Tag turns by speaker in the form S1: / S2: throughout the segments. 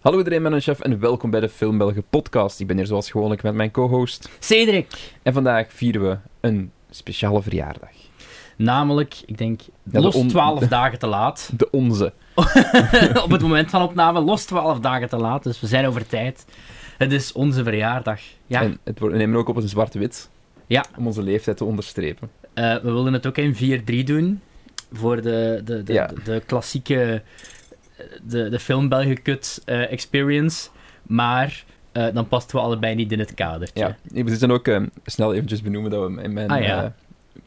S1: Hallo iedereen, mijn chef en welkom bij de Film Belgen podcast. Ik ben hier zoals gewoonlijk met mijn co-host.
S2: Cedric.
S1: En vandaag vieren we een speciale verjaardag.
S2: Namelijk, ik denk,
S1: de
S2: los
S1: on-
S2: 12 dagen te laat.
S1: De onze.
S2: Op het moment van opname, los 12 dagen te laat. Dus we zijn over tijd. Het is onze verjaardag. Ja,
S1: En het wordt, we nemen ook op een zwart-wit.
S2: Ja.
S1: Om onze leeftijd te onderstrepen.
S2: eh, we willen het ook in 4-3 doen. Voor de, de, de,
S1: Ja.
S2: de, de klassieke, eh, de, de film België Cut eh, experience. Maar eh, dan pasten we allebei niet in het kadertje.
S1: Ja. Ik moet dan ook eh, snel eventjes benoemen dat we in mijn...
S2: Ah, ja.
S1: eh,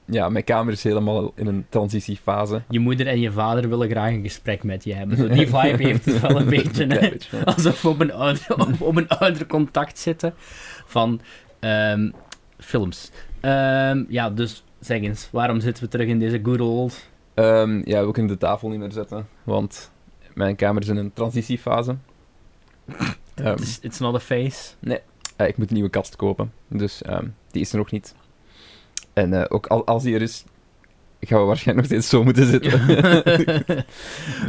S1: ja, mijn kamer is helemaal in een transitiefase.
S2: Je moeder en je vader willen graag een gesprek met je hebben. Zo, die vibe heeft het wel een beetje.
S1: Ja,
S2: hè.
S1: een beetje, ja.
S2: Alsof we op een ouder, op, op een ouder contact zitten van ehm, films. Ehm, ja, dus zeg eens, waarom zitten we terug in deze good old?
S1: Ehm, ja, we kunnen de tafel niet meer zetten, want mijn kamer is in een transitiefase. Ehm,
S2: It's, it's not a face.
S1: Eh, ik moet een nieuwe kast kopen. Dus ehm, die is er nog niet. En eh, ook al, als die er is, gaan we waarschijnlijk nog steeds zo moeten zitten.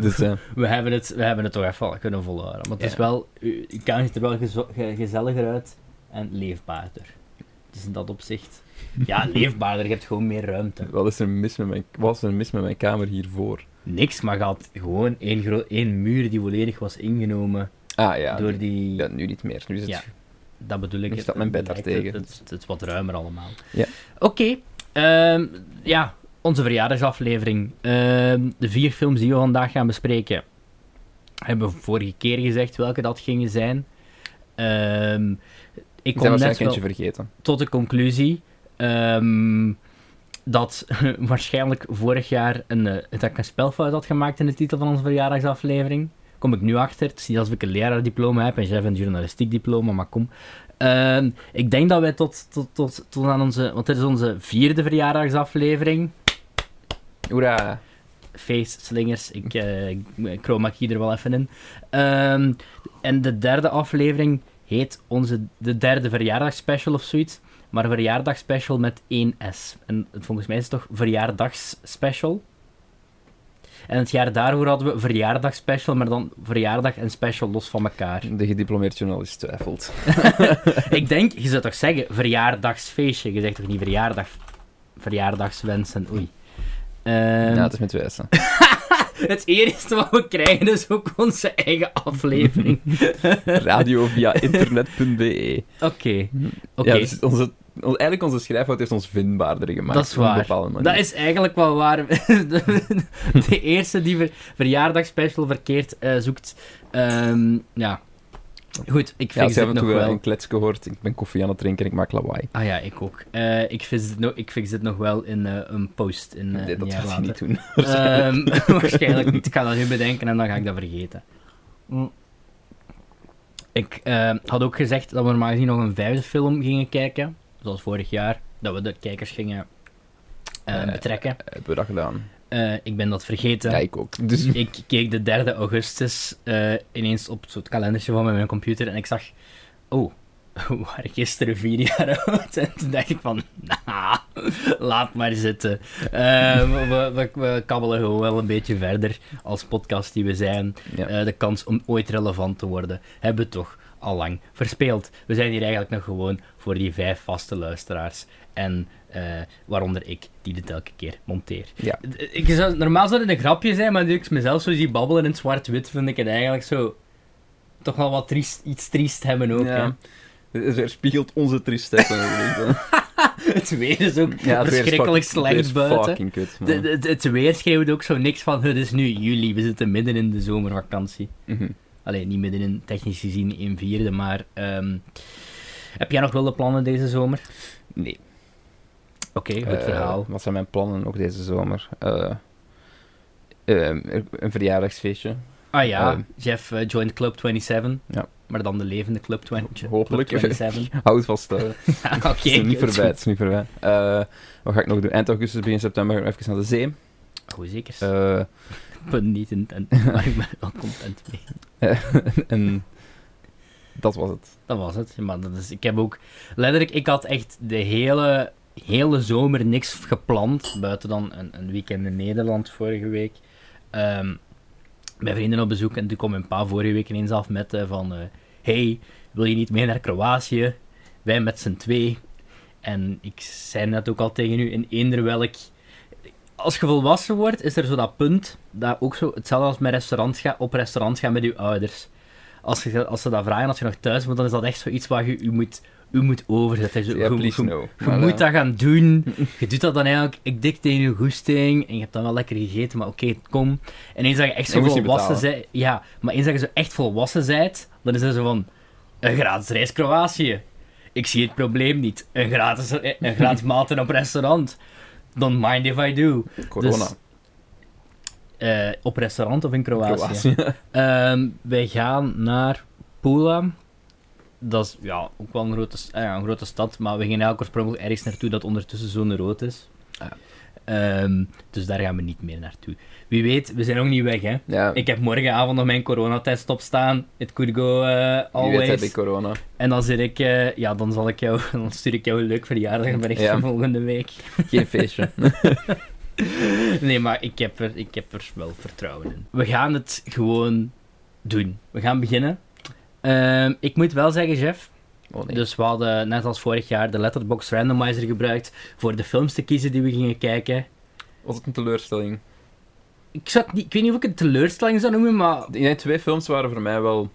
S1: dus eh,
S2: We hebben het, we hebben het toch even wel kunnen volhouden. Maar het is
S1: Ja.
S2: wel, u- uw kamer ziet er wel gezo- ge- gezelliger uit en leefbaarder. Dus in dat opzicht. Ja, leefbaarder, je hebt gewoon meer ruimte.
S1: wat is er mis met mijn, wat is er mis met mijn kamer hiervoor?
S2: Niks, maar gaat gewoon één, gro- één muur die volledig was ingenomen
S1: Ah ja,
S2: door die.
S1: ja nu niet meer. Nu is het...
S2: Ja. Dat bedoel ik.
S1: Nu
S2: Het-
S1: staat mijn bed
S2: het-
S1: daartegen.
S2: Het, het, het is wat ruimer allemaal.
S1: Ja.
S2: Oké. ehm, ja, onze verjaardagsaflevering. Ehm, de vier films die we vandaag gaan bespreken, hebben we vorige keer gezegd welke dat gingen zijn. Ehm, ik
S1: Ik ben
S2: kom net
S1: waarschijnlijk
S2: wel
S1: eentje vergeten.
S2: tot de conclusie ehm, dat waarschijnlijk vorig jaar een, eh, dat ik een spelfout had gemaakt in de titel van onze verjaardagsaflevering. Kom ik nu achter. Het is niet alsof ik een leraardiploma heb en jij hebt een journalistiek diploma, maar kom. Ehm, ik denk dat wij tot, tot, tot, tot aan onze... Want dit is onze vierde verjaardagsaflevering.
S1: Hoera!
S2: Feest, slingers, ik, eh ik chroma key er wel even in. Ehm, en de derde aflevering heet onze de derde verjaardagsspecial of zoiets. Maar verjaardagsspecial met 1S. En het- volgens mij is het toch verjaardagsspecial. En het jaar daarvoor hadden we verjaardagsspecial, maar dan verjaardag en special los van elkaar.
S1: De gediplomeerd journalist twijfelt.
S2: Ik denk, je zou toch zeggen verjaardagsfeestje? Je zegt toch niet verjaardag, verjaardagswensen? Oei. Ehm,
S1: ja, het is met wijzen.
S2: Het eerste wat we krijgen is ook onze eigen aflevering.
S1: Radio via internet.be.
S2: Oké. Oké.
S1: Ja, dus onze, on- eigenlijk onze schrijfhout heeft ons vindbaarder gemaakt.
S2: Dat is
S1: op een
S2: waar.
S1: bepaalde manier.
S2: Dat is eigenlijk wel waar. De, de eerste die ver, verjaardagsspecial verkeerd eh, zoekt. Ehm, ja. Goed, ik
S1: Ja,
S2: vind
S1: als je af
S2: het
S1: en
S2: nog
S1: toe
S2: wel.
S1: eh, een klets gehoord, ik ben koffie aan het drinken en ik maak lawaai.
S2: Ah ja, ik ook. Eh, ik, fix dit no- ik fix dit nog wel in eh, een post. In, eh,
S1: Nee,
S2: een
S1: dat
S2: jaar
S1: gaat hij
S2: later.
S1: niet doen.
S2: Ehm, waarschijnlijk niet. Ik ga dat nu bedenken en dan ga ik dat vergeten. Mm. Ik eh, had ook gezegd dat we normaal gezien nog een vijfde film gingen kijken. Zoals vorig jaar. Dat we de kijkers gingen eh,
S1: Eh,
S2: betrekken.
S1: Hebben we dat gedaan?
S2: Eh, ik ben dat vergeten.
S1: Ja, ik ook. Dus
S2: Ik keek de 3 augustus eh, ineens op het kalendertje van mijn computer en ik zag... Oh, we waren gisteren vier jaar oud. En toen dacht ik van, nah, laat maar zitten. Eh, we, we, we kabbelen gewoon wel een beetje verder als podcast die we zijn.
S1: Ja.
S2: Eh, de kans om ooit relevant te worden hebben we toch al lang verspeeld. We zijn hier eigenlijk nog gewoon voor die vijf vaste luisteraars. En eh, waaronder ik, die dit elke keer monteer. eh,
S1: ja,
S2: Ik zou, normaal zou het een grapje zijn, maar nu ik mezelf zo zie babbelen in het zwart-wit, vind ik het eigenlijk zo... Toch wel wat triest, iets triest hebben ook,
S1: Ja. het weerspiegelt onze tristesse. natuurlijk, hè.
S2: hè. Het weer is ook
S1: ja, het weer is
S2: verschrikkelijk
S1: fuck- het weer
S2: slecht
S1: is
S2: buiten.
S1: fucking kut, man.
S2: De, de- het weer schreeuwt ook zo niks van, het is nu juli, we zitten midden in de zomervakantie.
S1: Mhm.
S2: Allee, niet midden in, technisch gezien, in vierde, maar... ehm, heb jij nog wilde plannen deze zomer?
S1: Nee.
S2: Oké, goed
S1: Eh,
S2: verhaal.
S1: Wat zijn mijn plannen nog deze zomer? Eh, ehm, een verjaardagsfeestje.
S2: Ah ja,
S1: ehm.
S2: Jeff eh, joined Club 27.
S1: Ja.
S2: Maar dan de levende Club 20.
S1: Hopelijk.
S2: Club 27.
S1: Houd het vast. eh. Het
S2: Ja, Oké,
S1: is nog niet
S2: goed.
S1: voorbij. Het is niet voorbij. Eh, wat ga ik nog doen? Eind augustus, begin september gaan we even naar de zee.
S2: Oh, zeker.
S1: Eh,
S2: Ik ben niet in tent, maar ik ben er wel content mee.
S1: en dat was het.
S2: Dat was het. Maar dat is, ik heb ook... Letterlijk, ik had echt de hele, hele zomer niks gepland. Buiten dan een, een weekend in Nederland vorige week. Ehm, bij vrienden op bezoek. En toen kwam mijn pa vorige week ineens af met eh, van... eh, hey, wil je niet mee naar Kroatië? Wij met z'n twee. En ik zei net ook al tegen u, in eender welk... Als je volwassen wordt, is er zo dat punt dat ook zo... Hetzelfde als met restaurants gaan, op restaurant gaan met je ouders. Als, je, als ze dat vragen, als je nog thuis moet, dan is dat echt zoiets waar je u moet, u moet overzetten. Zo,
S1: Ja,
S2: je-
S1: please
S2: je-
S1: no.
S2: je
S1: Maar, eh,
S2: moet dat gaan doen. Je doet dat dan eigenlijk, ik dik tegen je goesting. En je hebt dan wel lekker gegeten, maar oké, kom. En eens dat je echt
S1: Je
S2: zo
S1: moest niet
S2: volwassen
S1: betalen.
S2: zij- Ja, maar eens dat je zo echt volwassen zijt, dan is het zo van... Een gratis reis Kroatië. Ik zie het probleem niet. Een gratis, eh, een gratis maaltijd op restaurant. Don't mind if I do.
S1: Corona.
S2: Dus, eh, op restaurant of in Kroatië?
S1: Kroatië.
S2: Ehm, wij gaan naar Pula. Dat is ja, ook wel een grote, s- eh, ja, een grote stad, maar we gingen elke oorspronkelijk ergens naartoe dat ondertussen zo'n rood is.
S1: Ja.
S2: Ehm, dus daar gaan we niet meer naartoe. Wie weet, we zijn ook niet weg, hè.
S1: Ja,
S2: Ik heb morgenavond nog mijn coronatest op staan. It could go eh,
S1: wie weet heb
S2: always.
S1: ik corona.
S2: En dan zit ik, eh, ja, dan zal ik jou, dan stuur ik jou een leuk verjaardagbericht
S1: Ja.
S2: van volgende week.
S1: Geen feestje.
S2: Nee, maar ik heb, er, ik heb er wel vertrouwen in. We gaan het gewoon doen. We gaan beginnen. Ehm, ik moet wel zeggen, Jeff.
S1: Oh nee.
S2: Dus we hadden net als vorig jaar de Letterboxd Randomizer gebruikt voor de films te kiezen die we gingen kijken.
S1: Was het een teleurstelling?
S2: Ik, zou het niet, ik weet niet of ik het teleurstelling zou noemen, maar
S1: Ik denk twee films waren voor mij wel...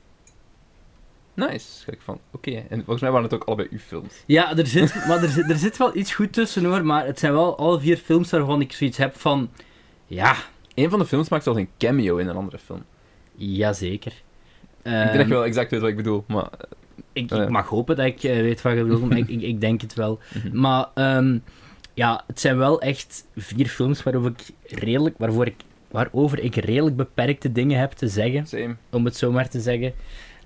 S1: Nice. Gek van, oké. En volgens mij waren het ook allebei uw films.
S2: Ja, er zit, maar er, zit, er zit wel iets goed tussen hoor, maar het zijn wel alle vier films waarvan ik zoiets heb van. Ja,
S1: Eén van de films maakt zelfs een cameo in een andere film.
S2: jazeker.
S1: ik
S2: Ehm,
S1: denk dat je wel exact weet wat ik bedoel, maar...
S2: ik,
S1: Ja.
S2: ik mag hopen dat ik eh, weet wat je bedoelt, maar ik, ik, ik denk het wel.
S1: Mhm.
S2: Maar ehm, ja, het zijn wel echt vier films waarover ik redelijk, waarvoor ik, waarover ik redelijk beperkte dingen heb te zeggen,
S1: Same.
S2: om het zo maar te zeggen.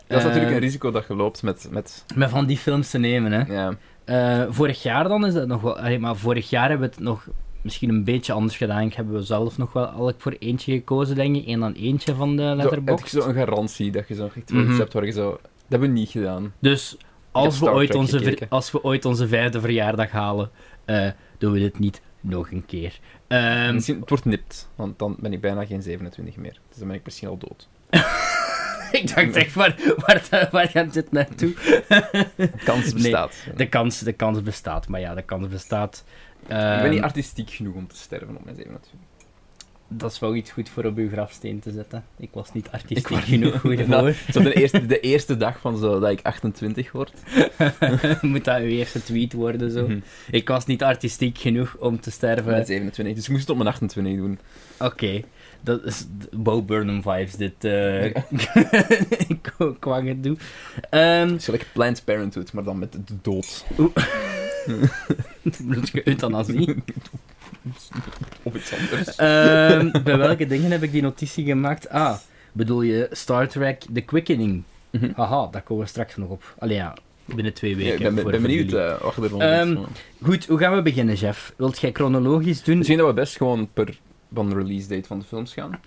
S1: Dat is natuurlijk
S2: Ehm,
S1: een risico dat je loopt met... met
S2: Met van die films te nemen, hè.
S1: ja.
S2: Eh, vorig jaar dan is dat nog wel... allee, maar vorig jaar hebben we het nog misschien een beetje anders gedaan. Ik hebben we zelf nog wel elk voor eentje gekozen, denk ik. En dan eentje van de
S1: Zo, heb je
S2: letterbox.
S1: zo'n garantie dat je zo'n echt
S2: Mhm.
S1: iets hebt waar je zo... Dat hebben we niet gedaan.
S2: Dus
S1: heb
S2: als we,
S1: Star
S2: ooit
S1: Trek
S2: onze ver-
S1: gekeken.
S2: als we ooit onze vijfde verjaardag halen, eh, doen we dit niet nog een keer. Ehm,
S1: misschien, het wordt nipt, want dan ben ik bijna geen 27 meer. Dus dan ben ik misschien al dood.
S2: ik dacht echt, waar, waar, waar gaat dit naartoe?
S1: Kans bestaat.
S2: De kans, de kans bestaat, maar ja, de kans bestaat.
S1: ik ben
S2: Ehm,
S1: niet artistiek genoeg om te sterven op mijn 27.
S2: dat is wel iets goed voor op uw grafsteen te zetten. Ik was niet
S1: Ik
S2: artistiek
S1: word-
S2: genoeg goed
S1: Inderdaad.
S2: voor.
S1: Zo de, eerste, de eerste dag van zo dat ik 28 word.
S2: Moet dat uw eerste tweet worden zo?
S1: Mhm.
S2: Ik was niet artistiek genoeg om te sterven.
S1: Met 27. Dus ik moest het op mijn 28 doen.
S2: Oké, dat is d- Bo Burnham vibes dit eh qua- qua gedoe. Ehm
S1: Het is gelijk Planned Parenthood, maar dan met de dood.
S2: bloed je euthanasie.
S1: Of iets anders.
S2: Ehm, bij welke dingen heb ik die notitie gemaakt? Ah, bedoel je Star Trek The Quickening?
S1: Mhm.
S2: Haha, daar komen we straks nog op. Allee ja, binnen twee
S1: Ja,
S2: weken.
S1: ik ben, ben
S2: voor- voor
S1: benieuwd
S2: jullie.
S1: eh, wat je ervan
S2: Ehm,
S1: vindt.
S2: Goed, hoe gaan we beginnen, Jeff? Wilt jij chronologisch doen? Oké,
S1: Misschien dat we best gewoon per van de release date van de films gaan.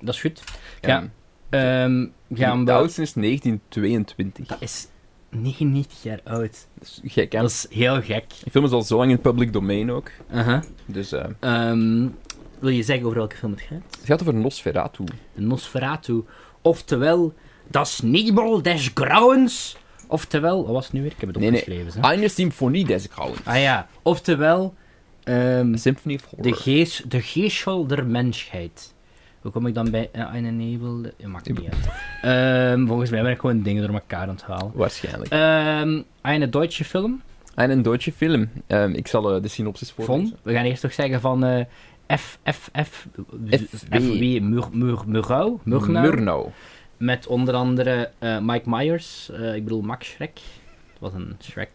S2: dat is goed. Ja,
S1: En
S2: Ehm, gaan
S1: de
S2: we...
S1: oudste is 1922.
S2: Dat is 99 jaar oud.
S1: Dus gek, hè?
S2: Dat is heel gek.
S1: Die film is al zo lang in het public domein ook.
S2: Uh-huh.
S1: Dus eh,
S2: Ehm, wil je zeggen over welke film het gaat?
S1: het gaat over Nosferatu.
S2: De Nosferatu. Oftewel, Das Nibel des Grauens. Oftewel, wat was het nu weer? Ik heb het
S1: Nee, nee.
S2: opgeschreven. hè.
S1: Eine Symphonie des Grauens.
S2: Ah ja, oftewel, ehm,
S1: Symphony of Horror.
S2: de, gees, de geestel der mensheid. Hoe kom ik dan bij eh, Eine Nebel? de- eh, Maakt niet uit. Ehm, volgens mij ben ik gewoon dingen door elkaar aan het halen.
S1: Waarschijnlijk.
S2: Ehm eine Duitse film.
S1: En een Duitse film. Ehm, ik zal eh, de synopsis voorlezen.
S2: Von, we gaan eerst toch zeggen van eh F, F, F,
S1: FW.
S2: FW, Mur, Mur, Murgau, Murnau.
S1: Murnau.
S2: met onder andere eh, Mike Myers, eh, ik bedoel Max Schreck. Het was een Shrek,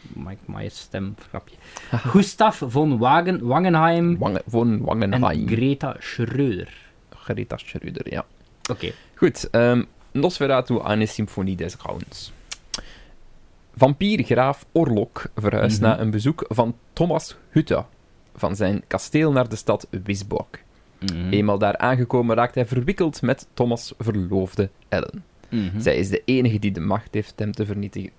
S2: Mike Myers stem, grapje. Gustav von Wagen, Wangenheim
S1: Wangen, von Wangenheim.
S2: en Greta Schröder.
S1: Greta Schröder, ja.
S2: Oké.
S1: Goed, ehm Nosferatu aan een symfonie des Grauens. Vampiergraaf Orlok verhuist
S2: Mhm.
S1: na een bezoek van Thomas Hutta van zijn kasteel naar de stad Wisborg.
S2: Mhm.
S1: Eenmaal daar aangekomen raakt hij verwikkeld met Thomas' verloofde Ellen.
S2: Mhm.
S1: Zij is de enige die de macht heeft hem te vernietigen.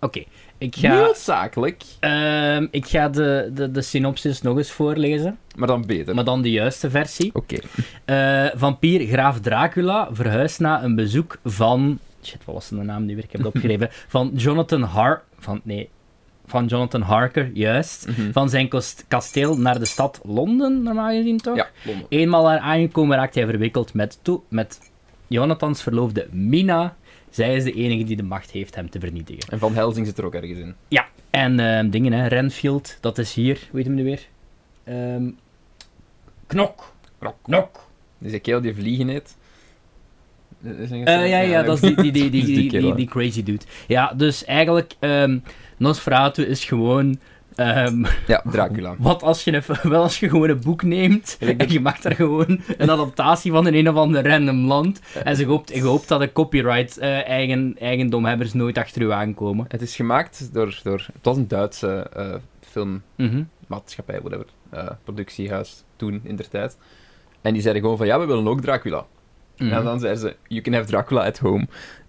S2: Oké, ik ga,
S1: Noodzakelijk,
S2: ehm, ik ga de, de, de synopsis nog eens voorlezen,
S1: maar dan beter.
S2: maar dan de juiste versie.
S1: Oké.
S2: Eh, vampier Graaf Dracula verhuist na een bezoek van. Shit, wat was de naam nu weer? Ik heb het opgeschreven. Van Jonathan Har. Van, nee, van Jonathan Harker, juist.
S1: Mhm.
S2: Van zijn kost- kasteel naar de stad Londen, normaal gezien toch?
S1: Ja, Londen.
S2: Eenmaal daar aangekomen raakt hij verwikkeld met, to- met Jonathans verloofde Mina. Zij is de enige die de macht heeft hem te vernietigen.
S1: En Van Helsing zit er ook ergens in.
S2: Ja, en ehm, dingen, hè. Renfield, dat is hier. Hoe heet hem nu weer? Ehm, knok. Knok. Knok.
S1: Dus die kerel die vliegen heet. Is een
S2: Eh, ja, ja, dat is die, die, die, die,
S1: Dus die
S2: die,
S1: kerel,
S2: die- die crazy dude. Ja, dus eigenlijk, ehm Nosferatu is gewoon... ehm,
S1: Ja, Dracula.
S2: wat als je, een, wel als je gewoon een boek neemt en je maakt daar gewoon een adaptatie van in een of ander random land en ze hoopt, je hoopt dat de copyright eh, eigen, eigendomhebbers nooit achter u aankomen.
S1: Het is gemaakt door, door... Het was een Duitse eh,
S2: Mhm.
S1: filmmaatschappij, whatever. eh, productiehuis, toen, in der tijd. En die zeiden gewoon van, ja, we willen ook Dracula.
S2: Mhm.
S1: En dan zeiden ze, you can have Dracula at home.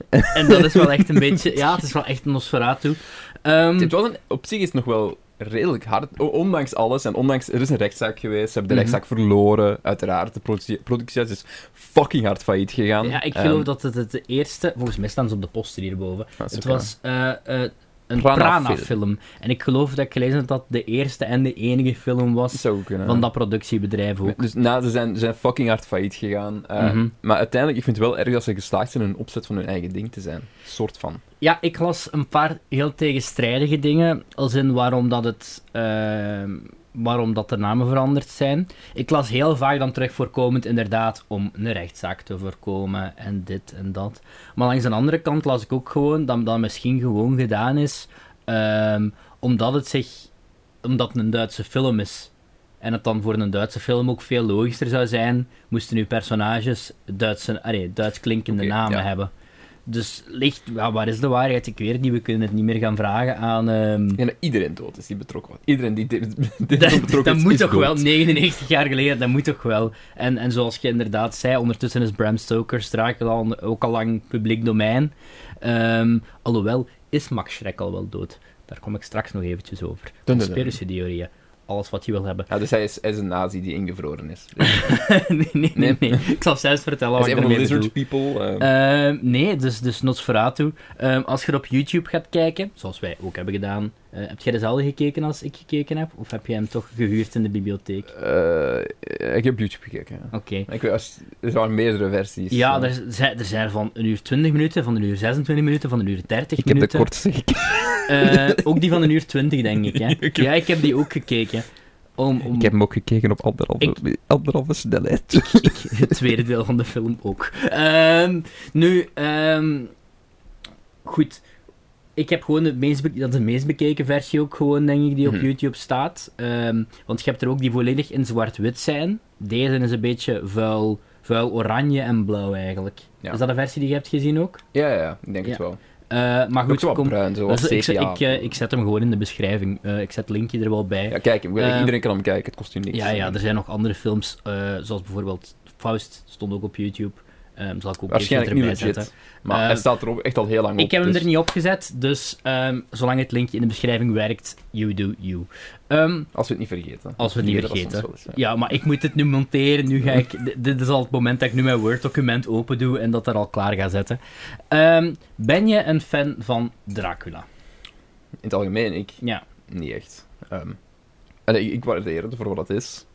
S2: En dat is wel echt een beetje... Ja, het is wel echt een Nosferatu. Ehm,
S1: Het was een, op zich is het nog wel redelijk hard, o- ondanks alles. En ondanks, er is een rechtszaak geweest, ze hebben de
S2: Mhm.
S1: rechtszaak verloren, uiteraard. De productie- productiehuis is fucking hard failliet gegaan.
S2: ja, ik
S1: Ehm,
S2: geloof dat het het de eerste... Volgens mij staan ze op de poster hierboven.
S1: dat is
S2: Het
S1: ook
S2: was eh, eh, een
S1: Prana-film.
S2: Prana-film. En ik geloof dat ik gelezen heb dat de eerste en de enige film
S1: wel-
S2: was
S1: zou kunnen.
S2: van dat productiebedrijf ook.
S1: Dus na, ze, zijn, ze zijn fucking hard failliet gegaan. Eh,
S2: Mhm.
S1: Maar uiteindelijk, ik vind het wel erg dat ze geslaagd zijn in een opzet van hun eigen ding te zijn. Soort van.
S2: Ja, ik las een paar heel tegenstrijdige dingen. Als in waarom dat het... ehm, waarom dat de namen veranderd zijn. Ik las heel vaak dan terug voorkomend inderdaad om een rechtszaak te voorkomen en dit en dat. Maar langs de andere kant las ik ook gewoon dat dat misschien gewoon gedaan is ehm, omdat het zich... Omdat het een Duitse film is. En het dan voor een Duitse film ook veel logischer zou zijn moesten nu personages Duitse, ah nee, Duits klinkende
S1: Oké,
S2: namen
S1: ja.
S2: hebben. Dus ligt, ja, waar is de waarheid? Ik weet het niet, we kunnen het niet meer gaan vragen aan... ehm,
S1: Ik denk dat iedereen dood is die betrokken was. Iedereen die dit, dit betrokken
S2: dat, dat
S1: is,
S2: moet
S1: is
S2: toch
S1: dood.
S2: wel, 99 jaar geleden, dat moet toch wel. En, en zoals je inderdaad zei, ondertussen is Bram Stoker's Dracula al- ook al lang publiek domein. Ehm, alhoewel, is Max Schreck al wel dood? Daar kom ik straks nog eventjes over.
S1: dun, dun.
S2: Conspiratietheorieën, alles wat je wil hebben.
S1: Ja, dus hij is, hij is een nazi die ingevroren is.
S2: Oh, nee, nee, nee, nee. Ik zal zelfs
S1: hij
S2: vertellen wat
S1: is
S2: ik
S1: een van de
S2: ermee bedoel.
S1: lizard people. eh,
S2: Ehm, nee, dus, dus Nosferatu. Ehm als je op YouTube gaat kijken, zoals wij ook hebben gedaan. eh, heb jij dezelfde gekeken als ik gekeken heb? Of heb jij hem toch gehuurd in de bibliotheek?
S1: eh, ik heb YouTube gekeken. ja.
S2: Oké.
S1: Ik weet, als- er waren meerdere versies.
S2: Ja,
S1: eh.
S2: er zijn, er zijn van een uur 20 minuten, van een uur 26 minuten, van een uur 30
S1: Ik heb de
S2: minuten.
S1: kortste gekeken.
S2: Eh, ook die van een uur 20, denk ik. Hè? Ja, ik heb die ook gekeken. Om, om
S1: Ik heb hem ook gekeken op anderhalve, anderhalve snelheid.
S2: het tweede deel van de film ook. Ehm, nu, ehm, goed. Ik heb gewoon de meest, be- dat is de meest bekeken versie ook gewoon, denk ik, die op
S1: Mhm.
S2: YouTube staat. Ehm, want je hebt er ook die volledig in zwart-wit zijn. Deze is een beetje vuil, vuil oranje en blauw eigenlijk.
S1: Ja.
S2: Is dat een versie die je hebt gezien ook?
S1: Ja, ja, ja, ik denk het
S2: Ja.
S1: wel.
S2: Eh, maar
S1: Ook
S2: goed,
S1: zo wat
S2: kom-
S1: bruin, zo wat
S2: Dus ik,
S1: sepia.
S2: ik, eh, ik zet hem gewoon in de beschrijving. Eh, ik zet het linkje er wel bij.
S1: Ja, kijk, ik wil-
S2: Eh,
S1: iedereen kan hem kijken, het kost u niks.
S2: ja, ja, er zijn nog andere films, eh, zoals bijvoorbeeld Faust, stond ook op YouTube. Ehm, zal ik ook
S1: Waarschijnlijk niet
S2: even erbij
S1: legit,
S2: zetten.
S1: maar
S2: Eh,
S1: hij staat er ook echt al heel lang op.
S2: Ik heb hem
S1: dus-
S2: er niet op gezet, dus ehm, zolang het linkje in de beschrijving werkt, you do you. Ehm,
S1: Als we het niet vergeten.
S2: Als we het niet
S1: Hier, dat was
S2: vergeten.
S1: ons wel eens,
S2: ja, maar ik moet dit nu monteren. Nu ga ik, d- dit is al het moment dat ik nu mijn Word-document open doe en dat er al klaar ga zetten. Ehm, ben je een fan van Dracula?
S1: ja. In het algemeen, ik
S2: Ja.
S1: niet echt. Ehm, en ik, ik waardeer het voor wat het is.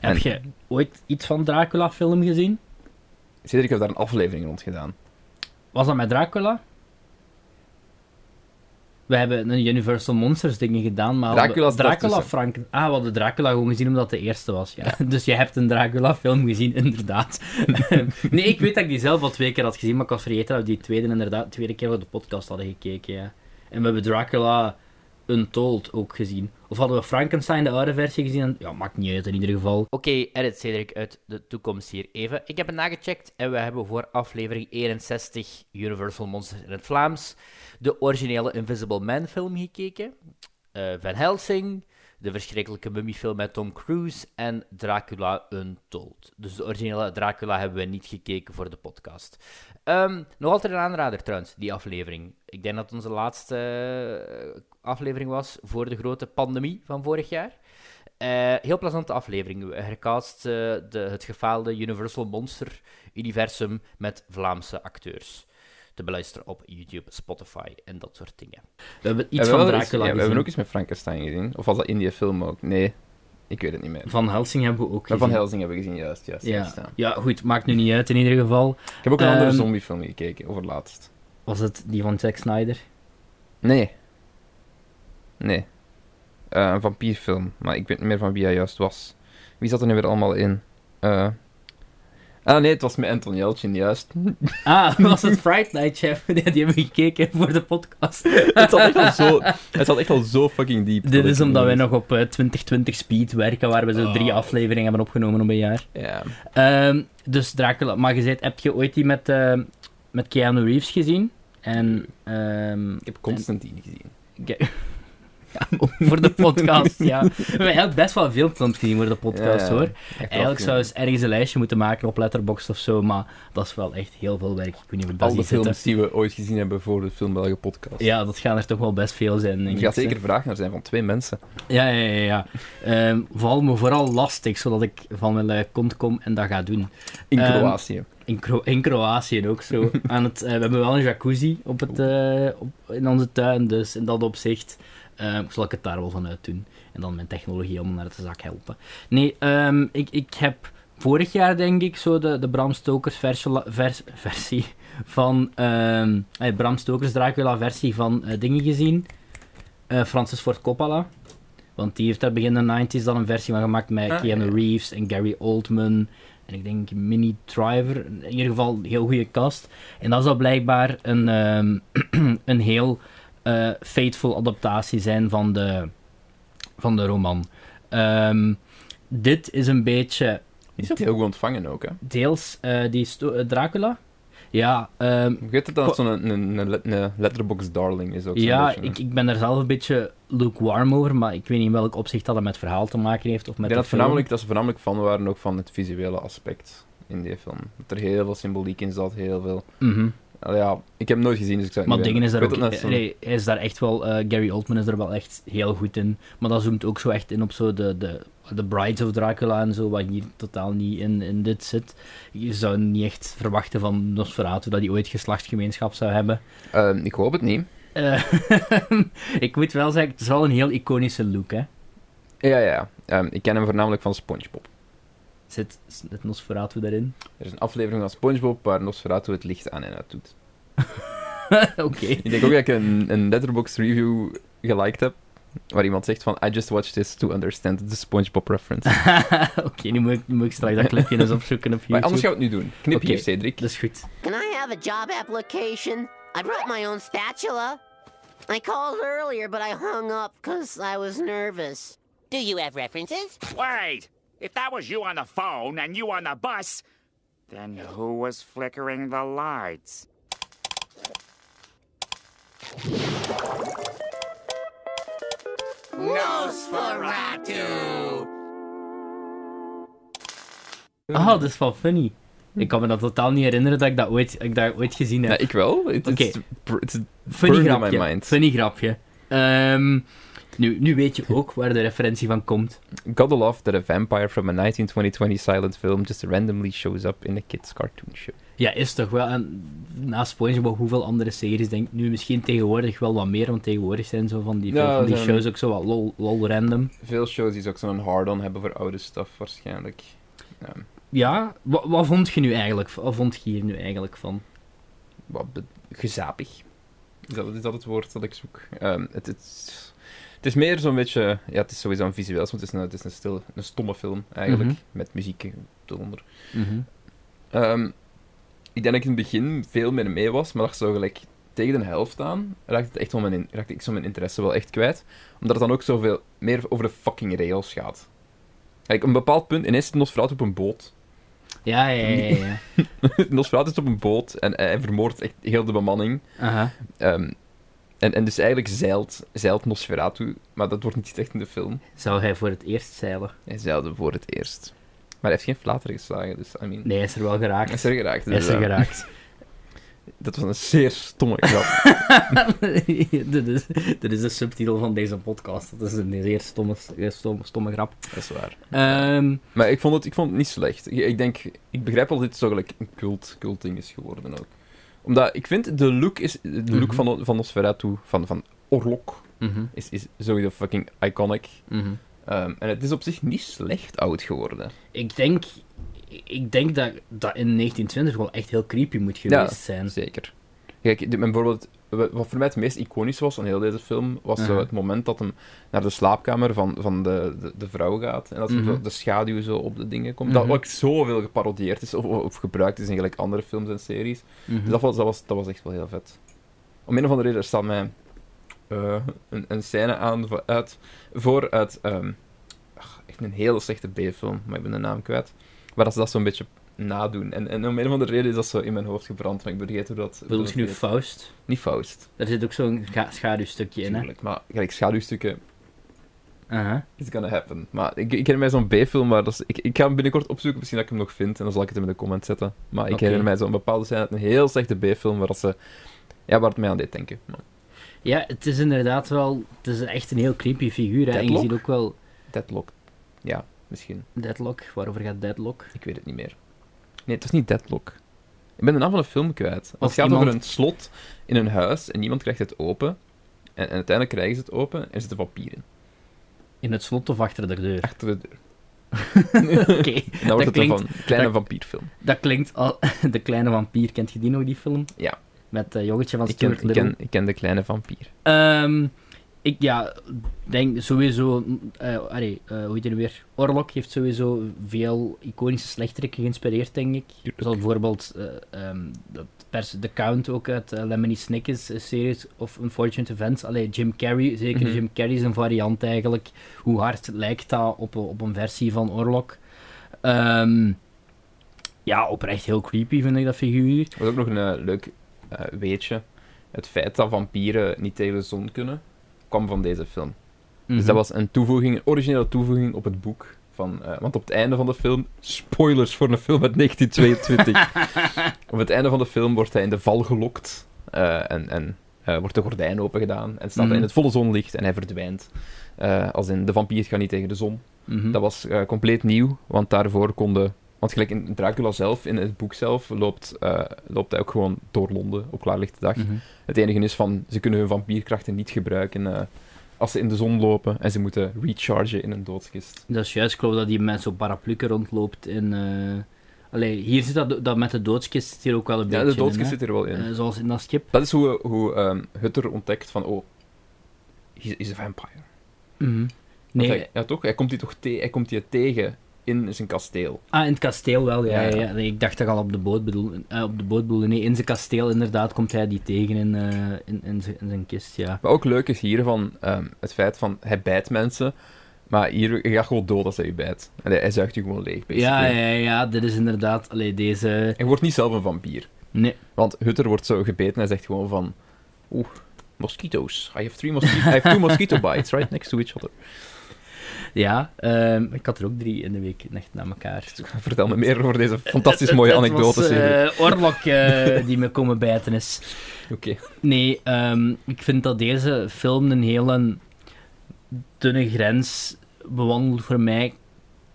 S2: Heb
S1: En-
S2: je ooit iets van Dracula-film gezien?
S1: Cedric heeft daar een aflevering rond gedaan.
S2: Was dat met Dracula? We hebben een Universal Monsters dingen gedaan, maar we hadden-
S1: Dracula is
S2: Dracula
S1: daartussen.
S2: Frank... Ah, we hadden Dracula gewoon gezien omdat het de eerste was. Ja. Dus je hebt een Dracula film gezien, inderdaad. nee, ik weet dat ik die zelf al twee keer had gezien, maar ik had vergeten dat we die tweede, inderdaad, tweede keer voor de podcast hadden gekeken. Ja. En we hebben Dracula Untold ook gezien. Of hadden we Frankenstein, de oude versie, gezien? Ja, maakt niet uit in ieder geval.
S3: Oké, edit Cedric uit de toekomst hier even. Ik heb het nagecheckt en we hebben voor aflevering 61 Universal Monsters in het Vlaams de originele Invisible Man film gekeken. Eh, Van Helsing, de verschrikkelijke mummiefilm met Tom Cruise en Dracula Untold. Dus de originele Dracula hebben we niet gekeken voor de podcast. Ehm, nog altijd een aanrader trouwens, die aflevering. Ik denk dat het onze laatste eh, aflevering was voor de grote pandemie van vorig jaar. Eh, heel plezante aflevering. We hercast eh, de, het gefaalde Universal Monster Universum met Vlaamse acteurs. Te beluisteren op YouTube, Spotify en dat soort dingen.
S2: We hebben
S1: Ja,
S2: iets
S1: we
S2: van
S1: hebben-
S2: Dracula
S1: ja, we hebben
S2: gezien.
S1: ook eens met Frankenstein gezien. Of was dat in die film ook? Nee, ik weet het niet meer.
S2: Van Helsing hebben we ook
S1: Maar Van
S2: gezien.
S1: Helsing hebben we gezien, juist. juist, juist, ja.
S2: ja. ja, goed, maakt nu niet uit in ieder geval.
S1: Ik heb ook een andere
S2: Ehm,
S1: zombiefilm gekeken, over laatst.
S2: Was het die van Zack Snyder?
S1: Nee. Nee. Eh, een vampierfilm, maar ik weet niet meer van wie hij juist was. Wie zat er nu weer allemaal in? Eh, Ah nee, het was met Anton Jeltsin, juist.
S2: Ah, was het Fright Night Chef? Ja, die hebben we gekeken voor de podcast.
S1: het, zat echt al zo, het zat echt al zo fucking diep.
S2: Dit is omdat wij nog op eh, 2020 speed werken, waar we zo drie
S1: Oh.
S2: afleveringen hebben opgenomen op een jaar.
S1: Ja.
S2: Ehm, dus Dracula, maar je zei, heb je ooit die met, eh, met Keanu Reeves gezien? En, ehm,
S1: Ik heb Constantine gezien.
S2: Ke- Ja, voor de podcast, ja. We hebben best wel veel films gezien voor de podcast,
S1: Ja,
S2: hoor.
S1: echt wel
S2: Eigenlijk
S1: cool.
S2: zou eens ergens een lijstje moeten maken op Letterboxd of zo, maar dat is wel echt heel veel werk. Ik weet niet hoe
S1: Al
S2: dat
S1: de
S2: ziet zitten.
S1: films die we ooit gezien hebben voor de Film Belgen podcast.
S2: Ja, dat gaan er toch wel best veel zijn, denk
S1: er
S2: ik.
S1: gaat zeker vraag naar zijn van twee mensen.
S2: Ja, ja, ja. ja. Ehm, vooral, maar vooral lastig, zodat ik van mijn lui kont kom en dat ga doen.
S1: In
S2: Ehm,
S1: Kroatië.
S2: In, Kro- in Kroatië ook zo. Aan het, eh, we hebben wel een jacuzzi op het, eh, op, in onze tuin, dus in dat opzicht eh, zal ik het daar wel van uit doen. En dan mijn technologie allemaal naar de zak helpen. Nee, ehm, ik, ik heb vorig jaar denk ik zo de, de Bram Stokers versie, vers, versie van... ehm, eh, Bram Stokers Dracula versie van eh, dingen gezien. Eh, Francis Ford Coppola. Want die heeft daar begin de 90s dan een versie van gemaakt met
S1: Ah,
S2: Keanu
S1: ja.
S2: Reeves en Gary Oldman. En ik denk Minnie Driver. In ieder geval een heel goede cast. En dat zou blijkbaar een, ehm, een heel eh faithful adaptatie zijn van de, van de roman. Ehm, dit is een beetje
S1: Die is ook heel goed ontvangen ook, hè.
S2: deels eh, die sto- eh, Dracula. Ja, ehm,
S1: Ik weet dat dat zo'n een, een, een, een letterbox darling is ook. zo'n
S2: ja
S1: beetje, hè.
S2: ik, ik ben daar zelf een beetje lukewarm over, maar ik weet niet in welk opzicht dat het met het verhaal te maken heeft. Of met
S1: Ik
S2: de
S1: denk dat,
S2: film.
S1: voornamelijk, dat ze voornamelijk fan waren ook van het visuele aspect in die film. Dat er heel veel symboliek in zat, heel veel...
S2: Mhm.
S1: Al ja, ik heb hem nooit gezien, dus ik zou het
S2: Maar
S1: niet
S2: dingen is daar
S1: weten.
S2: ook... eh,
S1: Ik weet dat net zo'n-
S2: nee, hij is daar echt wel... eh, Gary Oldman is er wel echt heel goed in. Maar dat zoomt ook zo echt in op zo de, de, de Brides of Dracula en zo, wat hier totaal niet in, in dit zit. Je zou niet echt verwachten van Nosferatu dat hij ooit geslachtsgemeenschap zou hebben.
S1: Ehm, ik hoop het niet.
S2: Eh, ik moet wel zeggen, het is wel een heel iconische look, hè.
S1: Ja, ja, ja. Ehm, ik ken hem voornamelijk van Spongebob.
S2: Zit het Nosferatu daarin?
S1: Er is een aflevering van Spongebob waar Nosferatu het licht aan en uit doet.
S2: Oké.
S1: Ik denk ook dat ik een, een letterbox review geliked heb, waar iemand zegt van I just watched this to understand the Spongebob reference.
S2: Oké, nu moet ik, nu moet ik straks dat clipje eens opzoeken op YouTube.
S1: Maar anders gaan we het nu doen. Knip
S2: Oké. Dus-
S1: hier, Cedric.
S2: Dat is goed.
S4: Can I have a job application? I brought my own spatula. I called earlier, but I hung up because I was nervous. Do you have references?
S5: Wait! If that was you on the phone and you on the bus, then who was flickering the lights?
S2: Ah, dat is wel funny. Ik kan me dat totaal niet herinneren dat ik dat ooit, ik dat ooit gezien heb.
S1: Ja, ik wel. Het
S2: Oké.
S1: is pr- het is
S2: funny
S1: burned in my
S2: grapje.
S1: mind.
S2: Funny grapje. Ehm, nu, nu weet je ook waar de referentie van komt.
S1: Gotta love that a vampire from a 1920 silent film just randomly shows up in a kids' cartoon show.
S2: Ja, is toch wel. En na SpongeBob, hoeveel andere series denk ik nu misschien tegenwoordig wel wat meer, want tegenwoordig zijn zo van die, veel
S1: Ja,
S2: van die
S1: zijn-
S2: shows ook zo wat lol, lol random.
S1: Veel shows die ook zo'n hard-on hebben voor oude stuff waarschijnlijk. Ehm,
S2: Ja, wat, wat vond je nu eigenlijk? van- Wat vond je hier nu eigenlijk van?
S1: wat be- gezapig. Is dat, is dat het woord dat ik zoek? Ehm, het, het, het is meer zo'n beetje... Ja, het is sowieso een visueel, want het is een, het is een, stil, een stomme film eigenlijk,
S2: Mhm.
S1: met muziek eronder. Ehm, ik denk dat ik in het begin veel meer mee was, maar dat zo gelijk tegen de helft aan raakte, het echt wel mijn in- raakte ik zo mijn interesse wel echt kwijt. Omdat het dan ook zoveel meer over de fucking rails gaat. Kijk, op een bepaald punt, ineens zit Nosferatu op een boot.
S2: Ja, ja, ja. ja, ja.
S1: eh, Nosferatu is op een boot en hij vermoordt echt heel de bemanning.
S2: Aha.
S1: Ehm, En, en dus eigenlijk zeilt, zeilt Nosferatu, maar dat wordt niet echt in de film.
S2: Zou hij voor het eerst zeilen?
S1: Hij zeilde voor het eerst. Maar hij heeft geen flater geslagen, dus I mean...
S2: Nee, hij is er wel
S1: Hij
S2: geraakt.
S1: is er geraakt.
S2: Hij is er
S1: inderdaad.
S2: geraakt.
S1: Dat was een zeer stomme grap.
S2: dit, is, dit is de subtitel van deze podcast. Dat is een zeer stomme, stomme, stomme grap.
S1: dat is waar.
S2: Ehm,
S1: Maar ik vond het, ik vond het niet slecht. Ik, ik denk, ik begrijp wel dat dit zo gelijk een cult, cult ding is geworden ook. Omdat ik vind, de look, is, de look
S2: Mhm.
S1: van, van Nosferatu, van, van Orlok, is, is sowieso fucking iconic. Ehm, en het is op zich niet slecht oud geworden.
S2: Ik denk, ik denk dat dat in 1920 wel echt heel creepy moet
S1: Ja.
S2: geweest zijn.
S1: Zeker. Kijk, dit- mijn bijvoorbeeld, wa- wat voor mij het meest iconisch was aan heel deze film, was zo
S2: Mhm.
S1: het moment dat hem naar de slaapkamer van, van de, de, de vrouw gaat. En dat hem zo
S2: Mhm.
S1: de schaduw zo op de dingen komt.
S2: Mhm.
S1: Dat ook zoveel geparodieerd is of, of gebruikt is in gelijk andere films en series.
S2: Mhm.
S1: Dus dat was, dat, was, dat was echt wel heel vet. Om een of andere reden, er staat mij eh, een, een scène aan voor- uit, voor uit ehm, ach, echt een hele slechte B-film, maar ik ben de naam kwijt. Maar dat ze dat zo'n beetje nadoen. En, en om een of andere reden is dat zo in mijn hoofd gebrand, maar ik vergeet hoe dat...
S2: Bedoel je nu
S1: hoe dat heet.
S2: Faust?
S1: Niet Faust,
S2: Daar zit ook zo'n ga- schaduwstukje in, hè?
S1: natuurlijk. Maar kijk, schaduwstukken,
S2: Aha.
S1: it's gonna happen. Maar ik, ik herinner mij zo'n B-film, maar dat is, ik, ik ga hem binnenkort opzoeken, misschien dat ik hem nog vind, en dan zal ik het hem in de comment zetten. Maar ik
S2: Oké.
S1: herinner mij zo'n bepaalde scène uit een heel slechte B-film, waar dat ze... Ja, waar het mij aan deed denken. Maar
S2: Ja, het is inderdaad wel... Het is echt een heel creepy figuur, hè? En je
S1: Deadlock?
S2: ziet ook wel...
S1: Deadlock. Ja, misschien.
S2: Deadlock? Waarover gaat Deadlock?
S1: Ik weet het niet meer. Nee, het was niet Deadlock. Ik ben de naam van de film kwijt. Het
S2: Of
S1: gaat over
S2: iemand-
S1: een slot in een huis en niemand krijgt het open. En, en uiteindelijk krijgen ze het open en er zitten vampieren
S2: In het slot of achter de deur?
S1: achter de deur.
S2: Oké.
S1: En dan wordt het
S2: klinkt-
S1: een van- kleine
S2: dat-
S1: vampierfilm.
S2: Dat klinkt al... de Kleine Vampier. Kent je die nog, die film?
S1: Ja.
S2: Met eh jongetje van
S1: Ik ken,
S2: Stuart
S1: ik,
S2: Little.
S1: ken, ik ken de kleine vampier.
S2: Ehm, ik ja, denk sowieso. eh allee, eh, hoe heet het weer? Orlok heeft sowieso veel iconische slechterikken geïnspireerd, denk ik.
S1: Tuurlijk.
S2: Zoals bijvoorbeeld eh, ehm, dat pers The Count ook uit eh, Lemony Snicket's eh, series of Unfortunate Events. Allee, Jim Carrey, zeker
S1: Mhm.
S2: Jim Carrey is een variant eigenlijk. Hoe hard lijkt dat op, een- op een versie van Orlok? Ehm, ja, oprecht heel creepy vind ik dat figuur.
S1: Er was ook nog een eh, leuk eh, weetje. Het feit dat vampieren niet tegen de zon kunnen, kwam van deze film. Dus
S2: Mhm.
S1: dat was een toevoeging, een originele toevoeging op het boek. Van, eh, want op het einde van de film, spoilers voor een film uit 1922. op het einde van de film wordt hij in de val gelokt eh, en, en eh, wordt de gordijn open gedaan. En staat hij in
S2: Mhm.
S1: het volle zonlicht en hij verdwijnt. Eh, als in de vampier gaat niet tegen de zon.
S2: Mhm.
S1: Dat was eh, compleet nieuw, want daarvoor konden. Want gelijk in Dracula zelf, in het boek zelf, loopt, eh, loopt hij ook gewoon door Londen op klaarlichte dag.
S2: Mhm.
S1: Het enige is van, ze kunnen hun vampierkrachten niet gebruiken eh, als ze in de zon lopen en ze moeten rechargen in een doodskist.
S2: Dat is juist, ik geloof dat die met zo'n parapluke rondloopt in... eh, Allee, hier zit dat, dat met de doodskist zit hier ook wel een
S1: Ja,
S2: beetje
S1: de doodskist
S2: in,
S1: zit er wel
S2: hè.
S1: in.
S2: Eh, zoals in dat schip.
S1: dat is hoe, hoe ehm, Hutter ontdekt van, oh, he's, he's a vampire.
S2: Mhm.
S1: Want
S2: Nee,
S1: Hij, ja, toch? Hij komt die toch te- hij komt die tegen in zijn kasteel.
S2: ah, in het kasteel wel, ja.
S1: Ja,
S2: ja,
S1: ja.
S2: ja. Nee, ik dacht dat ik al op de boot bedoel. eh, op de boot bedoelde. Nee, in zijn kasteel inderdaad komt hij die tegen in, eh, in, in, zijn, in zijn kist, ja.
S1: Wat ook leuk is hiervan, ehm, het feit van, hij bijt mensen, maar hier, je gaat gewoon dood als hij je bijt. En hij, hij zuigt je gewoon leeg,
S2: Ja,
S1: basically.
S2: ja, ja, dit is inderdaad... Allee, deze...
S1: Hij wordt niet zelf een vampier.
S2: Nee.
S1: Want Hutter wordt zo gebeten en hij zegt gewoon van... Oeh, mosquitoes. I have, three mosqui- I have two mosquito bites right next to each other.
S2: Ja, ehm, ik had er ook drie in de week, echt na elkaar.
S1: Vertel me meer over deze fantastisch mooie
S2: Het- het was,
S1: anekdotes. Evie.
S2: eh, Orlok eh, die me komen bijten is.
S1: Oké.
S2: Nee, ehm, ik vind dat deze film een hele dunne grens bewandelt voor mij.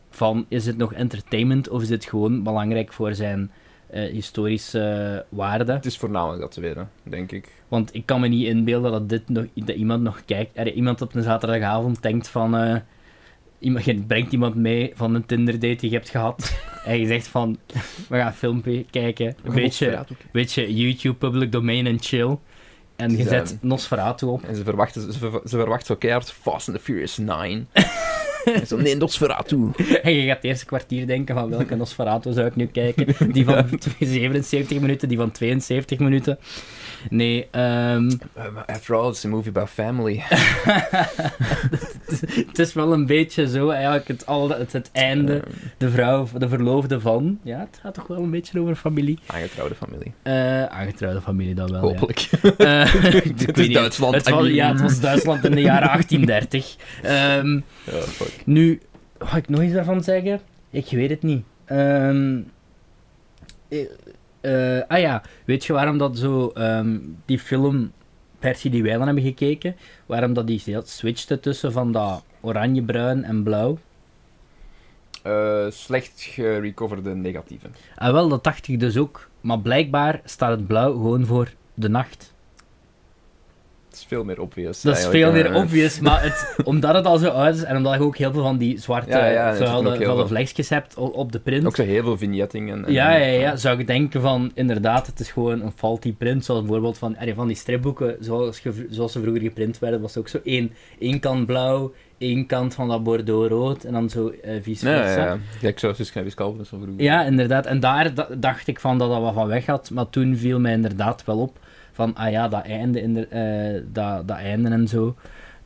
S2: Van is het nog entertainment of is het gewoon belangrijk voor zijn eh, historische waarde?
S1: Het is voornamelijk dat tweede, denk ik.
S2: Want ik kan me niet inbeelden dat, dit nog, dat iemand nog kijkt. Er, iemand op een zaterdagavond denkt van. eh, iemand, je brengt iemand mee van een Tinder-date die je hebt gehad. en je zegt van. We gaan een filmpje kijken. Een beetje, weet je, YouTube, public domain en chill. En je
S1: Dus,
S2: zet
S1: ehm,
S2: Nosferatu op.
S1: En ze verwachten, ze, ver- ze verwachten zo keihard Fast and the Furious 9. en zo, nee, Nosferatu.
S2: En je gaat het eerste kwartier denken van welke Nosferatu zou ik nu kijken. Die van 77 minuten, die van 72 minuten. Nee, ehm,
S1: Uh, but after all, it's a movie about family.
S2: het is wel een beetje zo, eigenlijk het, al, het, het einde, de vrouw, de verloofde van. Ja, het gaat toch wel een beetje over familie.
S1: Aangetrouwde familie.
S2: Eh, aangetrouwde familie dan wel, ja.
S1: Hopelijk.
S2: Eh, ik
S1: Dit
S2: weet
S1: is
S2: niet.
S1: Duitsland,
S2: Het
S1: I
S2: was,
S1: mean.
S2: ja, het was Duitsland in de jaren 1830. Ehm,
S1: Oh, fuck.
S2: nu, ga ik nog iets daarvan zeggen? Ik weet het niet. Ehm, eh, eh, ah ja, weet je waarom dat zo ehm, die film Percy die wij dan hebben gekeken, waarom dat die heel switchte tussen van dat oranje, bruin en blauw?
S1: Eh, slecht gerecoverde negatieven.
S2: Ah wel, dat dacht ik dus ook. Maar blijkbaar staat het blauw gewoon voor de nacht.
S1: Het is veel meer obvious.
S2: Dat is veel
S1: eigenlijk,
S2: meer
S1: eh.
S2: obvious, maar het, omdat het al zo uit is en omdat je ook heel veel van die zwarte
S1: Ja, ja, dat is ook
S2: vuile,
S1: heel
S2: vuile
S1: veel.
S2: vlekjes hebt o- op de print.
S1: Ook zo heel veel vignetting. En, en-
S2: Ja, ja, ja, zou ik denken van, inderdaad, het is gewoon een faulty print. Zoals bijvoorbeeld van, allee, van die stripboeken, zoals, ge- zoals ze vroeger geprint werden, was ook zo één, één kant blauw, één kant van dat bordeaux-rood en dan zo eh vice
S1: Ja,
S2: versa.
S1: ja, ja. Kijk, zoals Suscanavis Calvinus van vroeger.
S2: Ja, inderdaad. En daar da- dacht ik van dat dat wat van weg had. Maar toen viel mij inderdaad wel op van, ah ja, dat einde, inder- eh, dat, dat einde en zo.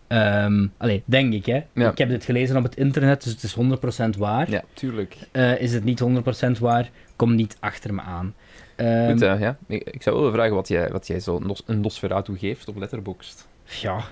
S2: Ehm allee, denk ik, hè.
S1: Ja.
S2: Ik heb dit gelezen op het internet, dus het is 100% waar.
S1: Ja, tuurlijk.
S2: Eh, is het niet 100% waar, kom niet achter me aan. Ehm,
S1: Goed, hè, ja. Ik, ik zou wel willen vragen wat jij, wat jij zo nos, een Nosferatu geeft op Letterboxd.
S2: ja,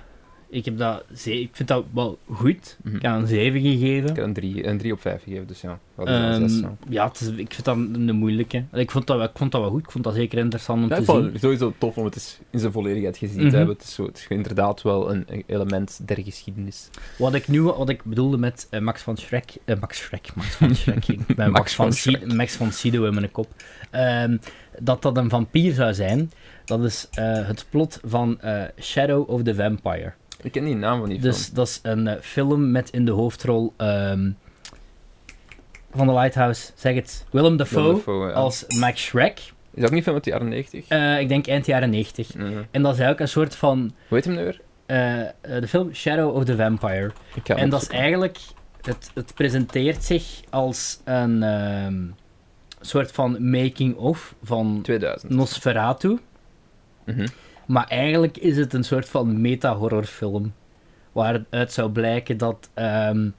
S2: ik, heb dat ze- ik vind dat wel goed.
S1: Mhm.
S2: Ik heb een 7 gegeven.
S1: Ik heb een 3 een drie op 5 gegeven, dus ja. Dat is
S2: Ehm,
S1: een zes, ja.
S2: ja, het is- ik vind dat een moeilijke. Ik vond dat, wel- ik vond dat wel goed. Ik vond dat zeker interessant om
S1: Ja,
S2: te
S1: ik
S2: zien.
S1: vond het sowieso tof om het eens in zijn volledigheid gezien
S2: Mhm.
S1: te hebben. Het is, zo, het is inderdaad wel een een element der geschiedenis.
S2: Wat ik nu wat ik bedoelde met eh, Max van Schrek. eh, Max Schrek, Max van Schrek. Ik ben Max,
S1: Max
S2: van
S1: van
S2: Si-
S1: Schreck.
S2: Max van Sido in mijn kop. Ehm, dat dat een vampier zou zijn. Dat is eh, het plot van eh, Shadow of the Vampire.
S1: Ik ken die naam van die film.
S2: Dus dat is een eh, film met in de hoofdrol ehm, van de Lighthouse, zeg het, Willem Dafoe,
S1: Willem Dafoe, ja.
S2: als Max Shrek.
S1: Is dat ook niet film uit de jaren 90?
S2: Eh, ik denk eind jaren 90.
S1: Mhm.
S2: En dat is eigenlijk een soort van
S1: Hoe heet hem nu weer?
S2: eh, eh, de film Shadow of the Vampire.
S1: Ik ga hem
S2: En dat is
S1: opzoeken.
S2: eigenlijk, het, het presenteert zich als een ehm, soort van making-of van
S1: 2000.
S2: Nosferatu.
S1: Mhm.
S2: Maar eigenlijk is het een soort van meta-horrorfilm. Waaruit zou blijken dat ehm,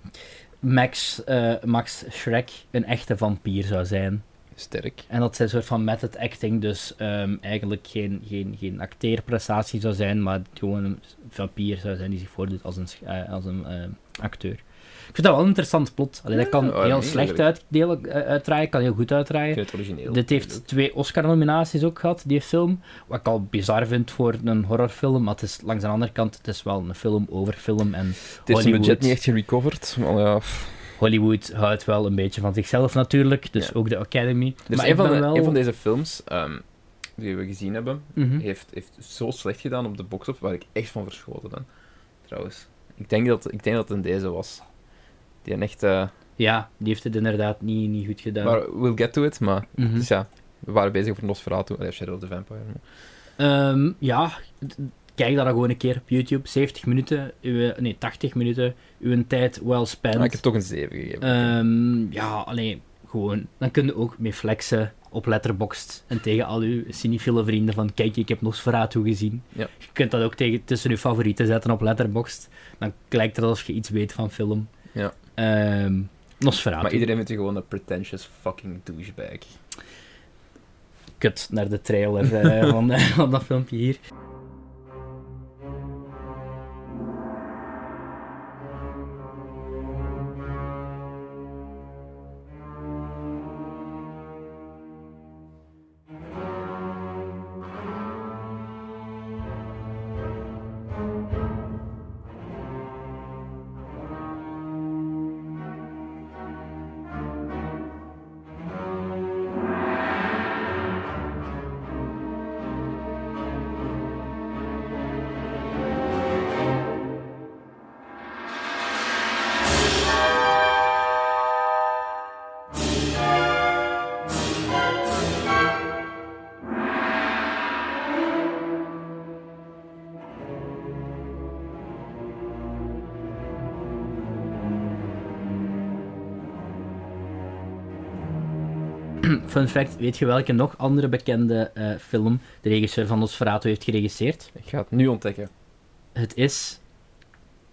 S2: Max, eh, Max Shrek een echte vampier zou zijn.
S1: Sterk.
S2: En dat zijn soort van method acting, dus ehm, eigenlijk geen, geen, geen acteerprestatie zou zijn, maar gewoon een vampier zou zijn die zich voordoet als een, sch- eh, als een eh, acteur. Ik vind dat wel een interessant plot. Allee, dat kan
S1: Ja,
S2: heel
S1: nee,
S2: slecht uitdelen, eh, uitdraaien, kan heel goed
S1: Ik
S2: uitdraaien.
S1: vind het origineel.
S2: Dit heeft twee Oscar-nominaties ook gehad, die film. Wat ik al bizar vind voor een horrorfilm, maar het is langs de andere kant, het is wel een film over film.
S1: Het
S2: En
S1: heeft zijn
S2: Hollywood.
S1: budget niet echt gerecoverd. Maar ja, pff.
S2: Hollywood houdt wel een beetje van zichzelf natuurlijk, dus
S1: Ja.
S2: ook de Academy.
S1: Dus
S2: maar
S1: een,
S2: ik
S1: van
S2: ben
S1: de-
S2: wel...
S1: een van deze films ehm, die we gezien hebben,
S2: Mhm.
S1: heeft, heeft zo slecht gedaan op de box-office, waar ik echt van verschoten ben. Trouwens. Ik denk dat, ik denk dat het in deze was. Die een echt... eh,
S2: Ja, die heeft het inderdaad niet, niet goed gedaan.
S1: Maar we'll get to it, maar...
S2: Mhm.
S1: Dus ja, we waren bezig over Nosferatu. Allee, Shadow of the Vampire.
S2: Ehm, ja, d- kijk dat dan gewoon een keer op YouTube. 70 minuten, uw, nee, 80 minuten, uw tijd well spent.
S1: Maar ik heb toch een 7 gegeven.
S2: Ehm, ja, alleen gewoon. Dan kun je ook mee flexen op Letterboxd en tegen al uw cinefiele vrienden van kijk, ik heb Nosferatu gezien.
S1: Ja.
S2: Je kunt dat ook tegen, tussen je favorieten zetten op Letterboxd. Dan lijkt het alsof je iets weet van film.
S1: Ja.
S2: Ehm, Nosferatu.
S1: maar iedereen vindt je gewoon een pretentious fucking douchebag.
S2: kut naar de trailer eh, van, van dat filmpje hier. Fun fact, weet je welke nog andere bekende eh, film de regisseur van Nosferatu heeft geregisseerd?
S1: Ik ga het nu ontdekken.
S2: Het is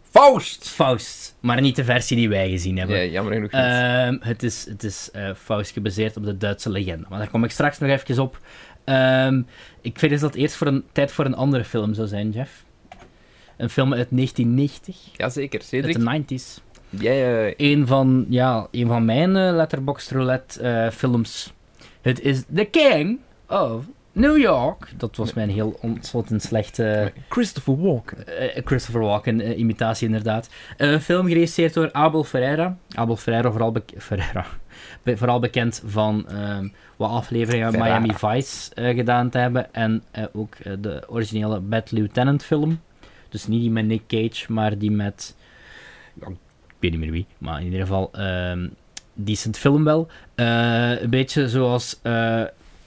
S1: Faust!
S2: Faust, maar niet de versie die wij gezien hebben.
S1: Nee, jammer genoeg niet.
S2: Ehm, het is, het is eh, Faust gebaseerd op de Duitse legende. Maar daar kom ik straks nog even op. Ehm, ik vind dus dat het eerst voor een, tijd voor een andere film zou zijn, Jeff. Een film uit 1990,
S1: Jazeker,
S2: uit
S1: Cedric.
S2: de 90s.
S1: Jij, eh,
S2: Een van, ja, een van mijn eh, Letterboxd Roulette eh, films. Het is The King of New York. Dat was mijn heel ontzettend slechte
S1: Christopher Walken.
S2: eh, Christopher Walken eh, imitatie inderdaad. Eh, een film geregisseerd door Abel Ferreira. Abel Ferreira vooral, bek- Ferreira. Be- vooral bekend van ehm, wat afleveringen uit
S1: Ferrara.
S2: Miami Vice eh, gedaan te hebben. En eh, ook eh, de originele Bad Lieutenant film. Dus niet die met Nick Cage, maar die met... ja, ik weet niet meer wie, maar in ieder geval... ehm decent film wel. Eh, een beetje zoals... eh,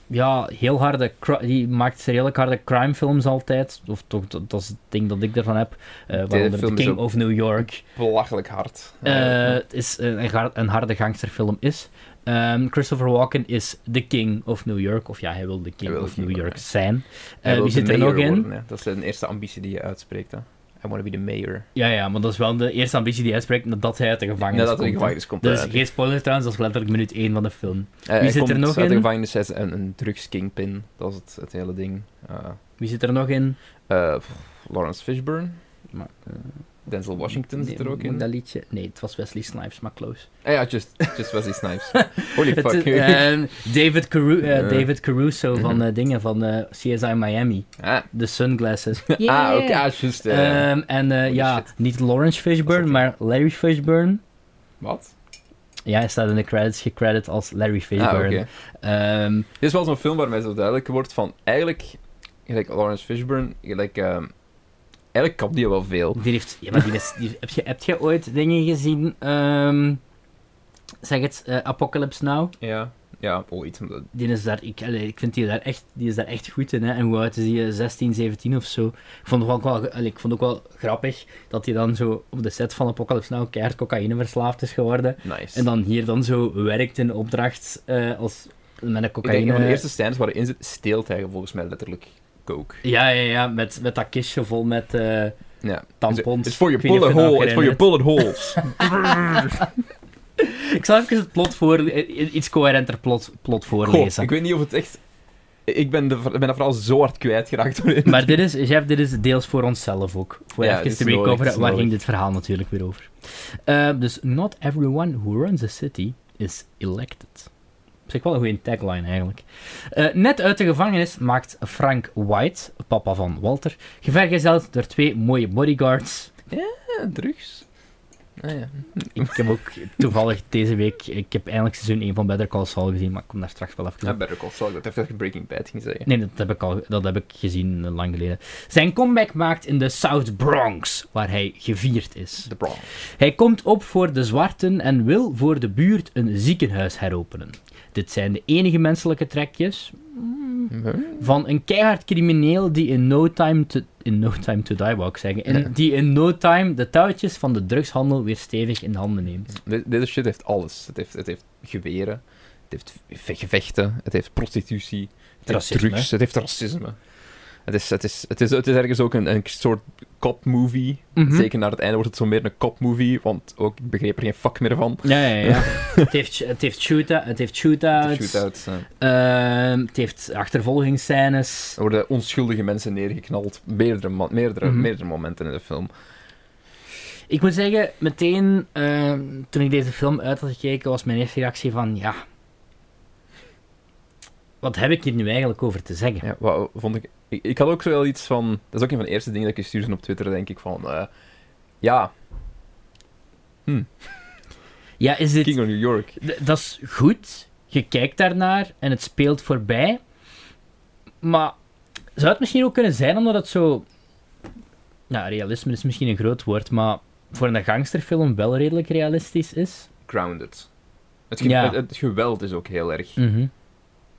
S2: ja, heel harde... cri- Die maakt redelijk harde crime films altijd. Of toch, dat, dat is het ding dat ik ervan heb. Eh waaronder The
S1: film is
S2: King
S1: ook- Oh,
S2: of New York.
S1: Belachelijk hard.
S2: Eh,
S1: Eh,
S2: het is een, een gar- een harde gangsterfilm is. Ehm, Christopher Walken is de king of New York. Of ja, hij wil de king
S1: wil
S2: of
S1: de king
S2: New York
S1: worden.
S2: zijn.
S1: hij
S2: Eh,
S1: wil
S2: wie
S1: de
S2: zit er nog
S1: mayor
S2: in?
S1: worden, hè. Dat is de eerste ambitie die je uitspreekt. Hè. I want to be the mayor.
S2: Ja, ja, maar dat is wel de eerste ambitie die hij uitspreekt nadat hij uit de gevangenis
S1: Nadat hij
S2: komt.
S1: de gevangenis komt.
S2: Dat
S1: eh,
S2: is geen spoiler trouwens, dat is letterlijk minuut 1 van de film.
S1: eh,
S2: wie
S1: hij
S2: zit er
S1: komt
S2: nog
S1: uit de
S2: in?
S1: gevangenis hij is een, een drugskingpin. Dat is het, het hele ding. Eh,
S2: Wie zit er nog in?
S1: eh, pff, Lawrence Fishburne.
S2: Maar, eh,
S1: Denzel Washington
S2: nee,
S1: zit er ook
S2: moet
S1: in.
S2: Dat liedje? Nee, het was Wesley Snipes, maar close.
S1: Ah ja, just, just Wesley Snipes. Holy
S2: Het
S1: fuck.
S2: is, ehm, David, Caru eh,
S1: Ja.
S2: David Caruso van eh, dingen van eh, CSI Miami.
S1: ah,
S2: De sunglasses.
S1: ah, oké,
S2: Yeah.
S1: ah, just. eh,
S2: Ehm, en eh,
S1: Holy
S2: ja,
S1: shit.
S2: niet Lawrence
S1: Was
S2: Fishburne,
S1: dat
S2: maar Larry Fishburne.
S1: wat?
S2: Ja, hij staat in de credits gecredit als Larry
S1: Ah, oké.
S2: Fishburne. Ehm,
S1: Dit is wel zo'n film waarmee zo duidelijk wordt van... Eigenlijk, gelijk Lawrence Fishburne, gelijk... ehm, eigenlijk kapt die wel veel.
S2: die heeft, ja, maar die is- die- heb, je, heb je ooit dingen gezien? ehm, zeg het, eh, Apocalypse Now?
S1: Ja. Ja, ooit. omdat-
S2: Die is daar, ik, allee, ik vind die, daar echt, die is daar echt goed in. Hè? En hoe oud is die? eh, 16, 17 of zo. Ik vond het ook wel, allee, ik vond het ook wel grappig dat hij dan zo op de set van Apocalypse Now keihard cocaïne verslaafd is geworden.
S1: Nice.
S2: En dan hier dan zo werkt in opdracht eh, als, met een
S1: Ik denk,
S2: cocaïne...
S1: een van de eerste scènes waar hij in zit, steelt hij volgens mij letterlijk coke.
S2: Ja, ja, ja, met, met dat kistje vol met eh
S1: Ja. Dus
S2: tampons.
S1: It's for
S2: Ik
S1: your
S2: weet niet
S1: bullet
S2: of je dat
S1: hole.
S2: nog
S1: It's for your
S2: herinnert.
S1: bullet holes.
S2: Ik zal even het plot voor... eh, Iets coherenter plot, plot
S1: Goh,
S2: voorlezen.
S1: ik weet niet of het echt... Ik ben, de, ik ben dat vooral zo hard kwijtgeraakt door
S2: Maar dit is, Jeff, dit is deels voor onszelf ook. Voor
S1: Ja, dit
S2: even
S1: is
S2: te
S1: nodig, dit
S2: recoveren,
S1: is
S2: waar
S1: nodig.
S2: ging dit verhaal natuurlijk weer over. Eh, dus, not everyone who runs a city is elected. Op zich wel een goede tagline eigenlijk. Eh, net uit de gevangenis maakt Frank White, papa van Walter, gevergezeld door twee mooie bodyguards.
S1: Ja, drugs. Ah, ja.
S2: Ik heb ook toevallig deze week, ik heb eindelijk seizoen 1 van Better Call Saul gezien, maar ik kom daar straks wel even
S1: Ja,
S2: op.
S1: Ah, Better Call Saul. Ik dacht dat je Breaking Bad ging zeggen.
S2: Nee, dat heb ik al dat heb ik gezien eh, lang geleden. Zijn comeback maakt in de South Bronx, waar hij gevierd is.
S1: The Bronx.
S2: Hij komt op voor de zwarten en wil voor de buurt een ziekenhuis heropenen. Dit zijn de enige menselijke trekjes van een keihard crimineel die in no time to, in no time to die, wou ik zeggen, in-
S1: Ja.
S2: die in no time de touwtjes van de drugshandel weer stevig in handen neemt.
S1: Dit- Deze shit heeft alles. Het heeft, het heeft geweren, het heeft ve- gevechten, het heeft prostitutie, het
S2: Racisme.
S1: heeft drugs, het heeft racisme. Het is, het is, het is, het is ergens ook een, een soort cop-movie.
S2: Mhm.
S1: Zeker naar het einde wordt het zo meer een cop-movie, want ook ik begreep er geen fuck meer van.
S2: Ja, ja, ja. het, heeft, het heeft shootout, het heeft
S1: De
S2: shootouts,
S1: shootouts. eh,
S2: ehm, het heeft achtervolgingsscènes.
S1: Er worden onschuldige mensen neergeknald. Meerdere, ma- meerdere,
S2: Mhm.
S1: meerdere momenten in de film.
S2: Ik moet zeggen, meteen ehm, toen ik deze film uit had gekeken, was mijn eerste reactie van, ja, wat heb ik hier nu eigenlijk over te zeggen?
S1: Ja, wauw, vond ik, ik... ik had ook zo wel iets van... Dat is ook een van de eerste dingen dat ik stuurde op Twitter, denk ik, van... eh, ja,
S2: Ja, is dit...
S1: King of New York.
S2: D- dat is goed. Je kijkt daarnaar en het speelt voorbij. Maar zou het misschien ook kunnen zijn omdat het zo. Nou, realisme is misschien een groot woord, maar voor een gangsterfilm wel redelijk realistisch is.
S1: grounded. Het, ge-
S2: Ja. Mhm.
S1: het, het geweld is ook heel erg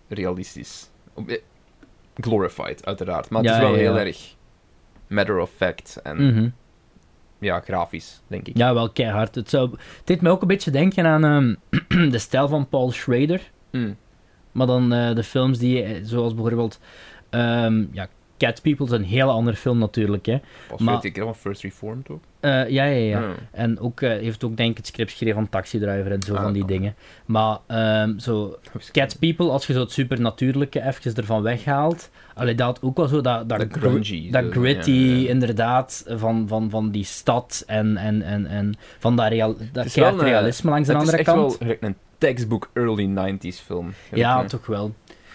S1: realistisch. Op- eh, Glorified, uiteraard. Maar het
S2: Ja,
S1: is wel
S2: ja,
S1: heel
S2: ja.
S1: erg matter of fact en
S2: Mhm.
S1: ja, grafisch, denk ik.
S2: Ja, wel keihard. Het, zou... het deed me ook een beetje denken aan ehm, de stijl van Paul Schrader.
S1: Mm.
S2: Maar dan eh, de films die, eh, zoals bijvoorbeeld ehm, ja, Cat People, is een hele andere film natuurlijk. Hè.
S1: Pas
S2: Maar-
S1: weet ik helemaal First Reformed ook.
S2: Eh, ja, ja, ja.
S1: Ja.
S2: En ook, eh, heeft ook denk ik het script geschreven van Taxi Driver en zo
S1: Ah,
S2: van die
S1: oké.
S2: dingen. Maar ehm, zo, Cat People, als je zo het supernatuurlijke eventjes ervan weghaalt, allee, dat had ook wel zo dat, dat,
S1: Dat grungy,
S2: dat
S1: zo,
S2: gritty,
S1: ja, ja.
S2: inderdaad, van, van, van die stad en, en, en, en van dat, real, dat
S1: is wel
S2: keihard
S1: een- eh,
S2: realisme langs de
S1: Het is
S2: andere
S1: echt
S2: kant.
S1: wel gelijk een textbook early 90s film.
S2: Ja,
S1: toch.
S2: toch wel.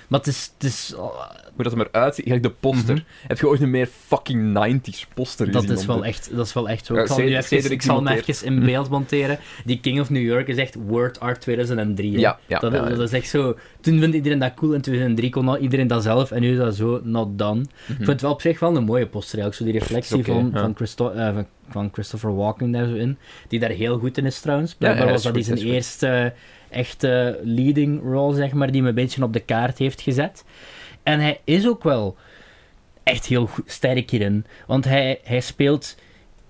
S2: Maar het is, het is oh,
S1: Hoe dat hem eruit ziet, gelijk de poster. Heb je ooit een meer fucking 90s poster
S2: Mhm. dat
S1: gezien
S2: is
S1: om
S2: wel
S1: te-
S2: echt, dat is wel echt zo.
S1: Ja,
S2: ik zal,
S1: Cedric-
S2: nu even,
S1: Cedric
S2: ik zal me
S1: noteert.
S2: even in beeld monteren. Die King of New York is echt Word Art 2003. hè.
S1: Ja, ja,
S2: dat,
S1: ja, ja.
S2: dat is echt zo. Toen vond iedereen dat cool, in 2003 kon al iedereen dat zelf en nu is dat zo not done. Ik vind het wel op zich wel een mooie poster eigenlijk. Zo die reflectie
S1: Mhm. oké,
S2: van,
S1: ja.
S2: van, Christo- eh, van, van Christopher Walken daar zo in. Die daar heel goed in is trouwens.
S1: Ja, ja,
S2: Blijkbaar
S1: is
S2: was dat
S1: goed,
S2: die zijn
S1: is goed.
S2: eerste echte leading role, zeg maar, die hem een beetje op de kaart heeft gezet. En hij is ook wel echt heel goed- sterk hierin. Want hij, hij speelt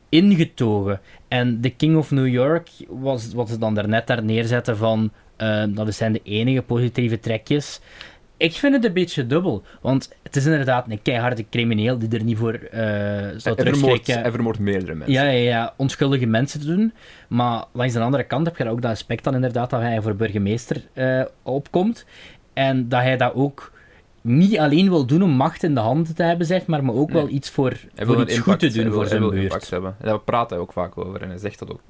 S2: ingetogen. En The King of New York was wat ze dan daarnet daar neerzetten van... eh, dat zijn de enige positieve trekjes. Ik vind het een beetje dubbel. Want het is inderdaad een keiharde crimineel die er niet voor eh zou
S1: Hij vermoordt-
S2: terugkijken.
S1: hij vermoordt meerdere mensen.
S2: Ja, ja, ja, onschuldige mensen te doen. Maar langs de andere kant heb je daar ook dat aspect dan inderdaad dat hij voor burgemeester eh, opkomt. En dat hij dat ook niet alleen wil doen om macht in de handen te hebben, zeg maar, maar ook wel
S1: Nee.
S2: iets voor,
S1: Hij
S2: voor
S1: wil
S2: iets
S1: een
S2: goed
S1: impact,
S2: te doen
S1: hij wil-
S2: voor
S1: hij
S2: zijn
S1: wil
S2: buurt.
S1: impact hebben. En daar praat hij ook vaak over en hij zegt dat ook.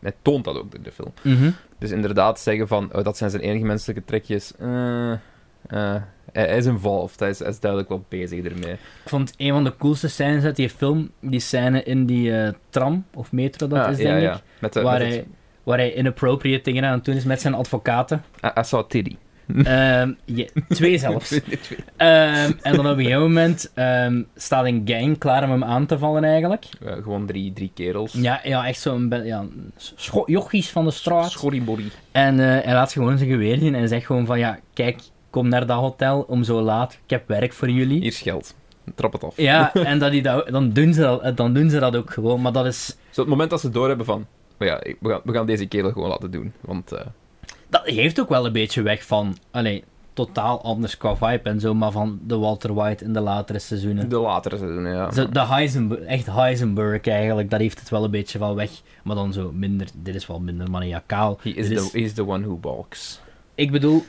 S1: Hij toont dat ook in de film.
S2: Mhm.
S1: Dus inderdaad zeggen van, oh, dat zijn zijn enige menselijke trekjes. eh, eh, hij, hij is involved, hij is, hij is duidelijk wel bezig ermee.
S2: Ik vond een van de coolste scènes uit die film, die scène in die eh, tram of metro, dat
S1: Ah,
S2: is denk ik,
S1: Met de,
S2: waar,
S1: met
S2: hij,
S1: het-
S2: waar hij inappropriate dingen aan het doen is met zijn advocaten.
S1: I- I saw Ah, Tiddy.
S2: Ehm, je- twee zelfs. Ehm, en dan op een gegeven moment ehm, staat een gang klaar om hem aan te vallen eigenlijk.
S1: Eh, gewoon drie, drie kerels.
S2: Ja, ja echt zo'n be- ja, scho- jochies van de straat.
S1: Schorrimorrie.
S2: en eh, hij laat gewoon zijn geweer zien en zegt gewoon van ja, kijk, kom naar dat hotel om zo laat. Ik heb werk voor jullie.
S1: Hier is geld. Trap het af.
S2: Ja, en dat die dat, dan, doen ze dat, eh, dan doen ze dat ook gewoon. Maar dat is,
S1: Zo, het moment dat ze doorhebben van... "Oh ja, ik- we, gaan, we gaan deze kerel gewoon laten doen. Want eh,
S2: dat heeft ook wel een beetje weg van, allee, totaal anders qua vibe en zo, maar van de Walter White in de latere seizoenen.
S1: de latere seizoenen, ja.
S2: Zo, de Heisenberg, echt Heisenberg eigenlijk, daar heeft het wel een beetje van weg. Maar dan zo minder, dit is wel minder maniacaal.
S1: He is,
S2: Dit
S1: The, he is the one who balks.
S2: Ik bedoel,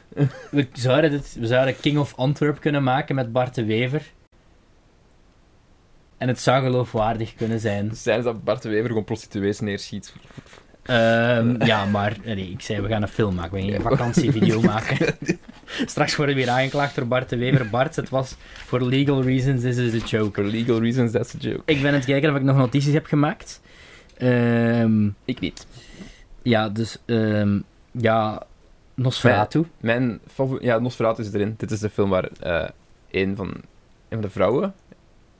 S2: we zouden, dit, we zouden King of Antwerp kunnen maken met Bart de Wever. En het zou geloofwaardig kunnen zijn.
S1: Zijn dat Bart de Wever gewoon prostituees neerschiet?
S2: Ehm, ja, maar nee, ik zei, we gaan een film maken. We gaan een vakantievideo maken. Straks worden we weer aangeklaagd door Bart de Wever. Bart, het was voor legal reasons, this is a joke.
S1: For legal reasons, that's a joke.
S2: Ik ben aan het kijken of ik nog notities heb gemaakt. Ehm,
S1: Ik niet.
S2: ja, dus... ehm, ja, Nosferatu.
S1: Mijn favoriet... Ja, Nosferatu is erin. Dit is de film waar eh een, van, een van de vrouwen...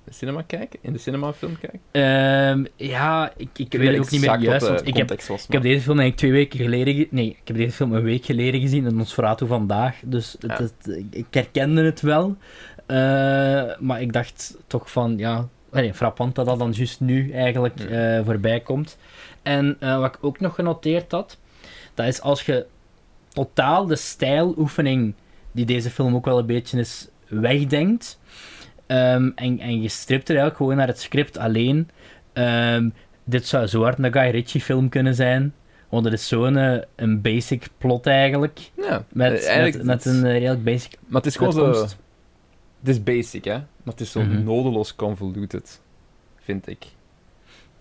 S1: De cinema kijken? In de cinemafilm kijken?
S2: Ehm, ja, ik, ik weet het ook niet meer juist. Want ik heb
S1: eh, was,
S2: Ik heb deze film eigenlijk twee weken geleden... ge- Nee, ik heb deze film een week geleden gezien en Nosferatu vandaag. Dus het,
S1: Ja.
S2: het- ik- ik herkende het wel. Eh, maar ik dacht toch van, ja... Nee, frappant dat dat dan juist nu eigenlijk eh, voorbij komt. En eh, wat ik ook nog genoteerd had, dat is als je totaal de stijloefening die deze film ook wel een beetje is wegdenkt. ehm, en, en je stript er eigenlijk gewoon naar het script alleen. ehm, dit zou zo hard een Guy Ritchie film kunnen zijn. Want het is zo'n eh, een basic plot eigenlijk.
S1: Ja,
S2: Met,
S1: eh, eigenlijk
S2: met, met
S1: het-
S2: een eh, redelijk basic
S1: Maar het eh, is gewoon zo...
S2: uitkomst.
S1: Het is basic, hè? Maar het is zo
S2: Mhm.
S1: nodeloos convoluted, vind ik.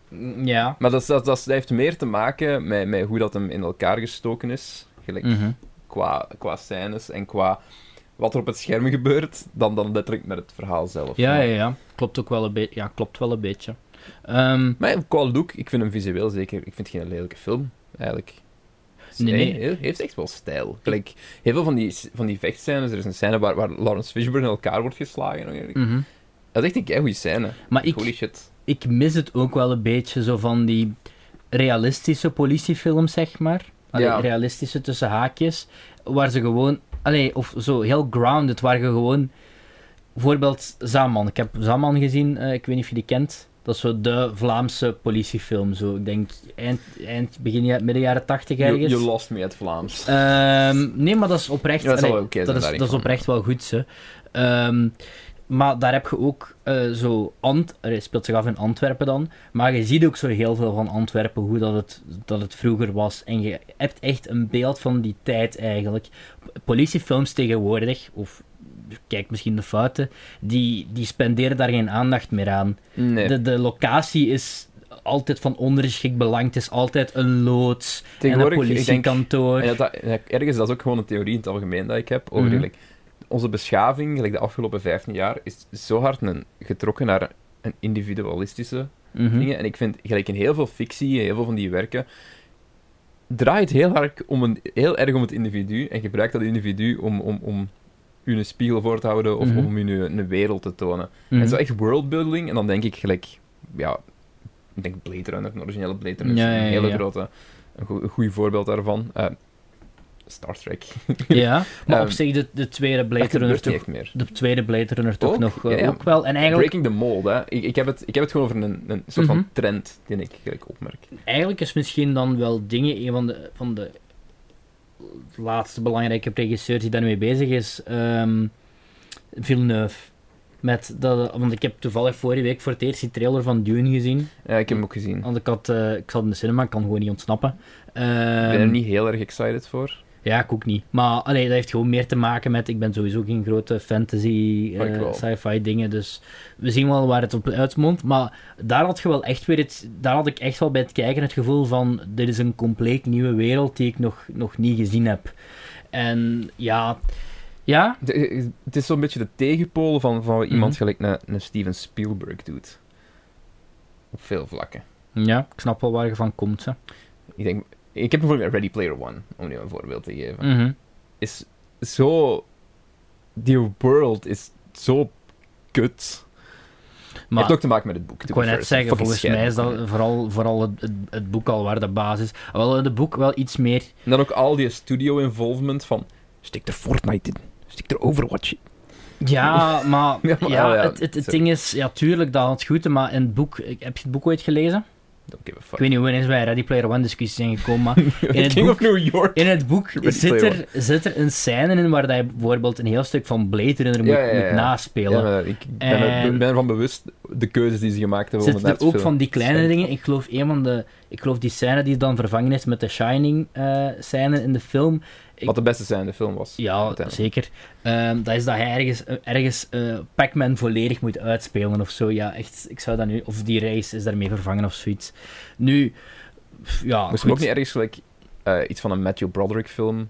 S1: mm,
S2: Ja.
S1: Maar dat, is- dat, dat, is- dat heeft meer te maken met, met hoe dat hem in elkaar gestoken is. Gelijk
S2: Mhm.
S1: qua, qua scènes en qua wat er op het scherm gebeurt, dan, dan letterlijk met het verhaal zelf.
S2: Ja, ja, ja. Klopt ook wel een beetje. Ja, klopt wel een beetje. Ehm,
S1: Maar qua look, ik vind hem visueel zeker... Ik vind het geen lelijke film, eigenlijk. Dus
S2: Nee,
S1: hij-
S2: nee.
S1: hij heeft echt wel stijl. Gelijk, heel veel van die, van die vechtscènes, er is een scène waar, waar Lawrence Fishburne in elkaar wordt geslagen.
S2: mhm.
S1: Dat is echt een keigoede scène.
S2: Maar ik,
S1: Holy shit.
S2: ik mis het ook wel een beetje zo van die realistische politiefilms, zeg maar. Allee,
S1: Ja.
S2: Realistische tussen haakjes. Waar ze gewoon... Allee, of zo heel grounded, waar je gewoon... Bijvoorbeeld Zaman. Ik heb Zaman gezien, eh, ik weet niet of je die kent. Dat is zo de Vlaamse politiefilm. Zo. Ik denk eind, eind begin ja- midden jaren tachtig
S1: Je,
S2: ergens.
S1: je lost me het Vlaams.
S2: Ehm, nee, maar dat is oprecht.
S1: Ja, dat zal
S2: allee,
S1: wel oké zijn
S2: dat, is,
S1: daarin.
S2: dat is oprecht wel goed. Hè. Ehm, maar daar heb je ook eh, zo. Ant, er is- speelt zich af in Antwerpen dan. Maar je ziet ook zo heel veel van Antwerpen, hoe dat het, dat het vroeger was. En je hebt echt een beeld van die tijd eigenlijk. Politiefilms tegenwoordig, of kijk misschien de fouten, die, die spenderen daar geen aandacht meer aan.
S1: nee.
S2: De, de locatie is altijd van ondergeschikt belang. Het is altijd een loods en een
S1: Tegenwoordig, ik denk-
S2: politiekantoor.
S1: En dat, dat- en ergens, dat is ook gewoon een theorie in het algemeen dat ik heb over
S2: Mhm.
S1: gelijk, onze beschaving, gelijk de afgelopen 15 jaar, is zo hard een, getrokken naar een individualistische
S2: Mhm.
S1: dingen. En ik vind, gelijk in heel veel fictie, heel veel van die werken, draait heel, hard om een, heel erg om het individu en gebruikt dat individu om, om, om u een spiegel voor te houden of
S2: Mhm.
S1: om u een, een wereld te tonen.
S2: Mhm.
S1: En zo echt worldbuilding, en dan denk ik gelijk, ja, ik denk Blade Runner, een originele Blade Runner, is
S2: Ja, ja,
S1: een
S2: ja,
S1: hele
S2: ja.
S1: grote, een goe- een goed voorbeeld daarvan. Eh, Star Trek.
S2: Ja, maar op
S1: Ehm,
S2: zich de, de tweede
S1: Dat
S2: Blade Runner
S1: gebeurt niet
S2: toch,
S1: echt meer.
S2: de tweede Blade Runner toch
S1: Ook?
S2: nog eh,
S1: Ja, ja.
S2: ook wel. En eigenlijk,
S1: Breaking the mold, hè. Ik, ik, heb het, ik heb het gewoon over een, een soort
S2: Mhm.
S1: van trend die ik gelijk opmerk.
S2: eigenlijk is misschien dan wel dingen een van de, van de laatste belangrijke regisseurs die daarmee bezig is. ehm Villeneuve. Met dat, eh, want ik heb toevallig vorige week voor het eerst die trailer van Dune gezien.
S1: Ja, ik heb hem ook gezien.
S2: Want ik, had, eh, ik zat in de cinema, ik kan gewoon niet ontsnappen.
S1: Ik ben er
S2: Ehm,
S1: niet heel erg excited voor.
S2: Ja, ik ook niet. Maar allee, dat heeft gewoon meer te maken met... Ik ben sowieso geen grote fantasy,
S1: Maar ik
S2: eh,
S1: wel.
S2: sci-fi dingen. Dus we zien wel waar het op uitmondt. Maar daar had je wel echt weer het... Daar had ik echt wel bij het kijken het gevoel van... Dit is een compleet nieuwe wereld die ik nog, nog niet gezien heb. En ja... Ja?
S1: De- eh, het is zo'n beetje de tegenpool van, van wat iemand
S2: Mhm.
S1: gelijk naar, naar Steven Spielberg doet. Op veel vlakken.
S2: Ja, ik snap wel waar je van komt. Hè.
S1: Ik, denk, ik heb bijvoorbeeld Ready Player One, om nu een voorbeeld te geven.
S2: Mhm.
S1: Is zo... Die world is zo kut.
S2: Maar-
S1: heeft ook te maken met het boek.
S2: Ik wou net zeggen, volgens mij is dat vooral, vooral het, het, het boek al waar de basis... Wel, in het boek wel iets meer...
S1: En dan ook al die studio-involvement van... Stik er Fortnite in. Stik er Overwatch in.
S2: Ja, maar, ja,
S1: Ja, maar- oh ja,
S2: het, het, het
S1: sorry.
S2: ding is, ja, tuurlijk, dat had goed, maar in het boek, ik- heb je het boek ooit gelezen?
S1: Don't give a
S2: Ik
S1: fuck.
S2: weet niet hoe we eens bij Ready Player One discussies zijn gekomen, maar in het
S1: King
S2: boek-
S1: of New York.
S2: in het boek
S1: Ready
S2: zit
S1: Player
S2: er, zit er een scène in waar dat je bijvoorbeeld een heel stuk van Blade Runner moet,
S1: Ja, ja, ja,
S2: moet
S1: ja.
S2: naspelen.
S1: Ja, maar ik ben, er-
S2: En-
S1: ben ervan bewust de keuzes die ze gemaakt hebben. om
S2: Zitten
S1: het
S2: er
S1: naar
S2: ook
S1: te
S2: van die
S1: filmen.
S2: kleine
S1: Zijn-
S2: dingen. Ik geloof een van de. Ik geloof die scène die dan vervangen is met de Shining eh, scène in de film. Ik-
S1: Wat de beste zijn in de film was.
S2: Ja,
S1: uiteindelijk.
S2: zeker. Ehm, dat is dat hij ergens, ergens eh, Pac-Man volledig moet uitspelen of zo. Ja, echt. Ik zou dat nu. Of die race is daarmee vervangen of zoiets. Nu. pff, Ja,
S1: Moest
S2: goed.
S1: hem ook niet ergens gelijk, eh, iets van een Matthew Broderick film
S2: Ja,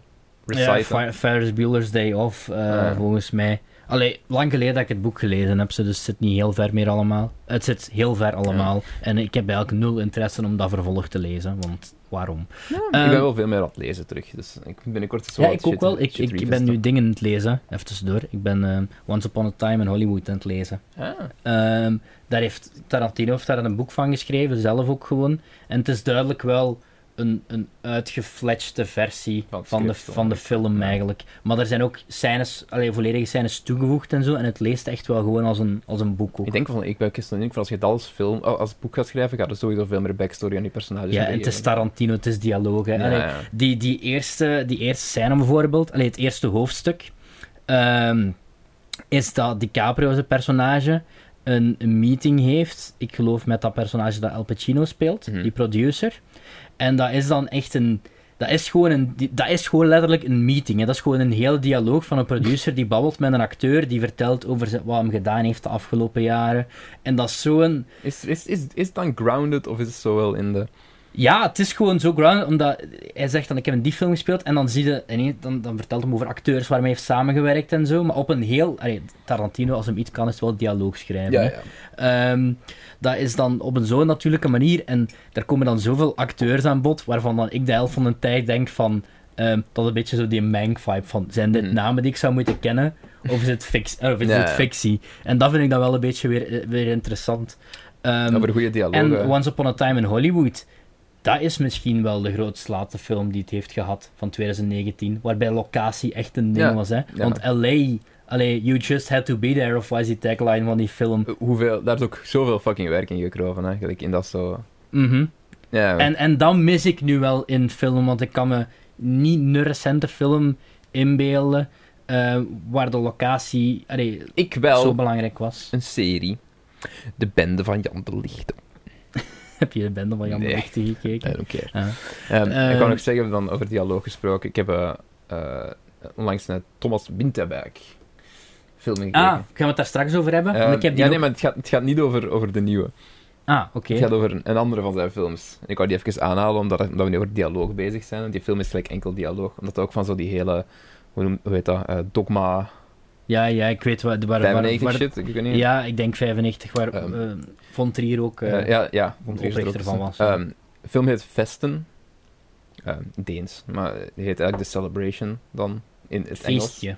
S1: reciten? Ah,
S2: Fer- Ferris Bueller's Day Off, eh,
S1: Ja.
S2: volgens mij. Allee, lang geleden dat ik het boek gelezen heb, dus het zit niet heel ver meer allemaal. Het zit heel ver allemaal. En ik heb eigenlijk nul interesse om dat vervolg te lezen, want waarom?
S1: ik
S2: Ehm,
S1: ben wel veel meer aan het lezen terug, dus ik binnenkort is wel
S2: Ja,
S1: wat
S2: ik ook
S1: shit-
S2: wel. Ik,
S1: shit
S2: ik ben
S1: revisiten.
S2: nu dingen aan het lezen, even tussendoor. Ik ben ehm, Once Upon a Time in Hollywood aan het lezen.
S1: Ah,
S2: Ehm, daar heeft Tarantino heeft daar een boek van geschreven, zelf ook gewoon. En het is duidelijk wel een, een uitgefletchte versie
S1: Van
S2: van,
S1: het
S2: de,
S1: script,
S2: van de film
S1: ja.
S2: eigenlijk. Maar er zijn ook scènes, allee, volledige scènes toegevoegd en zo. En het leest echt wel gewoon als een, als een boek ook.
S1: ik denk van, ik ben gisteren denk van als je dat als film, oh, als boek gaat schrijven, gaat er sowieso veel meer backstory aan Nou, dus die personages
S2: ja,
S1: moeten
S2: en het is
S1: geven.
S2: Tarantino, het is dialoog. Hè.
S1: Ja,
S2: Allee,
S1: ja.
S2: Die, die, eerste, die eerste scène bijvoorbeeld, allee, het eerste hoofdstuk, ehm, is dat DiCaprio zijn personage een, een meeting heeft, ik geloof met dat personage dat Al Pacino speelt,
S1: Mhm.
S2: die producer. En dat is dan echt een... Dat is, gewoon een, die- dat is gewoon letterlijk een meeting. Hè. Dat is gewoon een heel dialoog van een producer die babbelt met een acteur, die vertelt over zijn- wat hem gedaan heeft de afgelopen jaren. En dat is zo'n...
S1: Is, is, is, is het dan grounded of is het zo wel in de...
S2: Ja, het is gewoon zo grounded, omdat hij zegt dan, ik heb in die film gespeeld, en dan zie je, ineens- dan, dan vertelt hij over acteurs waarmee hij heeft samengewerkt en zo, maar op een heel, allee, Tarantino, als hem iets kan, is het wel dialoog schrijven. hè. Ehm, dat is dan op een zo'n natuurlijke manier, en daar komen dan zoveel acteurs aan bod, waarvan dan ik de helft van de tijd denk van, ehm, dat een beetje zo die Mank-vibe van, zijn dit
S1: Mhm.
S2: namen die ik zou moeten kennen, of is het, fix, eh, of is
S1: Ja,
S2: het
S1: ja.
S2: fictie? En dat vind ik dan wel een beetje weer, eh, weer interessant. Ehm,
S1: Over goede dialogen.
S2: en Once Upon a Time in Hollywood, dat is misschien wel de grootste late film die het heeft gehad van 2019. Waarbij locatie echt een ding
S1: Ja,
S2: was. Hè?
S1: ja.
S2: Want LA Allee, you just had to be there, of was die tagline van die film?
S1: Eh, Hoeveel, daar is ook zoveel fucking werk in gekroven, eigenlijk. In dat zo.
S2: Mhm.
S1: Ja,
S2: En, en dat mis ik nu wel in film, want ik kan me niet een recente film inbeelden eh, waar de locatie allee,
S1: ik wel.
S2: zo belangrijk was.
S1: Een serie. De Bende van Jan de Lichte.
S2: Heb je de bende van Jan de
S1: Nee.
S2: Lichte gekeken?
S1: I don't care.
S2: Ah.
S1: Ehm, ik
S2: Ehm.
S1: kan nog zeggen, dan over dialoog gesproken. Ik heb eh, eh, onlangs naar Thomas Winterberg film gekeken.
S2: Ah, gaan we het daar straks over hebben?
S1: Ehm,
S2: Want ik heb die
S1: ja, nee,
S2: ook-
S1: maar het gaat, het gaat niet over, over de nieuwe.
S2: Ah, oké.
S1: Het gaat over een, een andere van zijn films. Ik wou die even aanhalen, omdat, eh, omdat we nu over dialoog bezig zijn. Want die film is gelijk enkel dialoog. Omdat dat ook van zo die hele... Hoe, noem- hoe heet dat? eh, dogma
S2: Ja, ja, ik weet waar... waar, waar,
S1: 95
S2: waar-
S1: shit? Ik weet niet.
S2: ja, ik denk 95, waar
S1: Ehm.
S2: eh, Von Trier ook... eh,
S1: Eh, ja, ja. Vond
S2: de
S1: ik er ook
S2: oprichter van was.
S1: interessant. Ehm, de film heet Festen. Ehm, Deens. Maar het heet eigenlijk The Celebration dan. In het Engels.
S2: feestje.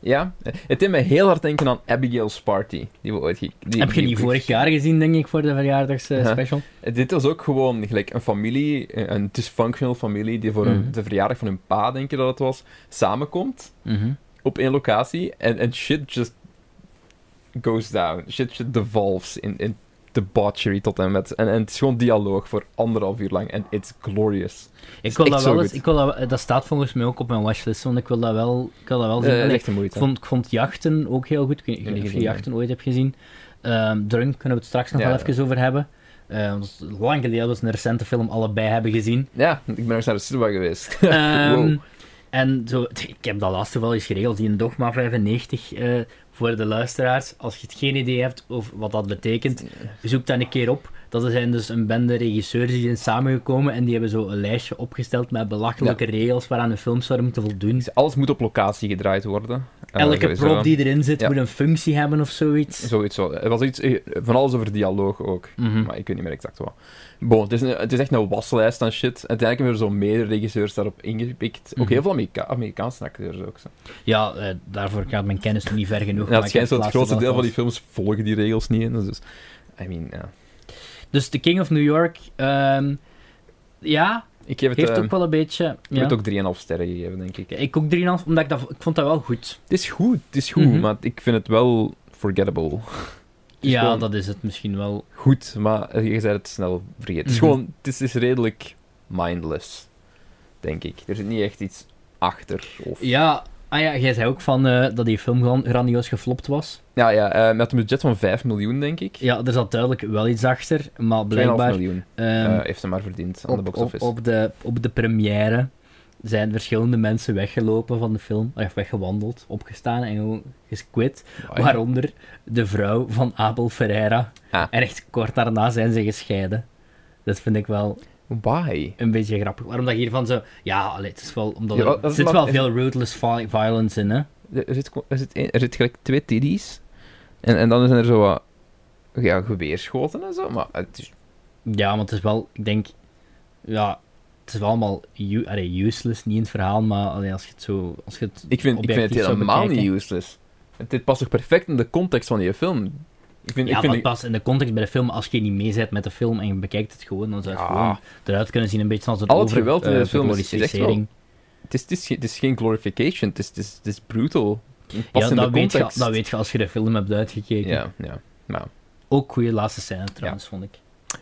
S1: Ja, het deed me heel hard denken aan Abigail's Party, die we ooit... ge- Die, Uh-huh.
S2: Heb je die vorig jaar gezien, denk ik, voor de eh,
S1: Ja.
S2: verjaardagsspecial?
S1: Dit was ook gewoon gelijk een familie, een een dysfunctional familie, die voor hun-
S2: Mhm.
S1: de verjaardag van hun pa, denk je dat het was, samenkomt
S2: Mhm.
S1: op één locatie en, en shit just goes down. Shit just devolves in, in debauchery tot en met. En, en het is gewoon dialoog voor anderhalf uur lang en it's glorious.
S2: Ik wil
S1: echt
S2: dat
S1: zo
S2: wel eens...
S1: goed.
S2: Ik wil dat, dat staat volgens mij ook op mijn watchlist, want ik wil dat wel, ik wil dat wel zien.
S1: Eh,
S2: Allee,
S1: echt een
S2: ik,
S1: moeite.
S2: vond, ik vond Jachten ook heel goed. Ik weet niet
S1: Nee,
S2: of je
S1: geen
S2: Jachten ooit hebt gezien. Ehm, Drunk kunnen we het straks nog
S1: Ja,
S2: wel
S1: ja.
S2: even over hebben. Eh, want het is lang geleden dat we een recente film allebei hebben gezien.
S1: Ja, ik ben nog eens naar de cinema geweest.
S2: Ehm,
S1: Wow.
S2: En zo, ik heb dat laatste wel eens geregeld, die in Dogma 95. eh, voor de luisteraars, als je het geen idee hebt of wat dat betekent, zoek dat een keer op. Dat zijn dus een bende regisseurs die zijn samengekomen en die hebben zo een lijstje opgesteld met belachelijke regels waaraan hun films zouden moeten voldoen.
S1: Alles moet op locatie gedraaid worden. Eh,
S2: Elke
S1: sowieso.
S2: prop die erin zit
S1: Ja.
S2: moet een functie hebben of zoiets.
S1: Zoiets zo. Er was iets, eh, van alles over dialoog ook.
S2: Mhm.
S1: Maar ik weet niet meer exact wat. Bon, het is, een- het is echt een waslijst aan shit. Uiteindelijk hebben er zo meerdere regisseurs daarop ingepikt. Ook
S2: Mhm.
S1: heel veel Amerika Amerikaanse acteurs ook. Zo.
S2: Ja, eh, daarvoor gaat mijn kennis nog niet ver genoeg.
S1: Ja,
S2: maar
S1: het
S2: ik heb
S1: schijnt zo het
S2: laatste
S1: grootste
S2: wel
S1: deel van die
S2: vast.
S1: films volgen die regels niet in. Dus, I mean, ja.
S2: Dus The King of New York, ehm, ja,
S1: Ik geef het,
S2: heeft
S1: ehm,
S2: ook wel een beetje...
S1: ik heb
S2: Ja.
S1: het ook 3,5 sterren gegeven, denk ik.
S2: Ja, ik ook 3,5, omdat ik, dat, ik vond dat wel goed.
S1: Het is goed, het is goed,
S2: Mhm.
S1: maar ik vind het wel forgettable. is
S2: ja,
S1: gewoon-
S2: Dus dat is het misschien wel.
S1: Goed, maar eh, je zei het snel vergeten. Het is
S2: Mhm.
S1: gewoon, het is, het is redelijk mindless, denk ik. Er zit niet echt iets achter. Of...
S2: Ja, ah ja, jij zei ook van eh, dat die film gewoon grandioos geflopt was.
S1: Ja, ja eh, met een budget van 5 miljoen, denk ik.
S2: Ja, er zat duidelijk wel iets achter, maar
S1: 2,5
S2: blijkbaar
S1: miljoen
S2: ehm,
S1: eh, heeft ze maar verdiend aan de
S2: op,
S1: box
S2: op,
S1: office.
S2: op, de, op de première zijn verschillende mensen weggelopen van de film. Of weggewandeld, opgestaan en gewoon gesquit.
S1: Amai.
S2: Waaronder de vrouw van Abel Ferreira.
S1: Ah.
S2: En echt kort daarna zijn ze gescheiden. Dat vind ik wel
S1: Why?
S2: een beetje grappig. Waarom dat hiervan zo... Ja, allee, het is wel... Omdat
S1: Ja,
S2: er-
S1: dat
S2: er
S1: is
S2: zit
S1: maar-
S2: wel
S1: is-
S2: veel ruthless vi- violence in, hè.
S1: Er zit, er zit, één- er zit gelijk twee tiddies. En, en dan zijn er zo wat ja, geweerschoten en zo. Maar het is,
S2: Ja, want het is wel... Ik denk... Ja, het is wel allemaal u- allee, useless, niet in het verhaal, maar allee, als je het zo... Als je het
S1: ik, vind, ik vind
S2: objectief
S1: het
S2: zou
S1: helemaal
S2: bekijken-
S1: niet useless. Het- dit past toch perfect in de context van die film? Ik vind,
S2: Ja,
S1: ik vind
S2: maar pas in de context bij de film, als je niet mee bent met de film en je bekijkt het gewoon, dan zou je het
S1: Ja.
S2: gewoon eruit kunnen zien een beetje als een
S1: Al het geweld in
S2: eh,
S1: de film is- is echt wel-
S2: verglorificering.
S1: het, is, het, is, geen- het is geen glorification, het is, het is, het is brutal. Het past
S2: Ja,
S1: in
S2: dat
S1: de
S2: weet, je,
S1: context.
S2: dat weet je als je de film hebt uitgekeken.
S1: Ja, ja. Nou,
S2: Ook goede laatste scène trouwens, vond ik.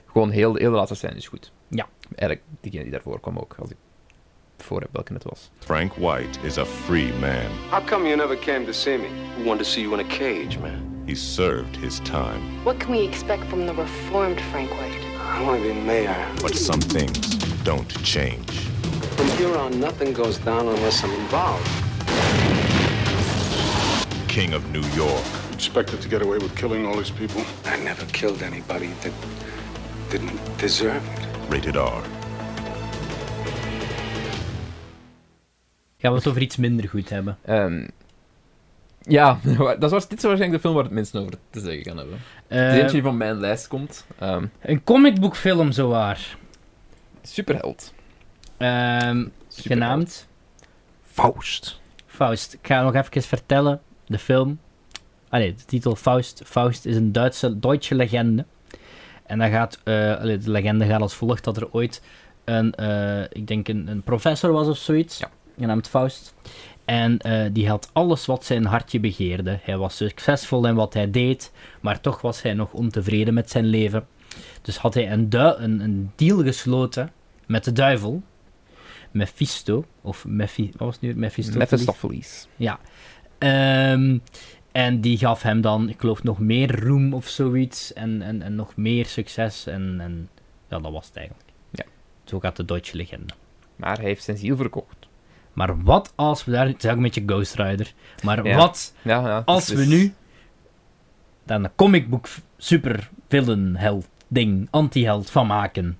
S1: gewoon heel, heel de laatste scène is goed.
S2: Ja.
S1: Eigenlijk, diegene die daarvoor kwam ook, als ik voor heb welke het was.
S6: Frank White is a free man.
S7: How come you never came to see me?
S8: We wanted to see you in a cage, man.
S6: He served his time,
S9: What can we expect from the reformed Frank White?
S8: I want to be mayor.
S6: but some things don't change.
S8: From here on, nothing goes down unless I'm involved.
S6: King of New York,
S10: Expected to get away with killing all these people?
S8: I never killed anybody that didn't deserve it.
S6: rated R.
S2: Gaan we het over iets minder goed hebben.
S1: Ehm, ja, dat was, dit is waarschijnlijk de film waar het minst over te zeggen kan hebben.
S2: Eh,
S1: Het is eentje die van mijn lijst komt. Ehm,
S2: een comicboekfilm, zowaar.
S1: superheld.
S2: Ehm
S1: Superheld.
S2: genaamd
S1: Faust.
S2: Faust. Ik ga nog even vertellen, de film. Ah nee, de titel Faust. Faust is een Duitse, Duitse legende. En dat gaat, eh, allee, de legende gaat als volgt dat er ooit een, eh, ik denk een, een professor was of zoiets,
S1: Ja.
S2: genaamd Faust. En eh, die had alles wat zijn hartje begeerde. Hij was succesvol in wat hij deed, maar toch was hij nog ontevreden met zijn leven. Dus had hij een, du- een, een deal gesloten met de duivel, Mephisto, of Mephi- wat was het nu? Mephisto?
S1: Mephistopheles.
S2: Ja. Ehm, en die gaf hem dan, ik geloof, nog meer roem of zoiets. En, en, en nog meer succes. En, en ja, dat was het eigenlijk.
S1: Ja.
S2: Zo gaat de Duitse legende.
S1: Maar hij heeft zijn ziel verkocht.
S2: Maar wat als we daar... Het is ook een beetje Ghost Rider. Maar
S1: Ja.
S2: wat
S1: Ja, ja, het
S2: als
S1: is-
S2: we nu... Dan een comicboek super held ding, anti-held van maken.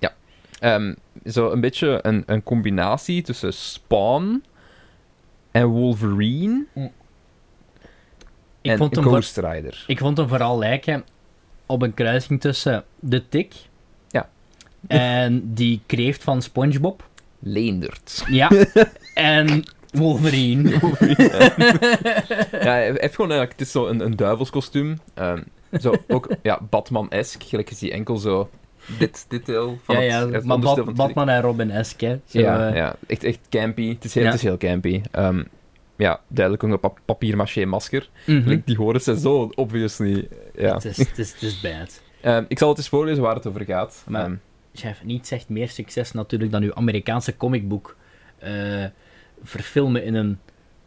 S1: ehm, zo een beetje een, een combinatie tussen Spawn en Wolverine
S2: Ik
S1: en
S2: vond, hem voor-
S1: Ghost Rider.
S2: ik vond hem vooral lijken op een kruising tussen de tik...
S1: Ja.
S2: En die kreeft van Spongebob.
S1: Leendert.
S2: Ja. en Wolverine.
S1: ja, hij heeft gewoon eigenlijk, het is zo een, een duivelskostuum. Ehm, zo ook ja, Batman-esk, gelijk is die enkel zo dit, dit deel van
S2: ja,
S1: het-
S2: ja,
S1: het,
S2: maar
S1: onderstel
S2: Bat-
S1: van het gezicht.
S2: Batman en Robin Esk, hè. Zo,
S1: Ja,
S2: eh,
S1: ja. Echt, echt campy. Het is heel,
S2: Ja.
S1: het is heel campy. Ehm, ja, duidelijk ook een pap papier-maché masker.
S2: mhm.
S1: Like, Die horen ze zo obviously. Ja.
S2: Het, eh, is, het, is, het is bad.
S1: Ehm, ik zal het eens voorlezen waar het over gaat.
S2: Maar-
S1: Ehm,
S2: Chef, niets zegt meer succes natuurlijk dan uw Amerikaanse comicboek eh, verfilmen in een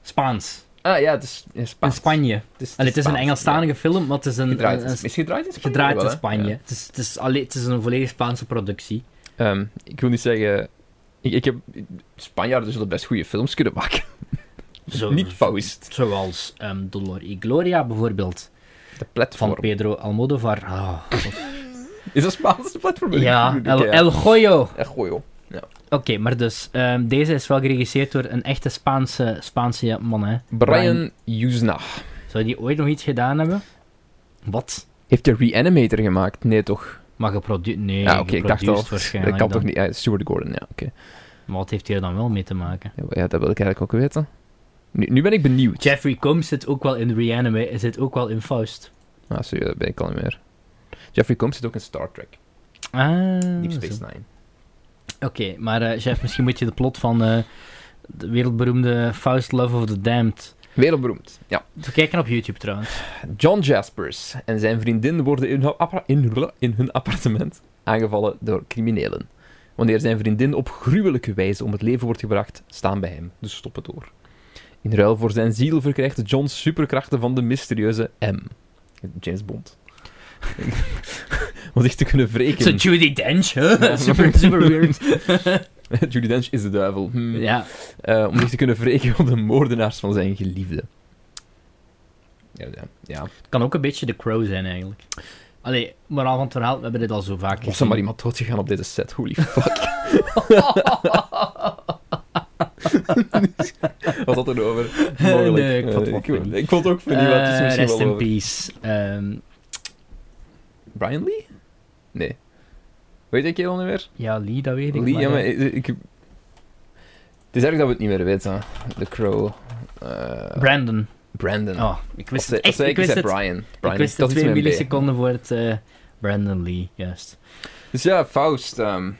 S2: Spaans.
S1: ah ja, het is in
S2: In
S1: Spaans.
S2: Spanje.
S1: Het is,
S2: Allee, het is een
S1: Spaans,
S2: Engelstalige
S1: ja.
S2: film, maar het is een...
S1: Gedraaid,
S2: een-
S1: in-
S2: een-
S1: is gedraaid in Spanje?
S2: gedraaid
S1: wel,
S2: in
S1: hè?
S2: Spanje.
S1: Ja.
S2: Het, is, het, is alleen, het is een volledig Spaanse productie.
S1: Ehm, ik wil niet zeggen... Ik, ik heb... Spanjaarden zullen best goede films kunnen maken.
S2: Zo,
S1: niet Faust.
S2: Zoals ehm, Dolor y Gloria bijvoorbeeld,
S1: De
S2: van
S1: platform.
S2: Pedro Almodovar. Ah.
S1: Is dat Spaans? De platform?
S2: Ja,
S1: Oké,
S2: El, El Goyo.
S1: Ja, gooi joh.
S2: Oké, maar dus, ehm, deze is wel geregisseerd door een echte Spaanse, Spaanse man, hè.
S1: Brian Usna.
S2: Zou die ooit nog iets gedaan hebben? Wat?
S1: Heeft de Reanimator gemaakt? Nee, toch?
S2: Maar geproduceerd... Nee,
S1: ja, oké, ik dacht al.
S2: geproduced waarschijnlijk
S1: Ik kan
S2: dan.
S1: toch niet. Ja, Stuart Gordon, ja, oké.
S2: Maar wat heeft hij er dan wel mee te maken?
S1: Ja, Ja, dat wil ik eigenlijk ook weten. Nu, nu ben ik benieuwd.
S2: Jeffrey Combs zit ook wel in Reanimate, zit ook wel in Faust.
S1: Ah, sorry, dat ben ik al niet meer. Jeffrey Combs zit ook in Star Trek,
S2: Ah,
S1: Deep
S2: zo.
S1: Space Nine.
S2: Oké, maar eh Jeff, misschien moet je de plot van eh, de wereldberoemde Faust Love of the Damned...
S1: Wereldberoemd, ja.
S2: Te kijken op YouTube trouwens.
S1: John Jaspers en zijn vriendin worden in hun, appara- in, hun- in hun appartement aangevallen door criminelen. Wanneer zijn vriendin op gruwelijke wijze om het leven wordt gebracht, staan bij hem, dus stoppen door. In ruil voor zijn ziel verkrijgt John superkrachten van de mysterieuze M. James Bond. Om zich te kunnen wreken.
S2: Zo Judy Dench, hè?
S1: Ja.
S2: super, super weird.
S1: Judy Dench is de duivel. Hmm.
S2: ja,
S1: Eh, om zich te kunnen wreken op de moordenaars van zijn geliefde. Ja, ja. ja.
S2: Kan ook een beetje de crow zijn, eigenlijk. Allee, moraal van het verhaal, we hebben dit al zo vaak gezien.
S1: Was er maar iemand doodgegaan op deze set? Holy fuck. Wat had er over? Mogelijk.
S2: Nee, ik vond het
S1: Eh,
S2: wel funny.
S1: ik vond het ook
S2: Eh,
S1: vernieuwd. het is misschien
S2: rest
S1: wel
S2: in
S1: over.
S2: peace. Ehm,
S1: Brian Lee? Nee. Weet ik heel niet meer?
S2: ja, Lee, dat weet ik.
S1: Lee,
S2: maar eh,
S1: ja, maar
S2: ja.
S1: ik, ik- Het is erg dat we het niet meer weten. The Crow. eh,
S2: Brandon.
S1: Brandon.
S2: Oh, ik wist
S1: Of
S2: het
S1: ze- of
S2: echt.
S1: zei
S2: Ik
S1: ik
S2: wist
S1: zei
S2: het.
S1: Brian.
S2: Ik
S1: Brian.
S2: wist het
S1: dat is
S2: twee
S1: mijn B.
S2: milliseconden voor het... eh, Brandon Lee, juist.
S1: Dus ja, Faust ehm,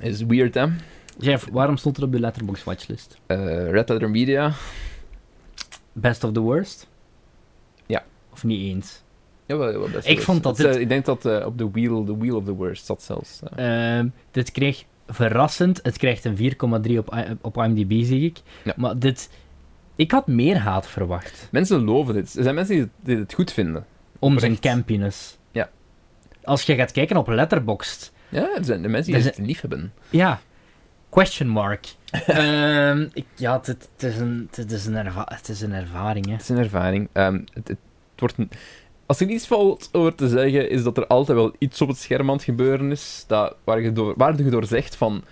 S1: is weird, hè?
S2: Jeff, waarom stond er op de Letterboxd watchlist?
S1: Eh, Red Letter Media.
S2: Best of the worst?
S1: Ja.
S2: Of niet eens?
S1: Jawel, jawel, best
S2: Ik
S1: wel.
S2: vond dat
S1: Het, eh,
S2: dit-
S1: ik denk dat eh, op de wheel, the wheel of the Worst zat zelfs. eh.
S2: Ehm, dit kreeg verrassend. Het krijgt een 4,3 op, I- op IMDb, zie ik.
S1: Ja.
S2: Maar dit... Ik had meer haat verwacht.
S1: Mensen loven dit. Er zijn mensen die het, die het goed vinden.
S2: Om zijn
S1: Oprecht.
S2: campiness.
S1: Ja.
S2: Als je gaat kijken op Letterboxd.
S1: Ja, er zijn de mensen
S2: Er
S1: die
S2: zijn-
S1: het lief hebben.
S2: Ja. Question mark. Ehm, ik, ja, het- het het is een, het is een, erva het is een ervaring, hè.
S1: Het is een ervaring. Ehm, het, het wordt een- Als er iets valt over te zeggen, is dat er altijd wel iets op het scherm aan het gebeuren is dat, waar, je door, waar je door zegt van...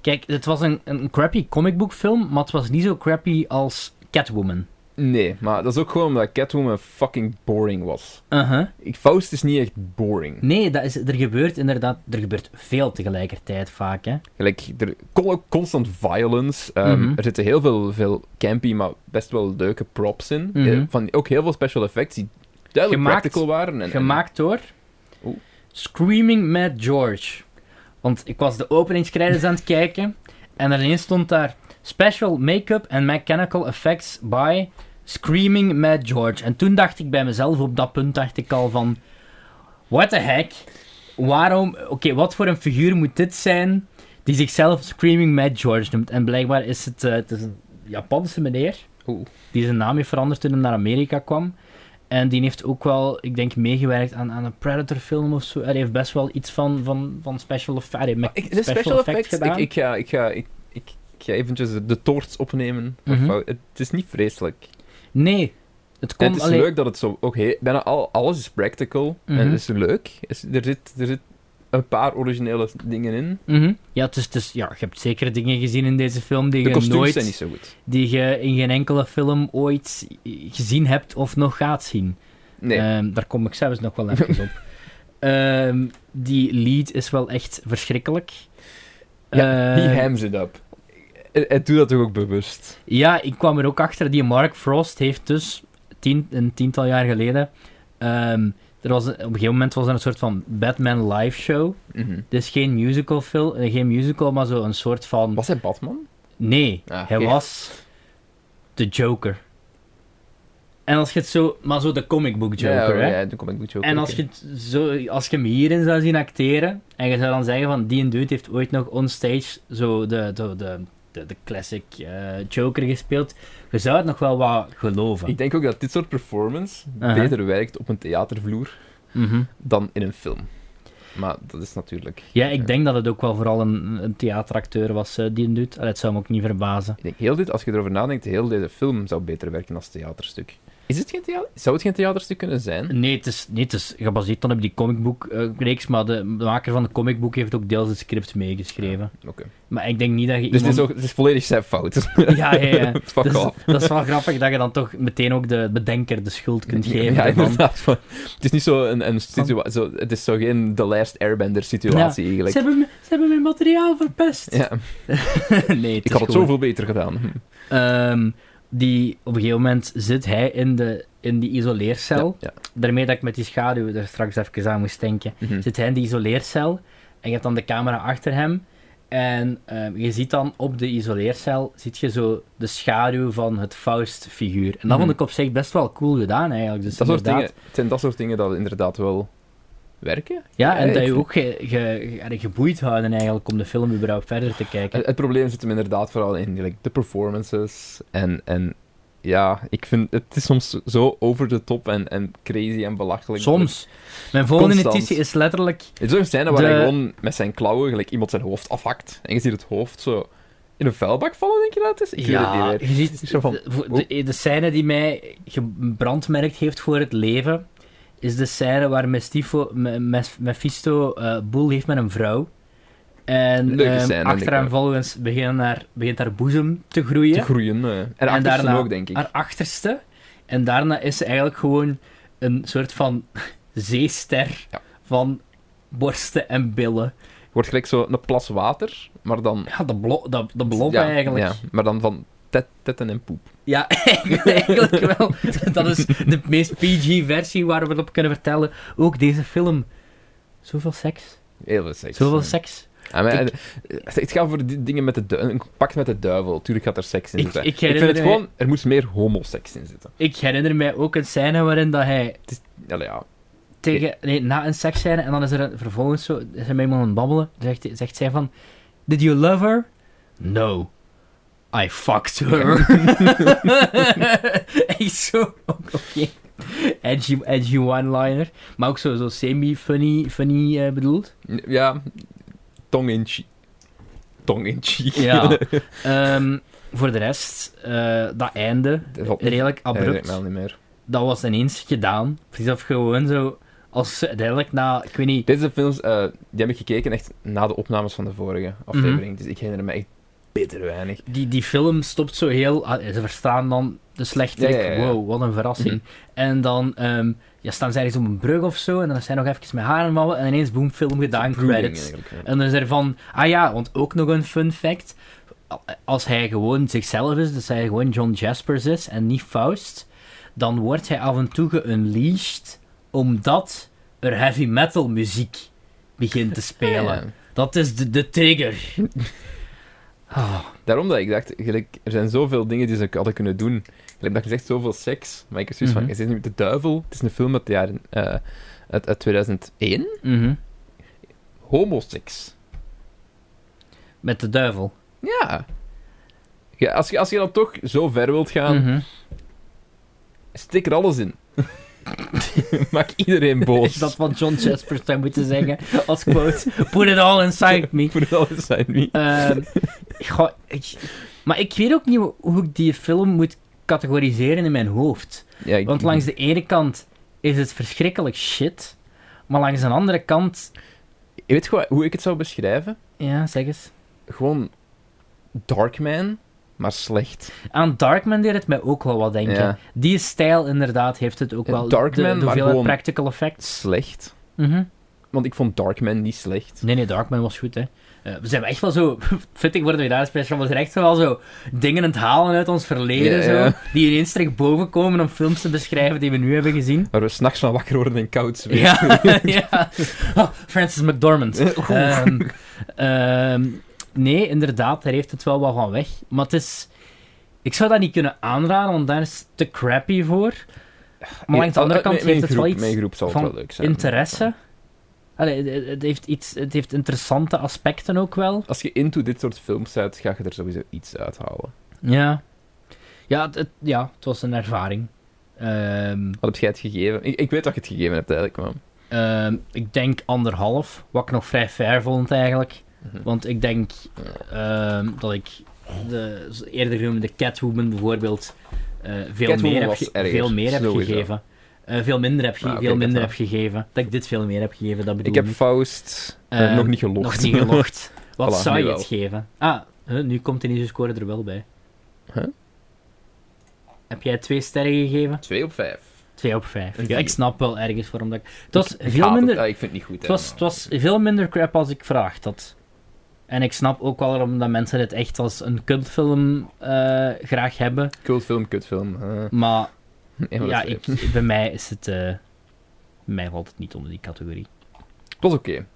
S2: Kijk, het was een, een crappy comicboekfilm, maar het was niet zo crappy als Catwoman.
S1: Nee, maar dat is ook gewoon omdat Catwoman fucking boring was.
S2: Uh-huh.
S1: Ik, Faust is niet echt boring.
S2: Nee, dat is, er gebeurt inderdaad... Er gebeurt veel tegelijkertijd vaak, hè.
S1: Gelijk, er kon ook constant violence. Ehm,
S2: Mhm.
S1: Er zitten heel veel, veel campy, maar best wel leuke props in.
S2: Mhm.
S1: Eh, van, ook heel veel special effects die duidelijk
S2: Gemaakt-
S1: practical waren. En,
S2: Gemaakt door...
S1: Oeh.
S2: Screaming Mad George. Want ik was de openingscredits aan het kijken. En daarin stond daar Special Makeup and Mechanical Effects by Screaming Mad George. En toen dacht ik bij mezelf, op dat punt dacht ik al van... What the heck? Waarom... Oké, wat voor een figuur moet dit zijn die zichzelf Screaming Mad George noemt? En blijkbaar is het... eh, het is een Japanse meneer
S1: Oeh.
S2: die zijn naam heeft veranderd toen hij naar Amerika kwam. En die heeft ook wel, ik denk, meegewerkt aan, aan een Predator-film of zo. Hij heeft best wel iets van, van, van special effects. Hij heeft met
S1: Ah, Ik, de
S2: special,
S1: special,
S2: effects,
S1: effects,
S2: gedaan.
S1: Ik, ik, ga, ik, ga, ik, ik, ik ga eventjes de, de toorts opnemen. van
S2: Mhm.
S1: fout. Het is niet vreselijk.
S2: Nee, het komt
S1: het is
S2: alleen.
S1: leuk dat het zo... Oké, bijna al, alles is practical. En
S2: Mhm.
S1: het is leuk. Is- er, zit, er zit een paar originele dingen in.
S2: Mhm. Ja, het is, het is- ja, je hebt zeker dingen gezien in deze film die
S1: De
S2: je
S1: kostuums
S2: nooit,
S1: zijn niet zo goed.
S2: die je in geen enkele film ooit gezien hebt of nog gaat zien.
S1: Nee.
S2: Ehm, daar kom ik zelfs nog wel even op. Ehm, die lead is wel echt verschrikkelijk.
S1: ja,
S2: Ehm,
S1: he hams it up. En doe dat toch ook bewust.
S2: Ja, ik kwam er ook achter. Die Mark Frost heeft dus tien, een tiental jaar geleden. ehm, er was een- op een gegeven moment was er een soort van Batman live show.
S1: Mhm.
S2: Dus geen musical, film, geen musical maar zo een soort van.
S1: Was hij Batman?
S2: Nee,
S1: Ah,
S2: hij
S1: oké.
S2: was de Joker. En als je het zo. Maar zo de comic book Joker,
S1: ja, oh,
S2: hè?
S1: Ja, de comic book Joker.
S2: En als
S1: oké.
S2: je, het zo, als je hem hierin zou zien acteren, en je zou dan zeggen van die en dude heeft ooit nog onstage zo de, de, de, de, de classic eh, Joker gespeeld, je zou het nog wel wat geloven.
S1: Ik denk ook dat dit soort performance
S2: Uh-huh.
S1: beter werkt op een theatervloer
S2: Mhm.
S1: dan in een film. Maar dat is natuurlijk...
S2: Ja, ik denk dat het ook wel vooral een, een theateracteur was eh, die en dude. Allee, het zou me ook niet verbazen.
S1: Ik denk, heel dit, als je erover nadenkt, heel deze film zou beter werken als theaterstuk. Is het geen thea- Zou het geen theaterstuk kunnen zijn?
S2: Nee, het is, nee, het is gebaseerd dan op die comicboekreeks, reeks, maar de maker van de comicboek heeft ook deels het script meegeschreven.
S1: Oké.
S2: Maar ik denk niet dat je
S1: Dus
S2: iemand...
S1: het is, ook, het is volledig zijn fout.
S2: Ja, ja, ja.
S1: Fuck
S2: Dus
S1: off.
S2: Dat is wel grappig dat je dan toch meteen ook de bedenker de schuld kunt geven.
S1: ja,
S2: ervan.
S1: inderdaad. van- het is niet zo een, een situatie... Zo, het is zo geen The Last Airbender situatie,
S2: Ze,
S1: eigenlijk.
S2: hebben, ze hebben mijn materiaal verpest.
S1: Ja,
S2: nee, het
S1: ik
S2: is
S1: had het
S2: gewoon-
S1: zoveel beter gedaan.
S2: Ehm, die, op een gegeven moment zit hij in, de, in die isoleercel.
S1: Ja,
S2: Daarmee dat ik met die schaduw er straks even aan moest denken.
S1: Mhm.
S2: Zit hij in die isoleercel en je hebt dan de camera achter hem. En ehm, je ziet dan op de isoleercel ziet je zo de schaduw van het Faust-figuur. En dat
S1: Mhm.
S2: vond ik op zich best wel cool gedaan eigenlijk. Dus
S1: Dat soort
S2: inderdaad-
S1: dingen, het zijn dat soort dingen dat inderdaad wel werken.
S2: Ja, en
S1: Ja,
S2: dat
S1: ik
S2: je
S1: vind-
S2: ook ge, ge- ge- geboeid houden eigenlijk om de film überhaupt verder te kijken.
S1: Het, het probleem zit hem inderdaad vooral in like, de performances. En, en ja, ik vind het is soms zo over de top en, en crazy en belachelijk.
S2: Soms. Mijn volgende
S1: Constant.
S2: notitie is letterlijk...
S1: Het is een scène waar
S2: De-
S1: hij gewoon met zijn klauwen gelijk, iemand zijn hoofd afhakt. En je ziet het hoofd zo in een vuilbak vallen, denk je dat het is? Ik weet het
S2: Ja,
S1: niet meer.
S2: je
S1: Het is
S2: ziet...
S1: zo van,
S2: de- voor- De, de scène die mij gebrandmerkt heeft voor het leven, is de scène waar Mestifo, Me- Mes- Mephisto eh boel heeft met een vrouw. En
S1: Leuke
S2: ehm,
S1: scène, denk ik
S2: achter hem
S1: wel.
S2: volgens begint haar, begint haar boezem te groeien.
S1: te groeien. eh. En, en ook, denk ik.
S2: haar achterste. En daarna is ze eigenlijk gewoon een soort van zeester
S1: Ja.
S2: van borsten en billen.
S1: Wordt gelijk zo een plas water, maar dan...
S2: Ja, de, blo de, de blob
S1: ja,
S2: eigenlijk.
S1: Ja, maar dan van tet, tetten en poep.
S2: Ja, eigenlijk wel. Dat is de meest PG-versie waar we het op kunnen vertellen. Ook deze film. Zoveel seks.
S1: Heel veel seks.
S2: Zoveel
S1: Ja.
S2: seks.
S1: Ja, Ah, maar het- het gaat over die dingen met de duivel. Een pact met de duivel. Tuurlijk gaat er seks in
S2: Ik-
S1: zitten.
S2: ik
S1: vind
S2: herinner
S1: het
S2: mij-
S1: gewoon... Er moest meer homoseks in zitten.
S2: Ik herinner mij ook een scène waarin dat hij
S1: Allee, ja.
S2: tegen, nee, na een seksscène en dan is er een- vervolgens zo, is er met iemand aan het babbelen. Dan Zegt, zegt zij van, did you love her? No. I fucked her. Echt zo, ook oké. Edgy, edgy one-liner. Maar ook zo, zo semi-funny funny, eh, bedoeld.
S1: Ja. Tong in cheek. Tong in cheek.
S2: Ja. Ehm, voor de rest, eh, dat einde,
S1: Dat valt niet-
S2: redelijk
S1: Nee, dat weet ik
S2: abrupt.
S1: wel niet meer.
S2: dat was ineens gedaan. Precies of gewoon zo, als ze uiteindelijk na, ik weet niet,
S1: Deze films, eh, die heb ik gekeken echt na de opnames van de vorige aflevering.
S2: Mhm.
S1: Dus ik herinner me echt bitter weinig.
S2: die, die film stopt zo heel. ah, Ze verstaan dan de slechterik.
S1: Ja, ja, ja.
S2: Wow, wat een verrassing.
S1: Mhm.
S2: En dan ehm, ja, staan ze ergens op een brug of zo. En dan zijn nog even met haar en mannen. En ineens boom, film gedaan,
S1: Brooding
S2: credits.
S1: eigenlijk, ja.
S2: En dan is er van. Ah ja, want ook nog een fun fact. a- Als hij gewoon zichzelf is, dus hij gewoon John Jaspers is en niet Faust, dan wordt hij af en toe geunleashed omdat er heavy metal muziek begint te spelen.
S1: Ja.
S2: Dat is de, de trigger.
S1: Daarom dat ik dacht, gelijk, er zijn zoveel dingen die ze hadden kunnen doen. Gelijk dat je zegt, zoveel seks. Maar ik heb zoiets
S2: Mhm.
S1: van, je zit nu de duivel. Het is een film uit, de jaren, eh, uit, uit 2001.
S2: Mhm.
S1: Homoseks.
S2: Met de duivel.
S1: Ja. ja als, je, als je dan toch zo ver wilt gaan,
S2: Mhm.
S1: stik er alles in. Maak iedereen boos.
S2: Is dat wat John Jaspers zou moeten zeggen als quote? Put it all inside me.
S1: Voor alles zijn wie.
S2: Ehm, goh, ik- maar ik weet ook niet hoe ik die film moet categoriseren in mijn hoofd.
S1: Ja, ik-
S2: Want langs de ene kant is het verschrikkelijk shit. Maar langs de andere kant...
S1: Je weet gewoon hoe ik het zou beschrijven?
S2: Ja, zeg eens.
S1: Gewoon Darkman, maar slecht.
S2: Aan Darkman deed het mij ook wel wat denken.
S1: Ja.
S2: Die stijl inderdaad heeft het ook
S1: Ja,
S2: wel.
S1: Darkman,
S2: de, de
S1: maar
S2: hoeveelheid
S1: gewoon-
S2: practical effects.
S1: Slecht.
S2: Mhm.
S1: Want ik vond Darkman niet slecht.
S2: Nee, nee, Darkman was goed, hè. Eh, we zijn echt wel zo... Vind ik worden we daar special. We zijn echt wel zo dingen aan het halen uit ons verleden,
S1: Ja,
S2: zo.
S1: ja.
S2: Die ineens terug boven komen om films te beschrijven die we nu hebben gezien.
S1: Waar we s'nachts van wakker worden en koud zweten.
S2: Ja, ja. Oh, Francis McDormand. Ehm, ehm, nee, inderdaad, daar heeft het wel wat van weg. Maar het is... Ik zou dat niet kunnen aanraden, want daar is te crappy voor. Maar langs de andere kant
S1: eh, mijn,
S2: heeft het
S1: groep,
S2: wel iets
S1: Mijn groep zal
S2: van
S1: het wel leuk zijn.
S2: interesse. Allee, het- het, heeft iets, het heeft interessante aspecten ook wel.
S1: Als je into dit soort films bent, ga je er sowieso iets uithalen.
S2: Ja. Ja, het, het- ja, het was een ervaring. Ehm,
S1: Wat heb jij het gegeven? Ik, ik weet dat je het gegeven hebt eigenlijk, man.
S2: ehm, ik denk anderhalf, wat ik nog vrij fair vond eigenlijk.
S1: Mhm.
S2: Want ik denk ehm, dat ik de zo- eerder genoemde Catwoman bijvoorbeeld eh, veel,
S1: Catwoman
S2: meer heb
S1: was
S2: ge-
S1: erger,
S2: veel meer heb
S1: sowieso.
S2: gegeven. Eh, veel minder, heb, ge-
S1: Ah, oké,
S2: veel minder heb
S1: Catwoman.
S2: gegeven. Dat ik dit veel meer heb gegeven, dat bedoel
S1: Ik heb
S2: ik.
S1: Faust eh,
S2: Ehm,
S1: nog niet gelogd.
S2: Nog niet gelogd. Wat
S1: Voilà,
S2: zou
S1: nu
S2: je
S1: wel.
S2: het geven? Ah, huh, nu komt de nieuwe score er wel bij.
S1: Huh?
S2: Heb jij twee sterren gegeven?
S1: Twee op vijf.
S2: Twee op vijf.
S1: Een
S2: Ja, ik
S1: vier.
S2: snap wel ergens waarom dat ik... Het was,
S1: Ik
S2: veel
S1: haat het.
S2: minder,
S1: Ah,
S2: het,
S1: ik vind het niet goed. hè,
S2: was,
S1: maar-
S2: het was veel minder crap als ik verwacht had. En ik snap ook wel waarom dat mensen het echt als een cultfilm eh, graag hebben.
S1: Cultfilm, kutfilm. eh,
S2: Maar
S1: een van de
S2: ja,
S1: twee.
S2: ik, bij mij is het... eh, mij valt het niet onder die categorie.
S1: Het was oké.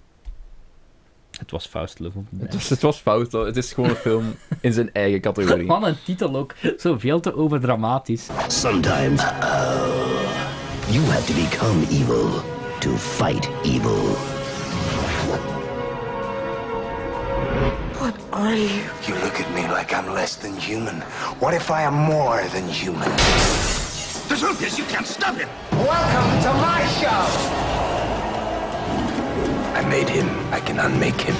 S2: Het was Faust Love of the
S1: Het,
S2: Damned.
S1: was, het was fout. hoor. Het is gewoon een film in zijn eigen categorie.
S2: Wat een titel ook. Zo veel te overdramatisch.
S11: Sometimes you have to become evil to fight evil.
S8: You look at me like I'm less than human. What if I am more than human?
S5: The truth is, you can't stop it.
S8: Welcome to my show! I made him. I can unmake him.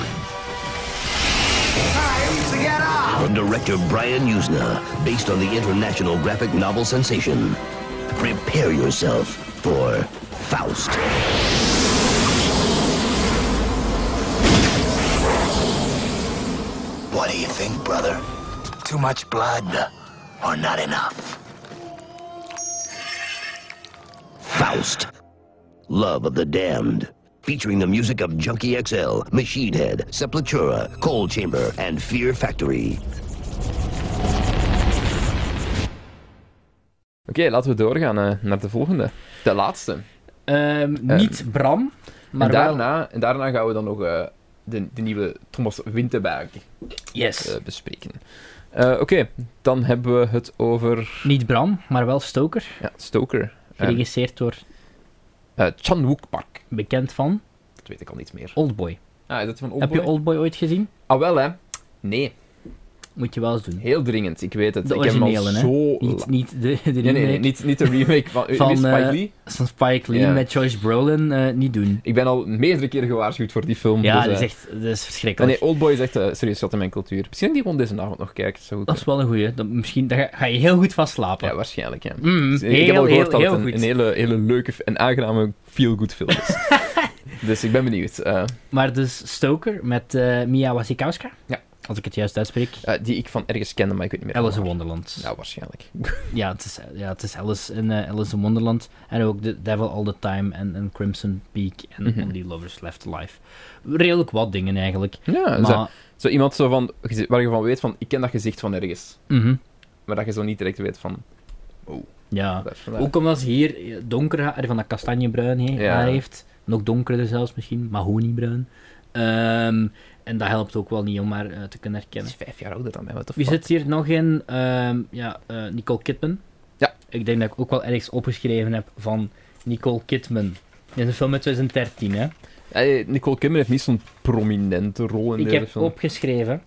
S8: Time to get up!
S11: From director Brian Usna, based on the international graphic novel sensation. Prepare yourself for Faust.
S8: What do you think, brother? Too much blood or not enough?
S11: Faust. Love of the Damned. Featuring the music of Junkie XL, Machine Head, Sepultura, Cold Chamber, and Fear Factory.
S1: Oké, laten we doorgaan eh, naar de volgende. De laatste.
S2: Ehm,
S1: Eh,
S2: niet Bram, maar
S1: en,
S2: wel...
S1: daarna, en daarna gaan we dan nog eh, de, de nieuwe Thomas Winterberg
S2: Yes.
S1: eh, bespreken. Eh, Oké, dan hebben we het over
S2: niet Bram, maar wel Stoker.
S1: ja, Stoker. Eh
S2: Geregisseerd door,
S1: eh, Chan Wook Park.
S2: bekend van,
S1: Dat weet ik al niet meer.
S2: Oldboy.
S1: Ah, is dat van
S2: Heb
S1: Oldboy?
S2: je Oldboy ooit gezien?
S1: Ah, wel hè. Nee,
S2: Moet je wel eens doen.
S1: heel dringend. Ik weet het.
S2: De
S1: ik heb hem al
S2: originele, hè?
S1: zo...
S2: Niet, niet de, de remake
S1: Nee, nee, nee, niet, niet de remake van,
S2: Van,
S1: van Spike
S2: eh,
S1: Lee.
S2: van Spike Lee
S1: Ja.
S2: met Joyce Brolin, eh, niet doen.
S1: Ik ben al meerdere keren gewaarschuwd voor die film.
S2: Ja,
S1: dus,
S2: dat
S1: eh,
S2: is echt dat is
S1: Nee,
S2: verschrikkelijk.
S1: nee, Oldboy is echt eh, serieus schat in mijn cultuur. Misschien dat ik die gewoon deze avond nog kijken. Zo
S2: dat is wel een goeie. Dat, misschien, daar ga- ga je heel goed van slapen.
S1: Ja, waarschijnlijk, ja.
S2: Mm,
S1: Dus ik heb
S2: heel,
S1: al
S2: heel,
S1: gehoord dat
S2: heel
S1: het een,
S2: goed.
S1: een hele, hele leuke en aangename feel-good film is. dus ik ben benieuwd. eh,
S2: Maar dus Stoker met eh, Mia Wasikowska.
S1: Ja.
S2: Als ik het juist uitspreek.
S1: eh, die ik van ergens kende, maar ik weet niet meer.
S2: Alice in
S1: waar.
S2: Wonderland.
S1: Nou, waarschijnlijk.
S2: Ja, het is, ja, het is Alice in, eh, Alice in Wonderland. En ook The Devil All The Time en, en Crimson Peak en
S1: Mhm.
S2: Only Lovers Left Alive. Redelijk wat dingen eigenlijk.
S1: Ja, zo,
S2: maar,
S1: zo iemand zo van, waar je van weet van, ik ken dat gezicht van ergens.
S2: mhm,
S1: Maar dat je zo niet direct weet van...
S2: ja.
S1: dat is vandaar.
S2: Ook omdat ze hier eh, donker haar van dat eh, kastanjebruin he-
S1: Ja.
S2: haar heeft. Nog donkerder zelfs misschien, mahonierbruin. Ehm, en dat helpt ook wel niet om haar eh, te kunnen herkennen.
S1: Vijf jaar ouder dan mij, wat de
S2: Wie zit hier nog in? Ehm, ja, eh, Nicole Kidman.
S1: Ja.
S2: Ik denk dat ik ook wel ergens opgeschreven heb van Nicole Kidman. Dit is een film uit 2013, hè?
S1: Nicole Kidman heeft niet zo'n prominente rol in
S2: Ik
S1: deze
S2: heb
S1: film.
S2: opgeschreven.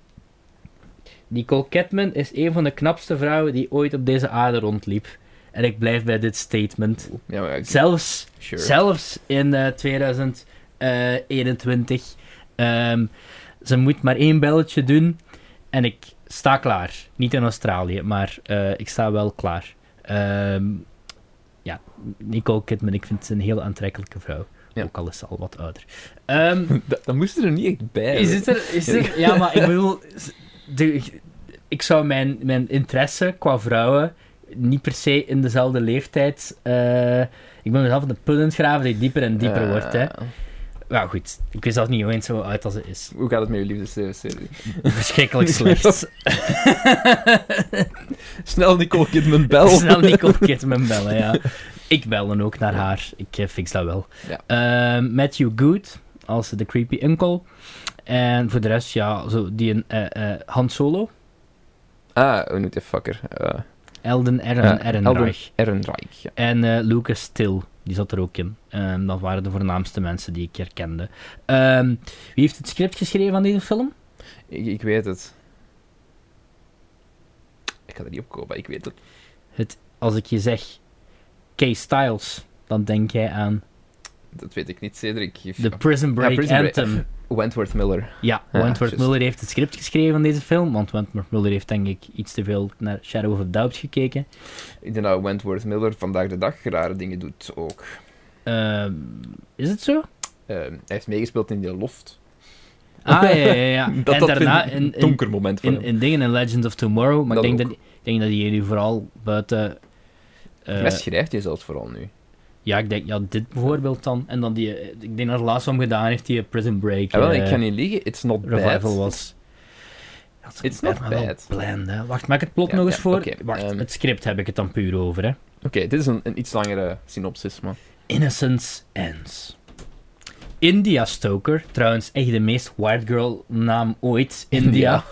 S2: Nicole Kidman is een van de knapste vrouwen die ooit op deze aarde rondliep. En ik blijf bij dit statement.
S1: Ja, maar ja, ik-
S2: Zelfs,
S1: sure.
S2: zelfs in eh, 2021. ehm, ze moet maar één belletje doen. En ik sta klaar. Niet in Australië, maar eh, ik sta wel klaar. Ehm, ja, Nicole Kidman, ik vind ze een heel aantrekkelijke vrouw.
S1: Ja.
S2: Ook al is ze al wat ouder. Ehm,
S1: Dat, dat moest er niet echt bij.
S2: is
S1: hè.
S2: het er, is het er- ja, maar ik bedoel, de, ik zou mijn, mijn interesse qua vrouwen niet per se in dezelfde leeftijd. eh, ik ben mezelf aan de put aan het graven die dieper en dieper
S1: Ja.
S2: wordt. Hè.
S1: Eh,
S2: Nou goed, ik weet zelf niet hoe eens zo uit als ze is.
S1: Hoe gaat het met je liefdesserie?
S2: Verschrikkelijk slecht.
S1: Snel Nicole Kidman bel.
S2: Snel Nicole Kidman bellen, ja. Ik bel dan ook naar haar. Ik eh, fix dat wel.
S1: Ja.
S2: Ehm, Matthew Good als de creepy uncle. En voor de rest, ja, zo die een eh, eh, Han Solo.
S1: Ah, hoe noemt die fucker? Eh,
S2: Elden Aaron,
S1: eh,
S2: Ehrenreich.
S1: Elden Ehrenreich, ja.
S2: En eh, Lucas Till, die zat er ook in. Ehm, dat waren de voornaamste mensen die ik herkende. Ehm, wie heeft het script geschreven van deze film?
S1: Ik, ik weet het. Ik ga er niet op komen, ik weet het.
S2: Als ik je zeg Kay Styles, dan denk jij aan
S1: Dat weet ik niet, Cedric. Je-
S2: The Prison Break
S1: Prison Break.
S2: Anthem.
S1: Wentworth Miller.
S2: Ja,
S1: Ja,
S2: Wentworth
S1: juist.
S2: Muller heeft het script geschreven van deze film, want Wentworth Muller heeft denk ik iets te veel naar Shadow of a Doubt gekeken.
S1: Ik denk dat Wentworth Miller vandaag de dag rare dingen doet ook.
S2: Ehm, is het zo?
S1: Eh, hij heeft meegespeeld in The Loft.
S2: Ah, ja, ja, ja.
S1: Dat,
S2: en
S1: dat
S2: daarna
S1: vind ik
S2: in,
S1: een
S2: in,
S1: donker moment van
S2: in,
S1: hem.
S2: in dingen in Legends of Tomorrow, maar
S1: Dat
S2: ik denk
S1: ook.
S2: dat, ik denk dat jullie vooral buiten... eh,
S1: Best schrijft hij zelfs vooral nu. Ah,
S2: Ja, ik denk, ja, dit bijvoorbeeld dan. En dan die, eh, ik denk dat er laatst om gedaan heeft, die eh, Prison Break.
S1: Ja, wel,
S2: eh,
S1: ik kan niet liegen, it's not bad.
S2: Revival was. Ja, het
S1: It's
S2: werd
S1: not
S2: maar wel
S1: bad.
S2: bland, hè. Wacht, maak het plot
S1: Ja,
S2: nog
S1: ja,
S2: eens voor.
S1: oké,
S2: Wacht,
S1: ehm.
S2: het script heb ik het dan puur over, hè.
S1: Oké, dit is een, een iets langere synopsis, man.
S2: Innocence Ends. India Stoker, trouwens echt de meest white girl naam ooit. India.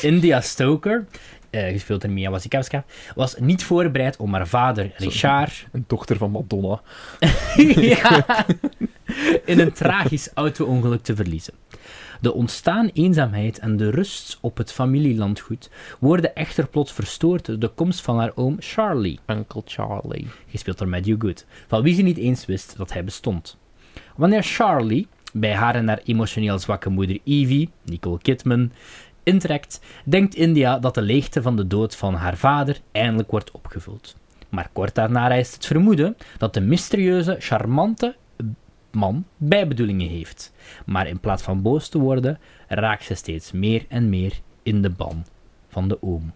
S2: India Stoker, eh, gespeeld door Mia Wasikowska, was niet voorbereid om haar vader, Richard,
S1: Een dochter van Madonna.
S2: ja. in een tragisch auto-ongeluk te verliezen. De ontstaan eenzaamheid en de rust op het familielandgoed worden echter plots verstoord door de komst van haar oom Charlie,
S1: Uncle Charlie.
S2: gespeeld door Matthew Good, van wie ze niet eens wist dat hij bestond. Wanneer Charlie bij haar en haar emotioneel zwakke moeder Evie, Nicole Kidman, intrekt, denkt India dat de leegte van de dood van haar vader eindelijk wordt opgevuld. Maar kort daarna rijst het vermoeden dat de mysterieuze, charmante man bijbedoelingen heeft. Maar in plaats van boos te worden, raakt ze steeds meer en meer in de ban van de oom.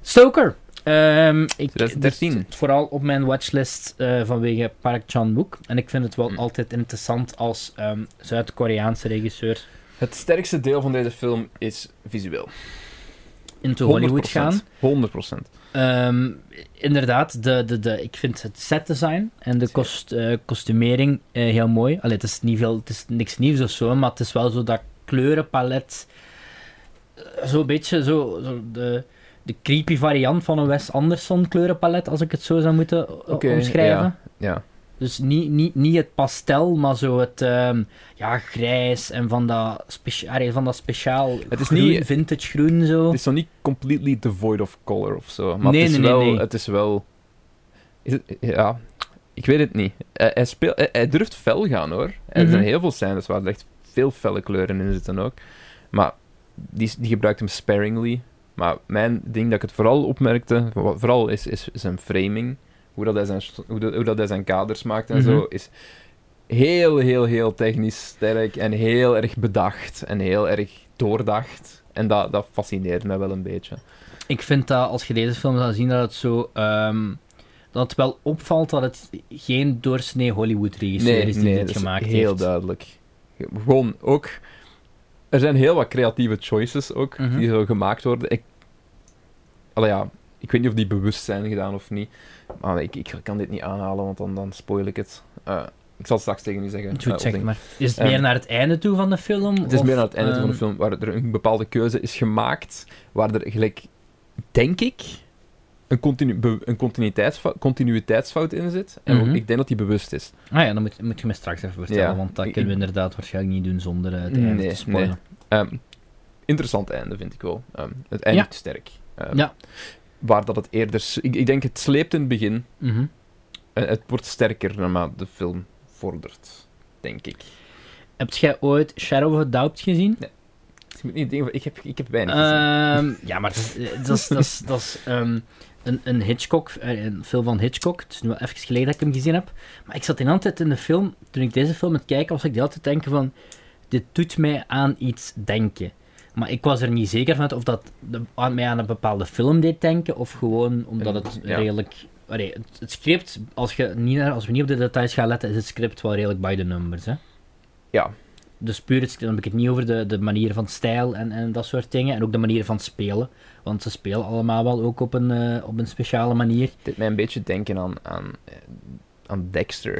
S2: Stoker. Ehm, ik,
S1: 2013.
S2: dit- vooral op mijn watchlist eh, vanwege Park Chan-wook. En ik vind het wel altijd interessant als ehm, Zuid-Koreaanse regisseur
S1: Het sterkste deel van deze film is visueel.
S2: into Hollywood
S1: 100%.
S2: gaan.
S1: 100%.
S2: Ehm, inderdaad, de, de, de, ik vind het set design en de kost, eh, kostumering eh, heel mooi. Allee, het is niet veel, het is niks nieuws of zo, maar het is wel zo dat kleurenpalet. eh, Zo'n beetje zo, zo de, de creepy variant van een Wes Anderson kleurenpalet, als ik het zo zou moeten eh,
S1: Oké,
S2: omschrijven.
S1: ja, ja.
S2: Dus niet, niet, niet het pastel, maar zo het ehm, ja, grijs en van dat, specia- allee, van dat speciaal
S1: Het is
S2: groen,
S1: niet-
S2: vintage groen zo.
S1: Het is zo niet completely devoid of color of zo. Maar
S2: Nee,
S1: het, is
S2: nee, nee,
S1: wel,
S2: nee.
S1: het is wel. Is het, ja, ik weet het niet. Hij, hij, speel- hij, hij durft fel gaan hoor. Er zijn
S2: Mhm.
S1: heel veel scènes waar er echt veel felle kleuren in zitten ook. Maar die, is- die gebruikt hem sparingly. Maar mijn ding dat ik het vooral opmerkte, wat- vooral is, is zijn framing. Hoe dat hij zijn, st- hoe dat, hoe dat hij zijn kaders maakt en zo,
S2: Mhm.
S1: is heel, heel, heel technisch sterk en heel erg bedacht en heel erg doordacht. En dat, dat fascineert mij wel een beetje.
S2: Ik vind dat als je deze film zou zien, dat het zo. ehm, dat het wel opvalt dat het geen doorsnee Hollywood-regisseur is die dit
S1: dat is
S2: gemaakt
S1: heel
S2: heeft.
S1: duidelijk. Gewoon ook... Er zijn heel wat creatieve choices ook,
S2: Mhm.
S1: die zo gemaakt worden. Ik... Allee, ja, ik weet niet of die bewust zijn gedaan of niet. Maar ik, ik kan dit niet aanhalen, want dan, dan spoil ik het. Eh, Ik zal het straks tegen u zeggen. eh,
S2: Goed, zeg
S1: opdingen.
S2: maar. Is het
S1: Ehm,
S2: meer naar het einde toe van de film?
S1: Het is
S2: of,
S1: meer aan het einde van de
S2: ehm,
S1: film waar er een bepaalde keuze is gemaakt, waar er gelijk, denk ik, een, continu, be- een continuïteitsfout, continuïteitsfout in zit. En ook-
S2: Mhm.
S1: ik denk dat die bewust is.
S2: Ah ja, dan moet, moet je me straks even vertellen,
S1: Ja,
S2: want dat
S1: ik-
S2: kunnen we inderdaad waarschijnlijk niet doen zonder eh, het einde te spoilen.
S1: Ehm, interessant einde, vind ik wel. Ehm, het einde
S2: Ja.
S1: is sterk. Ehm,
S2: Ja.
S1: Waar dat het eerder... s- Ik, ik denk, het sleept in het begin.
S2: Mhm.
S1: Eh, het wordt sterker naarmate de film vordert, denk ik.
S2: Heb jij ooit Shadow of a Doubt gezien?
S1: Dus je moet niet denken van, ik heb, ik heb weinig gezien.
S2: Ehm, ja, maar dat is- eh, dat is- dat is- dat is ehm, een, een Hitchcock, eh, een film van Hitchcock. Het is nu wel even geleden dat ik hem gezien heb. Maar ik zat in altijd in de film, toen ik deze film aan het kijken was, ik de altijd denken van, dit doet mij aan iets denken. Maar ik was er niet zeker van of dat de- aan mij aan een bepaalde film deed denken, of gewoon omdat het
S1: Ja.
S2: redelijk... allee, het, het script, als, je niet, naar- als we niet op de details gaan letten, is het script wel redelijk by the numbers. Hè?
S1: Ja.
S2: Dus puur, het, dan heb ik het niet over de, de manier van stijl en, en dat soort dingen. En ook de manier van spelen. Want ze spelen allemaal wel ook op een, eh, op een speciale manier.
S1: Het deed mij een beetje denken aan, aan, eh, aan Dexter.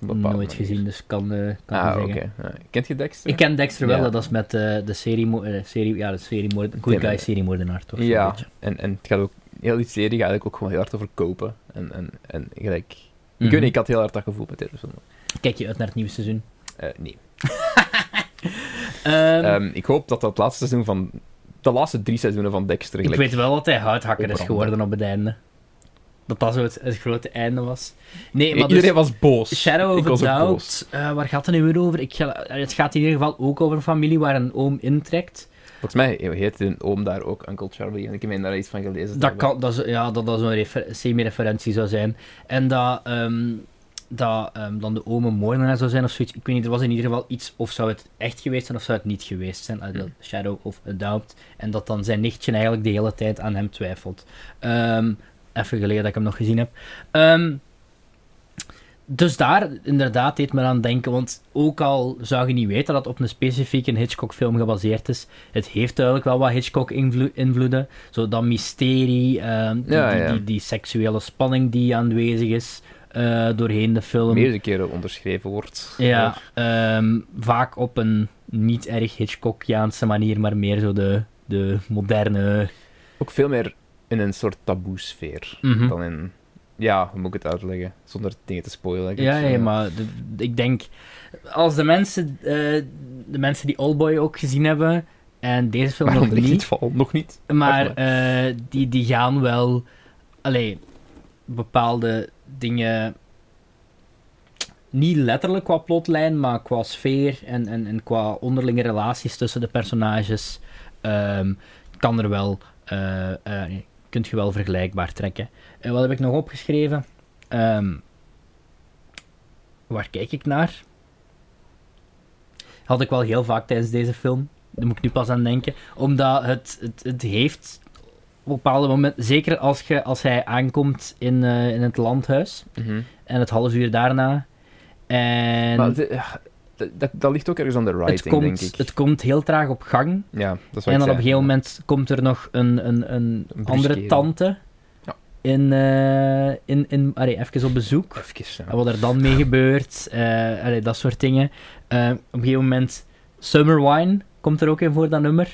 S1: Op een
S2: Nooit
S1: bepaalde manier.
S2: gezien, dus kan, eh kan niet
S1: Ah, oké.
S2: zeggen.
S1: Ja. Kent je Dexter?
S2: Ik ken Dexter wel,
S1: Ja.
S2: dat is met eh, de serie... mo- eh, serie ja, de serie moord, Good
S1: Tim,
S2: Guy
S1: eh,
S2: seriemoordenaar, toch? zo'n
S1: Ja,
S2: beetje.
S1: en, en het gaat ook... Heel die serie gaat eigenlijk ook gewoon heel hard over kopen. En, en, en gelijk... Ik
S2: Mhm.
S1: weet niet, ik had heel hard dat gevoel met deze film.
S2: Kijk je uit naar het nieuwe seizoen?
S1: Eh, nee.
S2: Ehm,
S1: Ehm, ik hoop dat dat laatste seizoen van... De laatste drie seizoenen van Dexter
S2: ik
S1: gelijk...
S2: weet wel dat hij houthakker is
S1: Opbranden.
S2: geworden op het einde. Dat dat zo het, het grote einde was. Nee, maar dus-
S1: Iedereen was boos.
S2: Shadow
S1: ik
S2: of a
S1: was ook
S2: Doubt,
S1: boos.
S2: eh, waar gaat het nu weer over? Ik ga, eh, het gaat in ieder geval ook over een familie waar een oom intrekt.
S1: Volgens mij heet een oom daar ook Uncle Charlie. En ik heb daar iets van gelezen. te
S2: Dat,
S1: hebben.
S2: kan, dat, is- ja, dat dat zo'n refer- semi-referentie zou zijn. En dat, ehm, dat ehm, dan de oom een moordenaar zou zijn of zoiets. Ik weet niet, er was in ieder geval iets. Of zou het echt geweest zijn of zou het niet geweest zijn? uit dat
S1: Hm.
S2: Shadow of a Doubt. En dat dan zijn nichtje eigenlijk de hele tijd aan hem twijfelt. Ehm, even geleden dat ik hem nog gezien heb. Ehm, dus daar inderdaad deed me aan denken, want ook al zou je niet weten dat het op een specifieke Hitchcock-film gebaseerd is, het heeft duidelijk wel wat Hitchcock-invloeden. Zo dat mysterie, ehm, die,
S1: Ja,
S2: die,
S1: ja.
S2: Die, die seksuele spanning die aanwezig is eh, doorheen de film.
S1: Meerdere keren onderschreven wordt. Eh,
S2: Ja, ehm, vaak op een niet erg Hitchcockiaanse manier, maar meer zo de, de moderne...
S1: ook veel meer in een soort taboe-sfeer
S2: Mhm.
S1: dan in. Ja, hoe moet ik het uitleggen? Zonder dingen te spoilen. denk ik.
S2: Ja, ja, maar de- ik denk, als de mensen, eh, de mensen die Oldboy ook gezien hebben, en deze film
S1: Waarom
S2: nog
S1: denk ik
S2: niet,
S1: niet val? Nog niet.
S2: maar
S1: Wacht
S2: eh, die, die gaan wel allee, bepaalde dingen, niet letterlijk qua plotlijn, maar qua sfeer en, en, en qua onderlinge relaties tussen de personages, ehm, kan er wel, eh eh, nee, kunt je wel vergelijkbaar trekken. En wat heb ik nog opgeschreven? Ehm, waar kijk ik naar? Had ik wel heel vaak tijdens deze film. Daar moet ik nu pas aan denken. Omdat het, het, het heeft op bepaalde momenten, zeker als, je, als hij aankomt in, eh, in het landhuis
S1: Mhm.
S2: en het half uur daarna. En
S1: Maar de- ja, d- dat, dat ligt ook ergens aan de writing,
S2: het, komt,
S1: denk ik.
S2: het komt heel traag op gang.
S1: Ja, dat is wat
S2: En
S1: ik
S2: dan op
S1: zei.
S2: een gegeven moment komt er nog een, een, een,
S1: Een
S2: andere
S1: bruskere.
S2: tante
S1: Ja.
S2: in, eh, in, in, allee, even op bezoek.
S1: Even, ja.
S2: En wat er dan mee gebeurt, eh, allee, dat soort dingen. Eh, op een gegeven moment, Summer Wine komt er ook in voor dat nummer.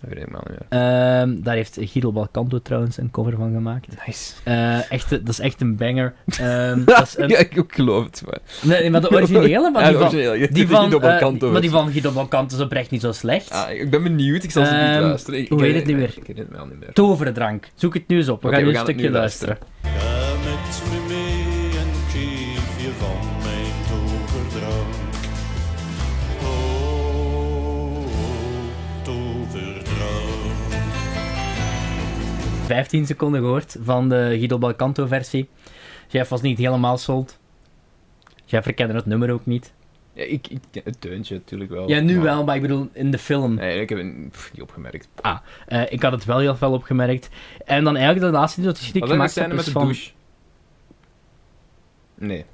S1: Dat weet ik maar niet meer.
S2: Ehm, daar heeft Guido Balcanto trouwens een cover van gemaakt.
S1: Nice.
S2: Eh, echt, dat is echt een banger. Ehm, dat is een-
S1: Ja, ik ook geloof het. Maar...
S2: nee, nee, maar de originele, maar
S1: Ja,
S2: die
S1: de
S2: van,
S1: originele, ja.
S2: die van,
S1: Guido
S2: eh,
S1: Belcanto
S2: maar die
S1: is-
S2: van Guido Balcanto is oprecht niet zo slecht.
S1: Ah, ik ben benieuwd, ik zal ze niet
S2: Ehm,
S1: luisteren. Ik,
S2: hoe
S1: ik-
S2: heet het nu
S1: ik-
S2: weer?
S1: Ik weet het wel niet meer.
S2: Toverdrank. Zoek het nu eens op. We
S1: Oké,
S2: gaan
S1: we
S2: nu een
S1: gaan het
S2: stukje
S1: nu luisteren.
S2: luisteren.
S12: Kom met me mee en geef je van mijn toverdrank. Oh, oh, toverdrank.
S2: 15 seconden gehoord van de Guido Balcanto versie. Jeff was niet helemaal sold. Jeff herkende het nummer ook niet.
S1: Ja, ik, ik, het deuntje natuurlijk wel.
S2: Ja, nu
S1: maar-
S2: wel, maar ik bedoel in de film.
S1: Oh, Nee, ik heb het pff, niet opgemerkt.
S2: Ah, eh, ik had het wel heel fel opgemerkt. En dan eigenlijk de laatste notitie die ik
S1: Wat was
S2: gemaakt
S1: zijn
S2: heb
S1: met
S2: is
S1: de
S2: van...
S1: douche? Nee.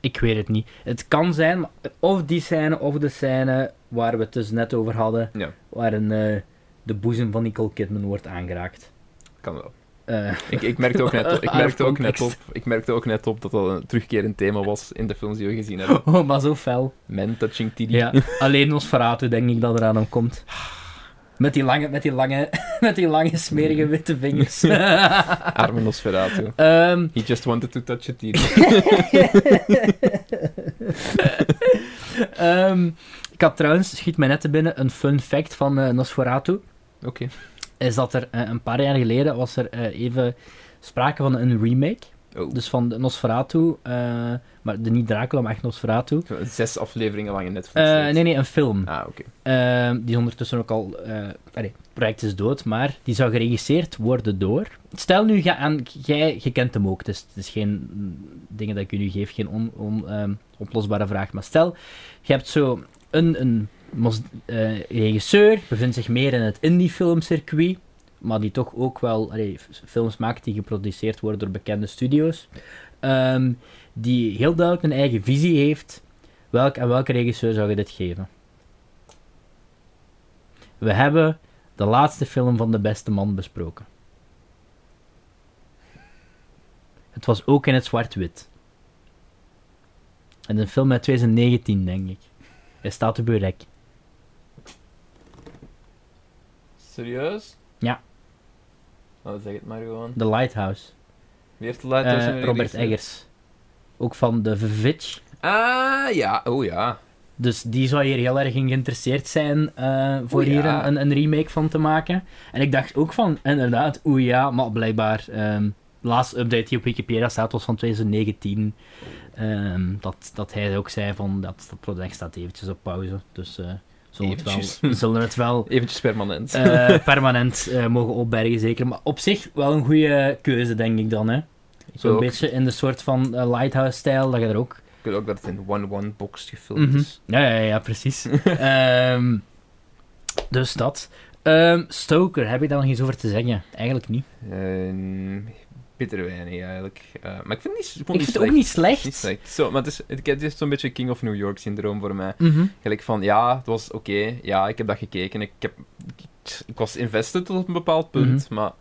S2: Ik weet het niet. Het kan zijn, maar of die scène of de scène waar we het dus net over hadden,
S1: Ja.
S2: waarin eh, de boezem van Nicole Kidman wordt aangeraakt.
S1: Kan wel.
S2: eh,
S1: Ik, ik merkte, ook net, op- ik, merkte
S2: out
S1: ook
S2: of
S1: net op,
S2: context.
S1: ik merkte ook net op dat dat een terugkerend thema was in de films die we gezien hebben.
S2: Oh, maar zo fel.
S1: Men touching titty.
S2: Ja, alleen Nosferatu denk ik dat eraan komt. Met die lange, met die lange, met die lange
S1: Mm.
S2: smerige witte vingers.
S1: Arme Nosferatu.
S2: Ehm,
S1: He just wanted to touch a titty.
S2: Ehm, ik had trouwens, schiet mij net te binnen, een fun fact van eh, Nosferatu.
S1: Oké.
S2: Is dat er eh, een paar jaar geleden was er eh, even sprake van een remake.
S1: Oh.
S2: Dus van de Nosferatu, eh, maar de, niet Dracula, maar echt Nosferatu.
S1: Zes afleveringen lang in Netflix.
S2: Eh, nee, nee, een film.
S1: Ah, oké.
S2: Ehm, die is ondertussen ook al. eh allee, het project is dood, maar die zou geregisseerd worden door. Stel nu, ga aan, jij je kent hem ook, dus het is geen mm, dingen dat ik je nu geef, geen on, on- ehm, oplosbare vraag. Maar stel, je hebt zo een, een mos- eh, regisseur, bevindt zich meer in het indie-filmcircuit, maar die toch ook wel allee, f- films maakt die geproduceerd worden door bekende studios. Ehm, die heel duidelijk een eigen visie heeft. Welk, aan welke regisseur zou je dit geven? We hebben de laatste film van De Beste Man besproken. Het was ook in het zwart-wit. En een film uit 2019, denk ik. Hij staat op uw rek.
S1: Serieus?
S2: Ja.
S1: Nou, zeg het maar gewoon.
S2: The Lighthouse.
S1: Wie heeft de Lighthouse
S2: Eh,
S1: in de
S2: Robert
S1: reeks?
S2: Eggers. Ook van de Vivitch.
S1: Ah, ja. Oh, ja.
S2: Dus die zou hier heel erg in geïnteresseerd zijn eh, voor
S1: Oeh, ja.
S2: hier een, een, een remake van te maken. En ik dacht ook van, inderdaad, oeh ja, maar blijkbaar, ehm, de laatste update die op Wikipedia staat was van 2019. Ehm, dat, dat hij ook zei van, dat, dat project staat eventjes op pauze. Dus eh zullen, we het wel,
S1: Eventjes.
S2: zullen we het wel
S1: Eventjes permanent.
S2: eh, permanent eh, mogen opbergen, zeker. Maar op zich wel een goede keuze, denk ik dan. hè. Zo'n
S1: ook.
S2: beetje in de soort van eh, Lighthouse-stijl, dat je er ook
S1: Ik wil ook dat het in one-one box gefilmd
S2: Mhm.
S1: is.
S2: Ja, ja, ja, precies. Ehm, dus dat. Ehm, Stoker, heb ik daar nog iets over te zeggen? Eigenlijk niet.
S1: Ehm, bitter weinig, eigenlijk. Eh, maar ik vind het niet,
S2: Ik vind het ook niet slecht.
S1: Niet slecht. Zo, maar het is, het, het is zo'n beetje King of New York syndroom voor mij.
S2: Mhm.
S1: Gelijk van, ja, het was oké, ja, ik heb dat gekeken, ik, heb, ik, ik was invested tot op een bepaald punt,
S2: Mhm.
S1: maar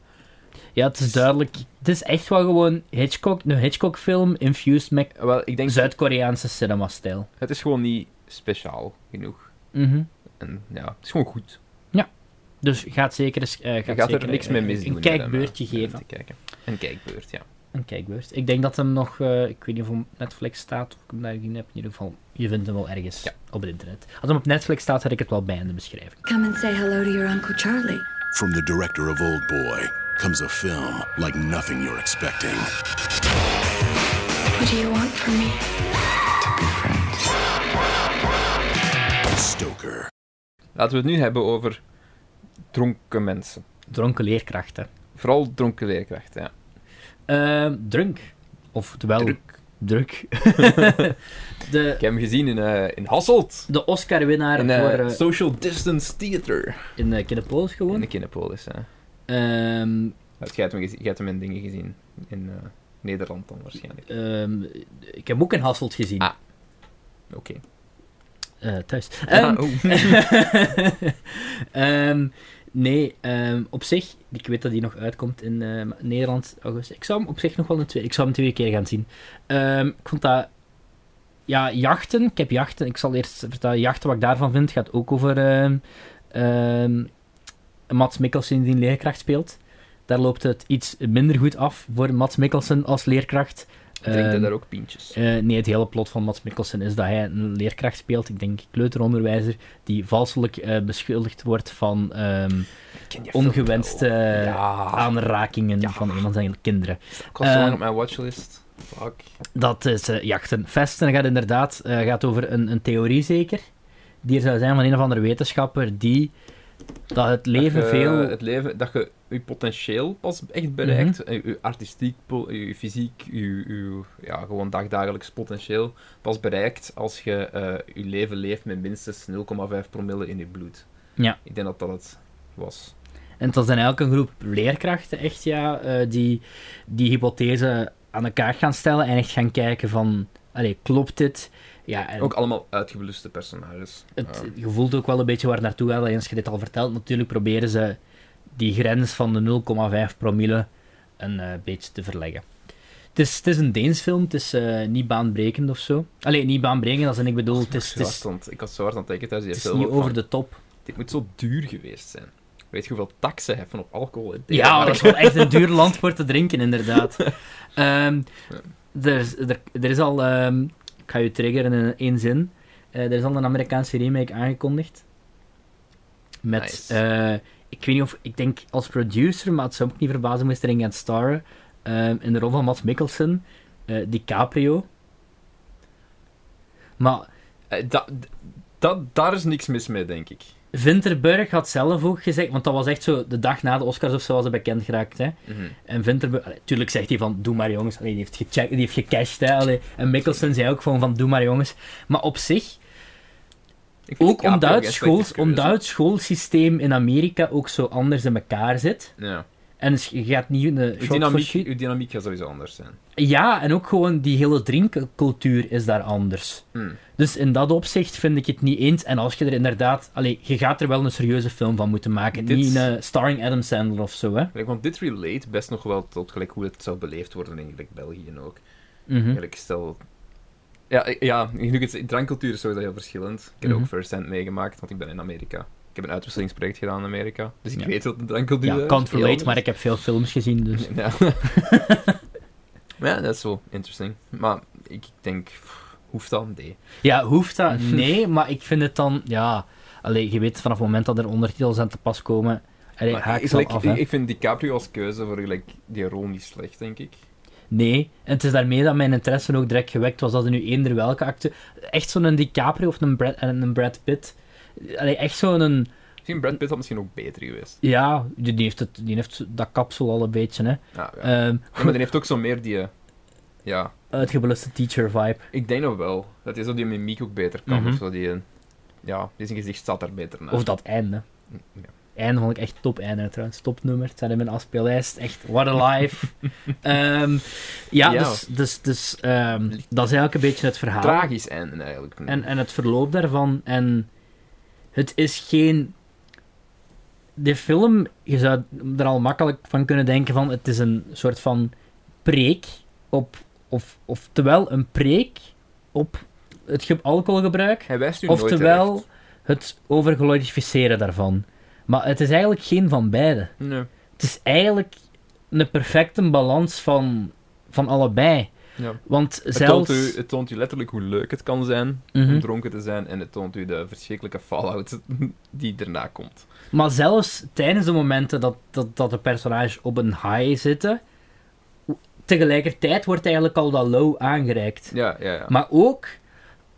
S2: Ja, het is duidelijk. Het is echt wel gewoon Hitchcock, een Hitchcock-film infused met
S1: eh, wel, ik denk,
S2: Zuid-Koreaanse cinema-stijl.
S1: het is gewoon niet speciaal genoeg.
S2: Mhm.
S1: En ja, het is gewoon goed.
S2: Dus gaat zeker eens. eh,
S1: Je
S2: gaat
S1: gaat
S2: zeker,
S1: er niks
S2: eh,
S1: mee misdoen.
S2: Een
S1: met
S2: kijkbeurtje
S1: hem, eh, om
S2: geven.
S1: te kijken. Een kijkbeurt, ja.
S2: Een kijkbeurt. Ik denk dat hem nog. eh, ik weet niet of hem op Netflix staat of ik hem daar gezien heb. In ieder geval, je vindt hem wel ergens
S1: Ja.
S2: op het internet. Als hem op Netflix staat, had ik het wel bij in de beschrijving.
S13: Come and say hello to your Uncle Charlie.
S14: From the director of Old Boy comes a film like nothing you're expecting.
S13: What do you want from me?
S14: Stoker.
S1: Laten we het nu hebben over dronken mensen.
S2: Dronken leerkrachten.
S1: Vooral dronken leerkrachten, ja.
S2: Eh, drunk. Oftewel, druk. de,
S1: Ik heb hem gezien in, eh, in Hasselt.
S2: de Oscar-winnaar
S1: In
S2: voor...
S1: eh,
S2: eh,
S1: Social Distance Theater.
S2: in uh, Kinnepolis
S1: In de
S2: gewoon.
S1: Kinepolis, hè.
S2: Ehm,
S1: Je hebt hem, gezi- jij hebt hem in dingen gezien. In eh, Nederland dan waarschijnlijk.
S2: ehm, ik heb hem ook in Hasselt gezien.
S1: Ah. Oké.
S2: Eh, thuis.
S1: Ja,
S2: Ehm,
S1: oh.
S2: ehm, nee, ehm, op zich... Ik weet dat hij nog uitkomt in eh, Nederland, augustus. Ik zou hem op zich nog wel een twee... Ik zou hem twee keer gaan zien. Ehm, ik vond dat... Ja, jachten. Ik heb jachten. Ik zal eerst vertellen. Jachten, wat ik daarvan vind, gaat ook over... ehm, ehm, Mats Mikkelsen die een leerkracht speelt. Daar loopt het iets minder goed af voor Mats Mikkelsen als leerkracht.
S1: Drinkt hij
S2: Ehm,
S1: daar ook pintjes?
S2: eh, nee, het hele plot van Mats Mikkelsen is dat hij een leerkracht speelt, ik denk kleuteronderwijzer, die valselijk eh, beschuldigd wordt van ehm,
S1: Ken je film
S2: ongewenste
S1: wel? Ja.
S2: eh, aanrakingen van een van zijn kinderen.
S1: Ik was zo lang
S2: eh,
S1: op mijn watchlist. Fuck.
S2: Dat is eh, jachten. Vesten gaat inderdaad eh, gaat over een, een theorie zeker, die er zou zijn van een of andere wetenschapper die dat het leven
S1: dat je,
S2: veel...
S1: Het leven, dat je je potentieel pas echt bereikt.
S2: Mhm.
S1: eh, Je artistiek, po- je fysiek, je, je ja, gewoon dagdagelijks potentieel pas bereikt als je eh, je leven leeft met minstens 0,5 promille in je bloed.
S2: Ja.
S1: Ik denk dat dat het was.
S2: En dat zijn eigenlijk een groep leerkrachten, echt ja, eh, die die hypothese aan elkaar gaan stellen en echt gaan kijken van, allee, klopt dit? Ja, en
S1: Ook allemaal uitgebluste personages.
S2: het,
S1: Ja.
S2: je voelt ook wel een beetje waar het naartoe gaat. Eens je dit al vertelt, natuurlijk proberen ze die grens van de 0,5 promille een eh, beetje te verleggen. Het is, het is een Deens film, het is eh, niet baanbrekend of zo. Allee, niet baanbrekend, als in ik bedoel, het is,
S1: Zo
S2: het
S1: hard
S2: is,
S1: aan het- ik had zo hard aan het denken tijdens die
S2: het is
S1: film.
S2: niet
S1: ook van,
S2: over de top.
S1: Dit moet zo duur geweest zijn. Weet je hoeveel taxen heffen op alcohol? hè?
S2: Ja, dat is wel echt een duur land voor te drinken, inderdaad. Ehm, er, is- er, er is al, ehm, ik ga je triggeren in één zin, Eh, er is al een Amerikaanse remake aangekondigd. Met,
S1: Nice.
S2: eh, ik weet niet of, ik denk als producer, maar het zou me ook niet verbazen, moest erin gaan starren. ehm, in de rol van Mads Mikkelsen, eh, DiCaprio. Maar
S1: Eh, dat- dat- daar is niks mis mee, denk ik.
S2: Vinterberg had zelf ook gezegd, want dat was echt zo de dag na de Oscars of zo was hij bekend geraakt. Hè?
S1: Mhm.
S2: En Vinterberg, allee, tuurlijk zegt hij van doe maar jongens, Allee, die heeft gecheckt, die heeft gecashed. Hè? Allee, en Mickelson zei ook van, van doe maar jongens. Maar op zich,
S1: Ik vind
S2: ook
S1: DiCaprio
S2: omdat het,
S1: geen
S2: school,
S1: slechte keuze.
S2: omdat het schoolsysteem in Amerika ook zo anders in elkaar zit.
S1: Ja.
S2: En dus je gaat niet een shot
S1: Uw
S2: voor
S1: dynamiek,
S2: shot-
S1: uw dynamiek gaat sowieso anders zijn.
S2: Ja, en ook gewoon die hele drinkcultuur is daar anders.
S1: Hmm.
S2: Dus in dat opzicht vind ik het niet eens. En als je er inderdaad... Allee, je gaat er wel een serieuze film van moeten maken.
S1: Dit-
S2: Niet een starring Adam Sandler of zo, hè.
S1: Gelijk, want dit relate best nog wel tot gelijk, hoe het zou beleefd worden in gelijk, België en ook.
S2: Mhm.
S1: Eigenlijk stel... Ja, ik- ja nu ik het, drankcultuur is sowieso heel verschillend. Ik heb
S2: Mhm.
S1: ook first-hand meegemaakt, want ik ben in Amerika. Ik heb een uitwisselingsproject gedaan in Amerika. Dus ik
S2: Ja.
S1: weet wat de drankcultuur is.
S2: Ja, can't
S1: Heel
S2: relate,
S1: anders.
S2: maar ik heb veel films gezien, dus...
S1: Ja. ja, dat is wel interesting. Maar ik denk, pff, hoeft dat? Nee.
S2: Ja, hoeft dat? Nee, maar ik vind het dan... Ja, allee, je weet vanaf het moment dat er ondertitels aan te pas komen... Allee,
S1: Maar
S2: haak
S1: ik,
S2: ze al
S1: gelijk-
S2: af, hè.
S1: ik, ik vind DiCaprio als keuze voor gelijk, die rol niet slecht, denk ik.
S2: Nee, en het is daarmee dat mijn interesse ook direct gewekt was dat er nu eender welke acte... Echt zo'n DiCaprio of een Brad, en een Brad Pitt. Allee, echt zo'n...
S1: Misschien Brad Pitt had misschien ook beter geweest.
S2: Ja, die die heeft, het, die heeft dat kapsel al een beetje, hè.
S1: Ah, Ja, ja.
S2: Ehm,
S1: Ja, maar die heeft ook zo meer die... eh, Ja,
S2: uitgebluste teacher vibe.
S1: ik denk nog wel. Dat is dat die mimiek ook beter kan.
S2: Mhm.
S1: Of zo die... eh, Ja, die zijn gezicht staat daar beter naar.
S2: Of dat einde.
S1: Mm, Ja.
S2: Einde vond ik echt top einde trouwens. Topnummer. Het staat in mijn afspeellijst. Echt, what a life. Ehm,
S1: Ja.
S2: ja, dus, dus, dus ehm, dat is eigenlijk een beetje het verhaal.
S1: Tragisch einde eigenlijk.
S2: En, en het verloop daarvan. En het is geen. De film, je zou er al makkelijk van kunnen denken: van het is een soort van preek op. Of, oftewel een preek op het ge- alcoholgebruik.
S1: Hij wijst u nooit
S2: Oftewel het overglorificeren daarvan. Maar het is eigenlijk geen van beide.
S1: terecht. Nee.
S2: Het is eigenlijk een perfecte balans van, van allebei.
S1: Ja.
S2: Want
S1: Het, toont
S2: zelfs.
S1: u, het toont u letterlijk hoe leuk het kan zijn
S2: Mhm.
S1: om dronken te zijn. En het toont u de verschrikkelijke fallout die erna komt.
S2: Maar zelfs tijdens de momenten dat, dat, dat de personages op een high zitten, tegelijkertijd wordt eigenlijk al dat low aangereikt.
S1: Ja, ja, ja.
S2: Maar ook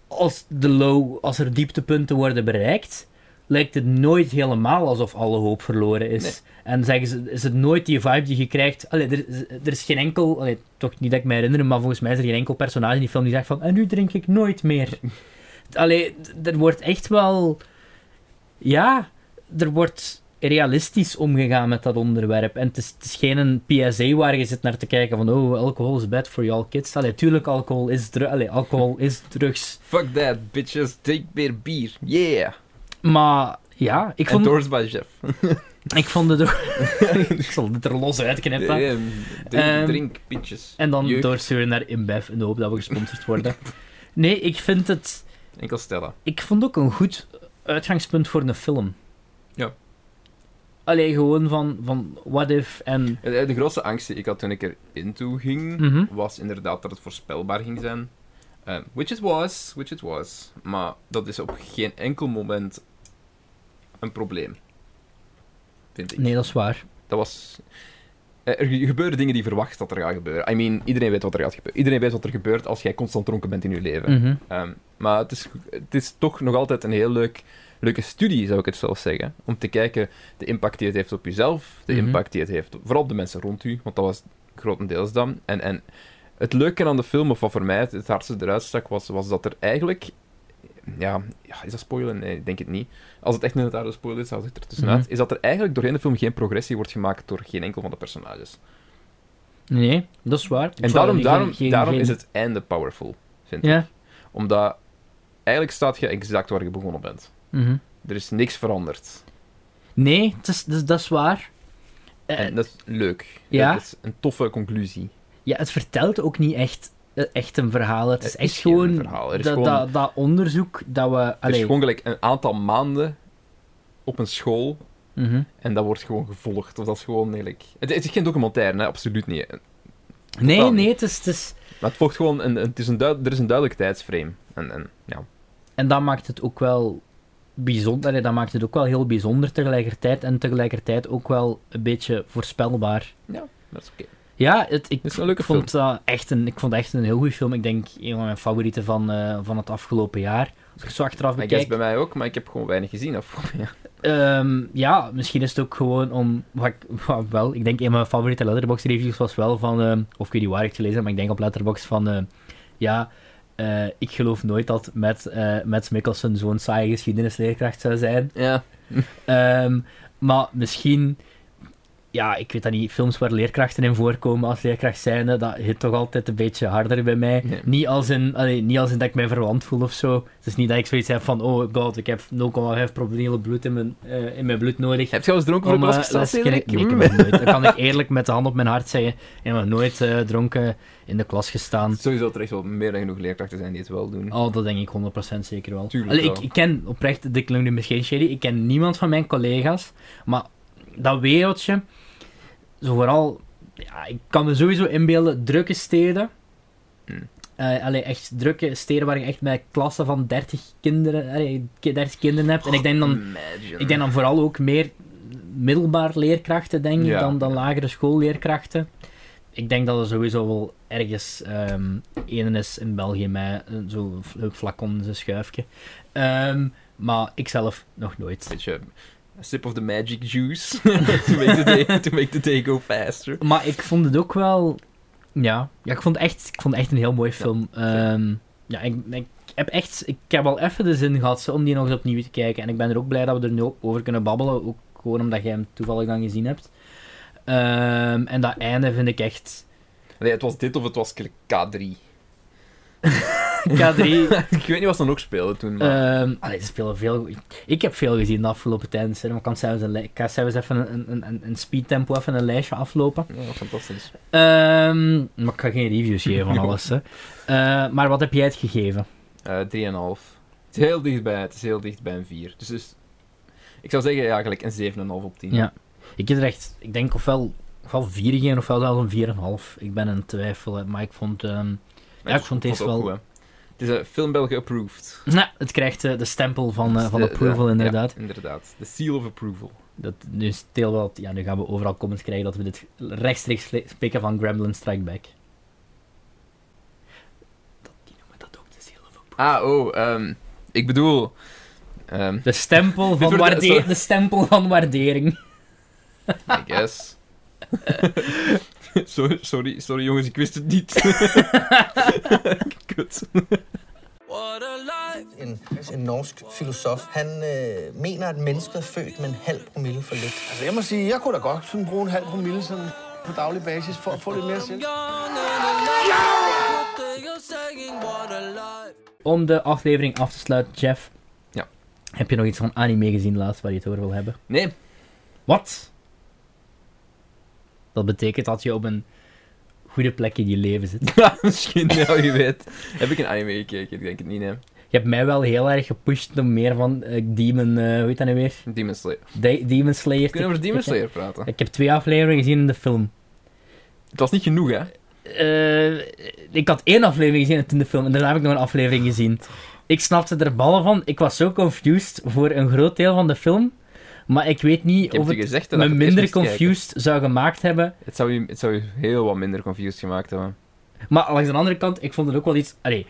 S2: als, de low, als er dieptepunten worden bereikt, lijkt het nooit helemaal alsof alle hoop verloren is. En zeggen ze, is het nooit die vibe die je krijgt. Allee, er, is- er is geen enkel, allee, toch niet dat ik me herinner, maar volgens mij is er geen enkel personage in die film die zegt van en nu drink ik nooit meer. Allee, d- er wordt echt wel. Ja, er wordt realistisch omgegaan met dat onderwerp. En het is, het is geen een PSA waar je zit naar te kijken van oh, alcohol is bad for you all kids. Allee, tuurlijk, alcohol is, dru- allee, alcohol is drugs.
S1: Fuck that, bitches. Drink meer bier. Yeah.
S2: Maar ja, ik vond,
S1: Endorsed by Jeff.
S2: ik vond het ook... ik zal dit er los uitknippen.
S1: Ehm, drink,
S2: Ehm,
S1: drink, bitches.
S2: En dan
S1: Jeuk.
S2: doorsturen naar InBev in de hoop dat we gesponsord worden. nee, ik vind het...
S1: Enkel Stella.
S2: Ik vond ook een goed uitgangspunt voor een film.
S1: Ja.
S2: Allee, gewoon van, van what if en...
S1: Eh, De grootste angst die ik had toen ik er into ging,
S2: Mhm.
S1: was inderdaad dat het voorspelbaar ging zijn. Eh, which it was, which it was. Maar dat is op geen enkel moment een probleem. Vind ik.
S2: Nee, dat is waar.
S1: Dat was... eh, Er gebeuren dingen die je verwacht dat er gaan gebeuren. I mean, iedereen weet wat er gaat gebeuren. Iedereen weet wat er gebeurt als jij constant dronken bent in je leven.
S2: Mhm.
S1: Ehm, maar het is, het is toch nog altijd een heel leuk, leuke studie, zou ik het zelf zeggen. Om te kijken de impact die het heeft op jezelf, de
S2: Mhm.
S1: impact die het heeft op- vooral op de mensen rond u, want dat was grotendeels dan. En, en het leuke aan de film, of wat voor mij het, het hardste eruit stak, was, was dat er eigenlijk... Ja, ja, is dat spoilen? Nee, ik denk het niet. Als het echt een harde spoiler is, zou ik er tussenuit.
S2: Mhm.
S1: Is dat er eigenlijk doorheen de film geen progressie wordt gemaakt door geen enkel van de personages.
S2: Nee, dat is waar.
S1: En daarom, daarom, daarom is het einde powerful, vind ik.
S2: Ja.
S1: Omdat eigenlijk staat je exact waar je begonnen bent.
S2: mhm.
S1: Er is niks veranderd.
S2: Nee, het is, dus dat is waar.
S1: En dat is leuk.
S2: ja.
S1: Dat is een toffe conclusie.
S2: Ja, het vertelt ook niet echt, eh, echt een verhaal. Het, is
S1: Het
S2: echt
S1: is geen
S2: gewoon,
S1: verhaal. Er is
S2: dat,
S1: gewoon-
S2: dat, dat onderzoek dat we...
S1: Het is
S2: allee,
S1: gewoon gelijk een aantal maanden op een school
S2: Mhm.
S1: en dat wordt gewoon gevolgd. Of dat is gewoon eigenlijk... Het, het is geen documentaire, hè? absoluut niet.
S2: nee,
S1: Totaal niet.
S2: nee, het is, het is...
S1: Maar het volgt gewoon... Een, een- het is een duid- er is een duidelijk tijdsframe. En, en, ja.
S2: En dat maakt het ook wel bijzonder. Allee, dat maakt het ook wel heel bijzonder tegelijkertijd. En tegelijkertijd ook wel een beetje voorspelbaar.
S1: ja, dat is oké.
S2: Ja, het, ik,
S1: is een leuke
S2: vond dat echt een, ik vond het echt een heel goede film. Ik denk een van mijn favorieten van, eh, van het afgelopen jaar. Als ik zo achteraf
S1: Maar ik guess
S2: bekijk.
S1: bij mij ook, maar ik heb gewoon weinig gezien. Of, ja.
S2: Ehm, ja, misschien is het ook gewoon om. Wat ik, wat wel, ik denk een van mijn favoriete Letterboxd reviews was wel van. ehm, of ik weet niet waar ik het gelezen heb, maar ik denk op Letterboxd van. ehm, ja, eh, ik geloof nooit dat met, eh met Mikkelsen zo'n saaie geschiedenisleerkracht zou zijn.
S1: Ja.
S2: Ehm, maar misschien. Ja, ik weet dat niet. Films waar leerkrachten in voorkomen als leerkracht zijnde, dat hit toch altijd een beetje harder bij mij.
S1: Nee.
S2: Niet, als in, allee, niet als in dat ik mij verwant voel of zo. Het is niet dat ik zoiets heb van, oh god, ik heb 0,5 promille bloed in mijn, eh, in mijn bloed nodig.
S1: Heb je al eens dronken voor
S2: Om,
S1: de klas
S2: eh,
S1: gestaan,
S2: les te
S1: Cedric? Mm.
S2: kunnen- Nee, ik heb nog nooit. Dat kan ik eerlijk met de hand op mijn hart zeggen. Ik heb nog nooit eh, dronken in de klas gestaan.
S1: Sowieso terecht wel meer dan genoeg leerkrachten zijn die het wel doen.
S2: Oh, dat denk ik 100% zeker wel.
S1: Mm. Tuurlijk
S2: Allee, ik,
S1: wel.
S2: ik ken oprecht, dit klinkt nu misschien shady, ik ken niemand van mijn collega's, maar dat wereldje, zo vooral, ja, ik kan me sowieso inbeelden, drukke steden.
S1: Mm.
S2: Eh, allee, echt drukke steden waar je echt met klassen van 30 kinderen, allee, ki- 30 kinderen hebt. En ik denk dan,
S1: Imagine.
S2: ik denk dan vooral ook meer middelbaar leerkrachten, denk ik,
S1: Ja.
S2: dan, dan lagere schoolleerkrachten. Ik denk dat er sowieso wel ergens ehm een is in België met eh, zo'n fl- een flacon, zo'n schuifje. Ehm, maar ik zelf nog nooit.
S1: Beetje a sip of the magic juice to, make the day, to make the day go faster.
S2: Maar ik vond het ook wel... Ja, ja ik, vond het echt, ik vond het echt een heel mooie film. Ja, ja ik, ik heb echt... Ik heb al even de zin gehad zo, om die nog eens opnieuw te kijken. En ik ben er ook blij dat we er nu over kunnen babbelen. Ook gewoon omdat jij hem toevallig dan gezien hebt. Ehm, en dat einde vind ik echt...
S1: Nee, het was dit of het was K3.
S2: K3...
S1: ik weet niet wat ze nog speelden toen, maar...
S2: Ehm allee, ze spelen veel. Ik heb veel gezien de afgelopen tijd. in de cinema. Ik kan zelfs, een li- ik kan zelfs even een, een, een, een speedtempo, even een lijstje aflopen.
S1: Ja, fantastisch.
S2: Ehm, maar ik ga geen reviews geven van alles. Hè. Eh, maar wat heb jij het gegeven?
S1: Eh, 3,5. Het is heel dichtbij, het is heel dichtbij een 4. Dus, dus ik zou zeggen, ja, eigenlijk een 7,5 op 10.
S2: Ja. Ik heb er echt, ik denk ofwel, ofwel 4 gegeven ofwel zelfs een 4,5. Ik ben in twijfel, hè, maar ik vond, ehm, ja, ik vond deze
S1: het ook
S2: wel.
S1: goed, hè. het is een film België approved.
S2: Nou, het krijgt eh, de stempel van, eh, van
S1: Dus de-
S2: approval,
S1: de-
S2: inderdaad.
S1: Ja, inderdaad. De seal of approval.
S2: Dat, nu, is het heel wel, ja, nu gaan we overal comments krijgen dat we dit rechtstreeks le- spreken van Gremlin Strike Back.
S1: Ah, oh, ehm, ik bedoel... ehm,
S2: De stempel van,
S1: wordt-
S2: waarde-
S1: sorry.
S2: de stempel van waardering.
S1: I guess. sorry, sorry, sorry jongens, ik wist het niet. Kut.
S15: En, en norsk filosof, han øh, mener, at mennesket er født med en halv promille for lidt.
S16: Altså, jeg må sige, jeg kunne da godt sådan bruge en halv promille sådan på daglig basis for at få lidt mere selv.
S2: Om de aflevering af te sluiten, Jeff.
S1: Ja.
S2: Heb je nog iets van anime gezien laatst waar je het over wil hebben?
S1: Nee.
S2: Wat? Dat betekent dat je op een goede plek in je leven zit.
S1: Ja, misschien, ja, wie weet. Heb ik een anime gekeken? Ik denk het niet, hè.
S2: Je hebt mij wel heel erg gepusht om meer van eh, Demon, eh hoe heet dat nu weer?
S1: Demon Slayer.
S2: De- Demon Slayer.
S1: Kunnen we over Demon Slayer praten?
S2: Ik heb twee afleveringen gezien in de film.
S1: Het was niet genoeg, hè?
S2: Eh, ik had één aflevering gezien in de film en daarna heb ik nog een aflevering gezien. Ik snapte er ballen van. Ik was zo confused voor een groot deel van de film. Maar ik weet niet
S1: Ik heb
S2: of
S1: je
S2: het
S1: gezegd dat
S2: me
S1: ik het eerst
S2: minder
S1: moest kijken.
S2: confused zou gemaakt hebben.
S1: Het zou, je, het zou je heel wat minder confused gemaakt hebben.
S2: Maar langs de andere kant, ik vond het ook wel iets... Allee,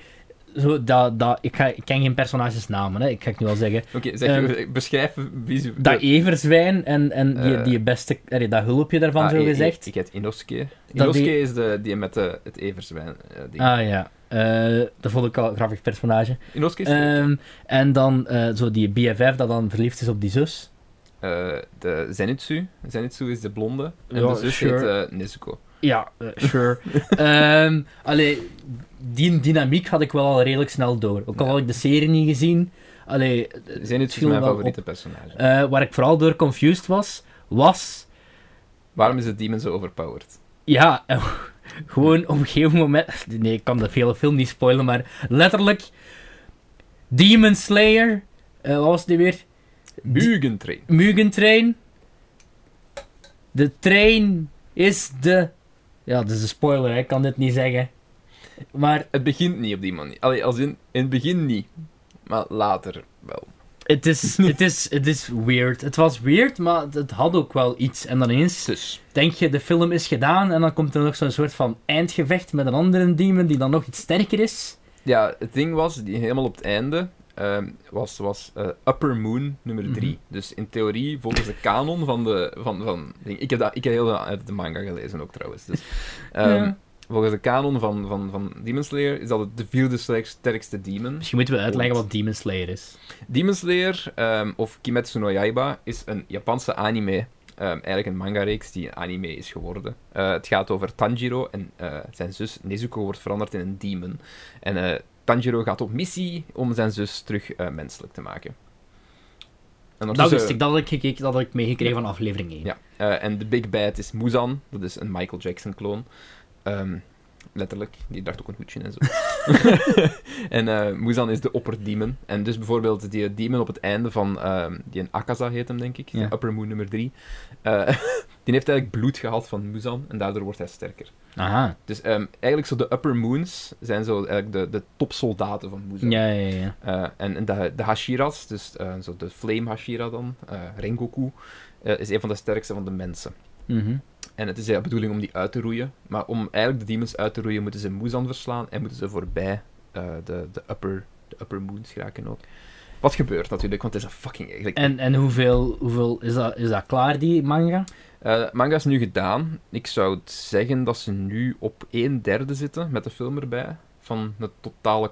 S2: zo dat, dat, ik, ga, ik ken geen personages namen, hè. ik ga het nu al zeggen.
S1: Oké, zeg
S2: Ehm,
S1: je beschrijf visueel.
S2: dat everzwijn en, en die,
S1: Eh.
S2: die beste... Allee, dat hulpje daarvan,
S1: Ah,
S2: zo
S1: ik-
S2: gezegd.
S1: Ik, ik heet Inosuke.
S2: die-
S1: Inosuke is de, die met de, het everzwijn. eh, ding.
S2: Ah ja, Eh, dat vond ik wel een grappig personage.
S1: Inosuke is
S2: Ehm, en dan eh, zo die BFF dat dan verliefd is op die zus.
S1: eh, de Zenitsu. Zenitsu is de blonde. En
S2: Ja,
S1: de zus
S2: sure.
S1: heet eh, Nezuko.
S2: Ja, eh, sure. Ehm allee, die dynamiek had ik wel al redelijk snel door. Ook al had ik de serie niet gezien. Allee, eh, het
S1: Zenitsu is dus
S2: viel
S1: mijn
S2: wel
S1: favoriete
S2: op.
S1: personage.
S2: Eh, waar ik vooral door confused was, was
S1: Waarom is de demon zo overpowered?
S2: Ja, en gewoon op een gegeven moment. Nee, ik kan de hele film niet spoilen, maar letterlijk. Demon Slayer. eh, wat was die weer?
S1: Mugen Train.
S2: Mugen Train. De train is de. Ja, dat is een spoiler, hè, ik kan dit niet zeggen. Maar.
S1: Het begint niet op die manier. Allee, als in, in het begin niet. Maar later wel.
S2: Het is, het, is, het is weird. Het was weird, maar het- het had ook wel iets. En dan eens
S1: Dus,
S2: denk je, de film is gedaan. En dan komt er nog zo'n soort van eindgevecht met een andere demon die dan nog iets sterker is.
S1: Ja, het ding was, die helemaal op het einde, ehm, was, was eh, Upper Moon nummer 3.
S2: Mhm.
S1: Dus in theorie, volgens de kanon van de... Van, van, ik, heb dat, ik heb heel veel uit de manga gelezen ook trouwens. Dus, ehm,
S2: Ja.
S1: Volgens de kanon van, van, van Demon Slayer is dat het de vierde sterk- sterkste demon.
S2: Misschien moeten we uitleggen wat Demon Slayer is.
S1: Demon Slayer, ehm, of Kimetsu no Yaiba, is een Japanse anime. Ehm, eigenlijk een manga-reeks die een anime is geworden. Eh, het gaat over Tanjiro en eh, zijn zus Nezuko wordt veranderd in een demon. En eh, Tanjiro gaat op missie om zijn zus terug eh, menselijk te maken. En eh,
S2: Dat
S1: ondertussen-
S2: wist ik, dat had ik, gekeken, dat had ik meegekregen van aflevering 1.
S1: Dus, ja, eh, en de Big Bad is Muzan, dat is een Michael Jackson-kloon. Ehm, letterlijk, die draagt ook een hoedje en zo. en eh Muzan is de opperdemon. En dus bijvoorbeeld die demon op het einde van, ehm, die in Akaza heet hem denk ik, de
S2: Ja.
S1: Upper Moon nummer 3, die heeft eigenlijk bloed gehad van Muzan en daardoor wordt hij sterker.
S2: Aha.
S1: Dus ehm, eigenlijk zo de Upper Moons zijn zo eigenlijk de, de topsoldaten van Muzan.
S2: Ja, ja, ja.
S1: Eh, en en de, de Hashiras, dus eh, zo de Flame Hashira dan, eh, Rengoku, eh, is een van de sterkste van de mensen.
S2: Mhm.
S1: En het is de bedoeling om die uit te roeien. Maar om eigenlijk de demons uit te roeien, moeten ze Muzan verslaan en moeten ze voorbij eh, de, de, upper, de upper moons geraken ook. Wat gebeurt natuurlijk, want het is een fucking eigenlijk.
S2: En, en hoeveel, hoeveel is, dat, is dat klaar, die manga?
S1: Eh, manga is nu gedaan. Ik zou zeggen dat ze nu op 1 derde zitten met de film erbij. Van het totale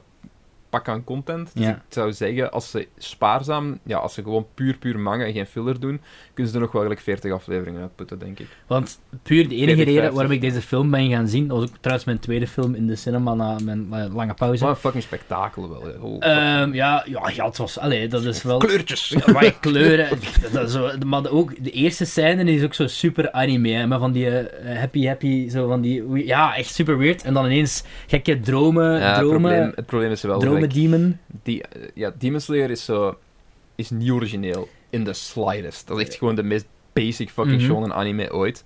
S1: pak aan content. Dus
S2: Ja.
S1: ik zou zeggen, als ze spaarzaam, ja, als ze gewoon puur, puur manga en geen filler doen, kunnen ze er nog wel gelijk 40 afleveringen uitputten, denk ik.
S2: Want puur de enige
S1: 40,
S2: reden
S1: 50.
S2: waarom ik deze film ben gaan zien, dat was ook trouwens mijn tweede film in de cinema na mijn eh, lange pauze.
S1: Wat een fucking spektakel wel. hè. Oh,
S2: Ehm, ja, ja, ja, het was... Allee, dat is wel...
S1: Kleurtjes.
S2: Ja, maar ja, kleuren. dat is zo, maar ook de eerste scène die is ook zo super anime. Hè, maar van die eh, happy happy, zo van die... we- Ja, echt super weird. En dan ineens gekke dromen,
S1: Ja, het,
S2: dromen...
S1: probleem, het probleem is wel...
S2: dromen
S1: gelijk-
S2: demon.
S1: Die, eh, ja, Demon Slayer is zo... Is niet origineel. In the slightest. Dat is echt gewoon de meest basic fucking
S2: Mhm.
S1: shonen anime ooit.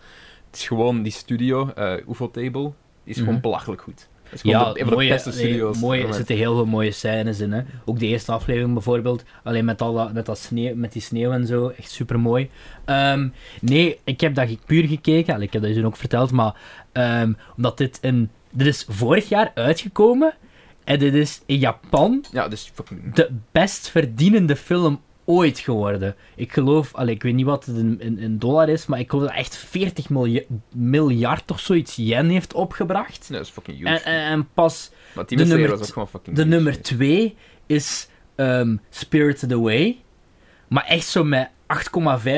S1: Het is gewoon die studio, eh UFO Table, die is gewoon
S2: Mhm.
S1: belachelijk goed. Dat is gewoon
S2: Ja,
S1: de, een van
S2: mooie,
S1: de beste
S2: nee,
S1: studio's.
S2: mooie, er
S1: ever.
S2: zitten heel veel mooie scènes in. Hè. Ook de eerste aflevering bijvoorbeeld. Alleen met, al dat, met, dat sneeuw, met die sneeuw en zo. Echt super mooi. nee, ik heb dat ge- puur gekeken. Allee, ik heb dat jullie ook verteld. Maar ehm, omdat dit een. Dit is vorig jaar uitgekomen. En dit is in Japan
S1: Ja, dus fucking...
S2: de best verdienende film ooit geworden. Ik geloof, allee, ik weet niet wat het in, in, in dollar is, maar ik geloof dat echt 40 milja- miljard of zoiets yen heeft opgebracht.
S1: Nee, dat is fucking huge.
S2: En, en, en pas
S1: maar
S2: de
S1: Demon Slayer
S2: nummer,
S1: was ook
S2: t-
S1: gewoon fucking
S2: de
S1: huge.
S2: nummer twee is ehm, Spirited Away. Maar echt zo met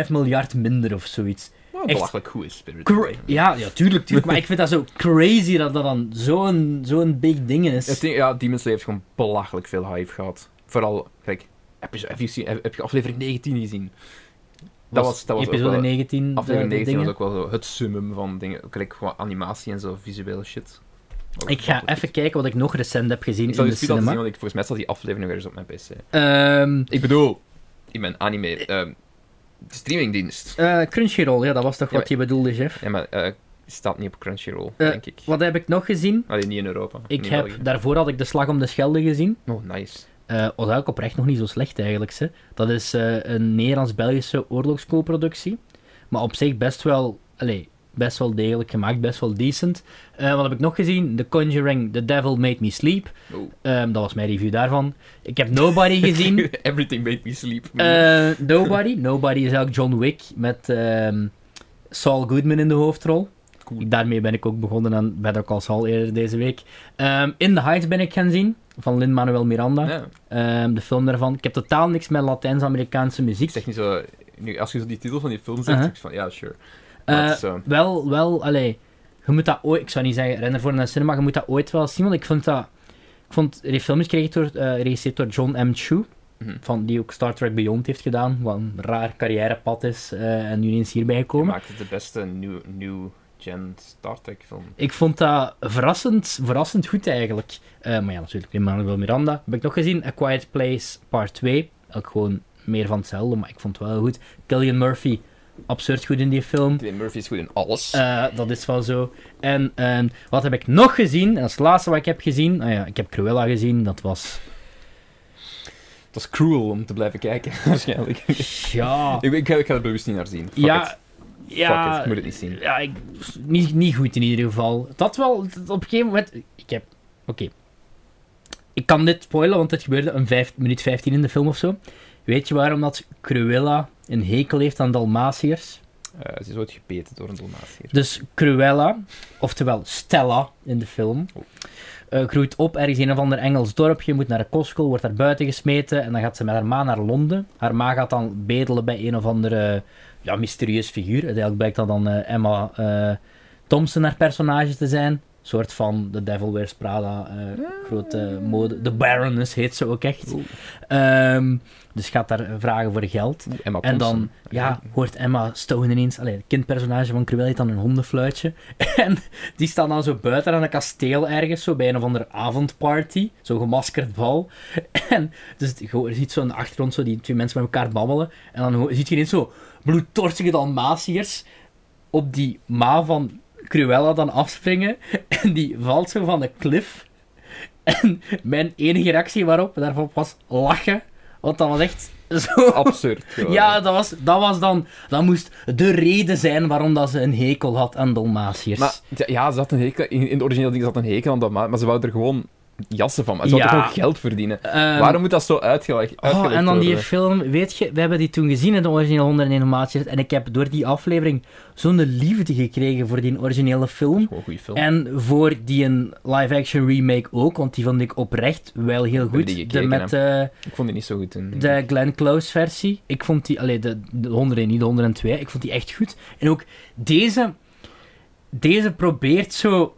S2: 8,5 miljard minder of zoiets.
S1: Wat
S2: Echt
S1: Oh, belachelijk goed is Spirit.
S2: cra- ja, ja, tuurlijk, tuurlijk. maar ik vind dat zo crazy dat dat dan zo'n zo'n big ding is.
S1: Het ding- ja, Demon Slayer heeft gewoon belachelijk veel hype gehad. Vooral, kijk, heb je, heb je, gezien- heb je aflevering 19 gezien? Dat was, dat was ook
S2: episode
S1: wel-
S2: 19. de-
S1: Aflevering
S2: de
S1: 19 was
S2: dingen.
S1: ook wel zo het summum van dingen. Ook like, gewoon animatie en zo, visuele shit. Ook
S2: Ik ga
S1: belachelijk.
S2: even kijken wat ik nog recent heb gezien
S1: Ik
S2: in
S1: zal
S2: de
S1: je zien,
S2: cinema.
S1: want ik, volgens mij staat die aflevering weer eens op mijn PC.
S2: Ehm,
S1: Ik bedoel, in mijn anime ehm, streamingdienst.
S2: eh, Crunchyroll, ja, dat was toch
S1: Ja,
S2: wat je bedoelde, Jeff?
S1: Ja, maar eh, staat niet op Crunchyroll,
S2: Eh,
S1: denk ik.
S2: Wat heb ik nog gezien?
S1: Alleen niet in Europa.
S2: Ik
S1: niet in
S2: heb,
S1: België.
S2: daarvoor had ik De Slag om de Schelde gezien.
S1: Oh, nice.
S2: Eh, was eigenlijk oprecht nog niet zo slecht eigenlijk. Ze. Dat is eh, een Nederlands-Belgische oorlogsco-productie. Maar op zich best wel, allee, best wel degelijk gemaakt, best wel decent. Eh, wat heb ik nog gezien? The Conjuring, The Devil Made Me Sleep.
S1: Oh.
S2: Ehm, dat was mijn review daarvan. Ik heb Nobody gezien.
S1: Everything made me sleep.
S2: Hm? Eh, nobody. Nobody is eigenlijk John Wick met ehm, Saul Goodman in de hoofdrol. Daarmee ben ik ook begonnen aan Better Call Saul eerder deze week. Ehm, in the Heights ben ik gaan zien, van Lin-Manuel Miranda.
S1: Ja.
S2: Ehm, de film daarvan. Ik heb totaal niks met Latijns-Amerikaanse muziek.
S1: zeg niet zo... Nu, als je zo die titel van die film zegt,
S2: Uh-huh.
S1: denk ik van, ja, sure. Maar het
S2: Eh,
S1: is ehm, zo...
S2: Wel, wel, allee. Je moet dat ooit, ik zou niet zeggen, ren ervoor naar de cinema, je moet dat ooit wel zien, want ik vond dat... Ik vond, die film is geregisseerd door, eh, geregisseerd door John M. Chu.
S1: Mhm.
S2: Van, die ook Star Trek Beyond heeft gedaan, wat een raar carrièrepad is eh, en nu eens hierbij gekomen.
S1: Maakt het de beste new, new gen Star Trek film.
S2: Ik vond dat verrassend, verrassend goed eigenlijk. Eh, maar ja, natuurlijk, Emmanuel Miranda. Heb ik nog gezien, A Quiet Place Part 2. Ook gewoon meer van hetzelfde, maar ik vond het wel goed. Killian Murphy, absurd goed in die film.
S1: Cillian Murphy is goed in alles.
S2: Eh, dat is wel zo. En ehm, wat heb ik nog gezien? En als laatste wat ik heb gezien, nou ja, ik heb Cruella gezien, dat was...
S1: Het was cruel om te blijven kijken, waarschijnlijk.
S2: Ja...
S1: ik, ik, ga- ik ga er bewust niet naar zien. Fuck
S2: ja,
S1: it.
S2: ja,
S1: Fuck it, ik moet het niet zien.
S2: Ja, ik, niet, niet goed in ieder geval. Dat wel, dat op een gegeven moment... Ik heb... Oké. Ik kan dit spoilen, want het gebeurde een vijf, minuut 15 in de film of zo. Weet je waarom dat Cruella een hekel heeft aan Dalmatiërs?
S1: Eh, ze is ooit gebeten door een Dalmatier.
S2: Dus Cruella, oftewel Stella in de film, eh, groeit op ergens in een of ander Engels dorpje, moet naar de kostschool, wordt daar buiten gesmeten en dan gaat ze met haar ma naar Londen. Haar ma gaat dan bedelen bij een of andere ja, mysterieus figuur. Uiteindelijk blijkt dat dan eh, Emma eh, Thompson haar personage te zijn. Een soort van The Devil Wears Prada, eh, grote mode. De Baroness heet ze ook echt. Ehm, dus gaat daar vragen voor geld.
S1: Emma
S2: en dan
S1: Thompson.
S2: ja, hoort Emma Stone ineens, allee, het kindpersonage van Cruella heeft dan een hondenfluitje. En die staan dan zo buiten aan een kasteel ergens, zo bij een of andere avondparty. Zo'n gemaskerd bal. En dus je hoort- je ziet zo in de achtergrond zo die twee mensen met elkaar babbelen. En dan ho- ziet je ineens zo bloedtorstige Dalmatiërs op die ma van Cruella dan afspringen. En die valt zo van de klif. En mijn enige reactie waarop daarvan was lachen. Want dat was echt zo...
S1: Absurd. gewoon.
S2: Ja, dat was, dat was dan... Dat moest de reden zijn waarom dat ze een hekel had aan Dalmatiërs.
S1: Maar ja, ja, ze had een hekel. In, in de originele ding zat een hekel aan dat ma- maar ze wou er gewoon jassen van. maken. Ze
S2: Ja.
S1: wou er gewoon geld verdienen.
S2: Ehm,
S1: Waarom moet dat zo uitgelegd, uitgelegd
S2: Oh, en dan die
S1: worden?
S2: film, weet je, we hebben die toen gezien in de originele 101 Dalmatiërs en ik heb door die aflevering zo'n liefde gekregen voor die originele film.
S1: Gewoon een goede film.
S2: En voor die een live-action remake ook, want die vond ik oprecht wel heel goed.
S1: die
S2: de
S1: gekeken,
S2: met eh,
S1: Ik vond die niet zo goed toen.
S2: de Glenn Close versie. Ik vond die, allee, de, de 101, niet de 102, ik vond die echt goed. En ook deze, deze probeert zo...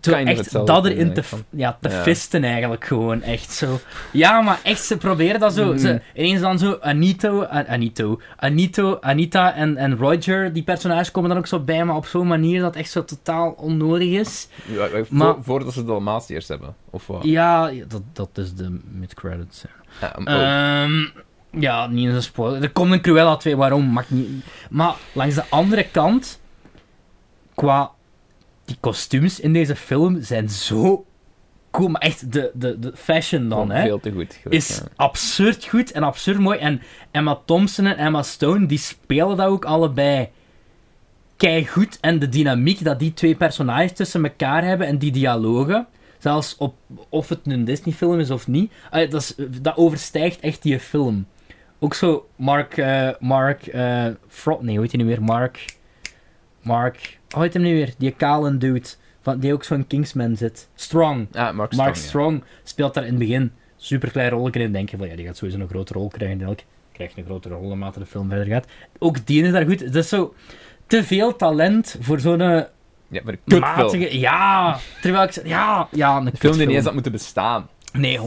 S2: zo
S1: Kind of
S2: echt
S1: hetzelfde
S2: dat
S1: te
S2: erin
S1: doen,
S2: te,
S1: ik vond.
S2: ja, te
S1: Ja.
S2: visten eigenlijk gewoon, echt zo. Ja, maar echt, ze proberen dat
S1: Mm.
S2: zo. Ze, ineens dan zo Anito, An- Anito, Anito, Anita en, en Roger, die personages komen dan ook zo bij, maar op zo'n manier dat echt zo totaal onnodig is.
S1: Ja, ja, voor-
S2: maar-
S1: Voordat ze de Dalmatiërs hebben, of wat?
S2: Ja, dat, dat is de mid-credits. ja.
S1: Ja, um, oh.
S2: Ehm, ja, niet eens een spoiler. Er komt een Cruella 2, waarom? Mag niet. Maar langs de andere kant, qua die kostuums in deze film zijn zo cool. Maar echt, de, de, de fashion dan,
S1: Gewoon
S2: hè?
S1: Veel te goed. gelijk,
S2: is
S1: ja.
S2: absurd goed en absurd mooi. En Emma Thompson en Emma Stone, die spelen dat ook allebei kei goed. En de dynamiek dat die twee personages tussen elkaar hebben en die dialogen, zelfs op, of het een Disney-film is of niet, eh, dat, is, dat overstijgt echt die film. Ook zo Mark, eh, Mark, eh Fro- nee, hoe heet hij nu weer? Mark, Mark, hoe heet hem nu weer? Die kale dude, van, die ook zo'n Kingsman zit. Strong.
S1: Ah, Mark Strong.
S2: Mark
S1: ja.
S2: Strong speelt daar in het begin super klein rolletje in. Denk je van ja, die gaat sowieso een grote rol krijgen. Elk krijgt een grote rol naarmate de film verder gaat. Ook die is daar goed. Het is zo te veel talent voor zo'n eh,
S1: Ja, maar een kutfilm.
S2: matige. Ja, terwijl ik zeg, ja, ja, een
S1: Een film die niet eens had
S2: kutfilm.
S1: moeten bestaan.
S2: Nee,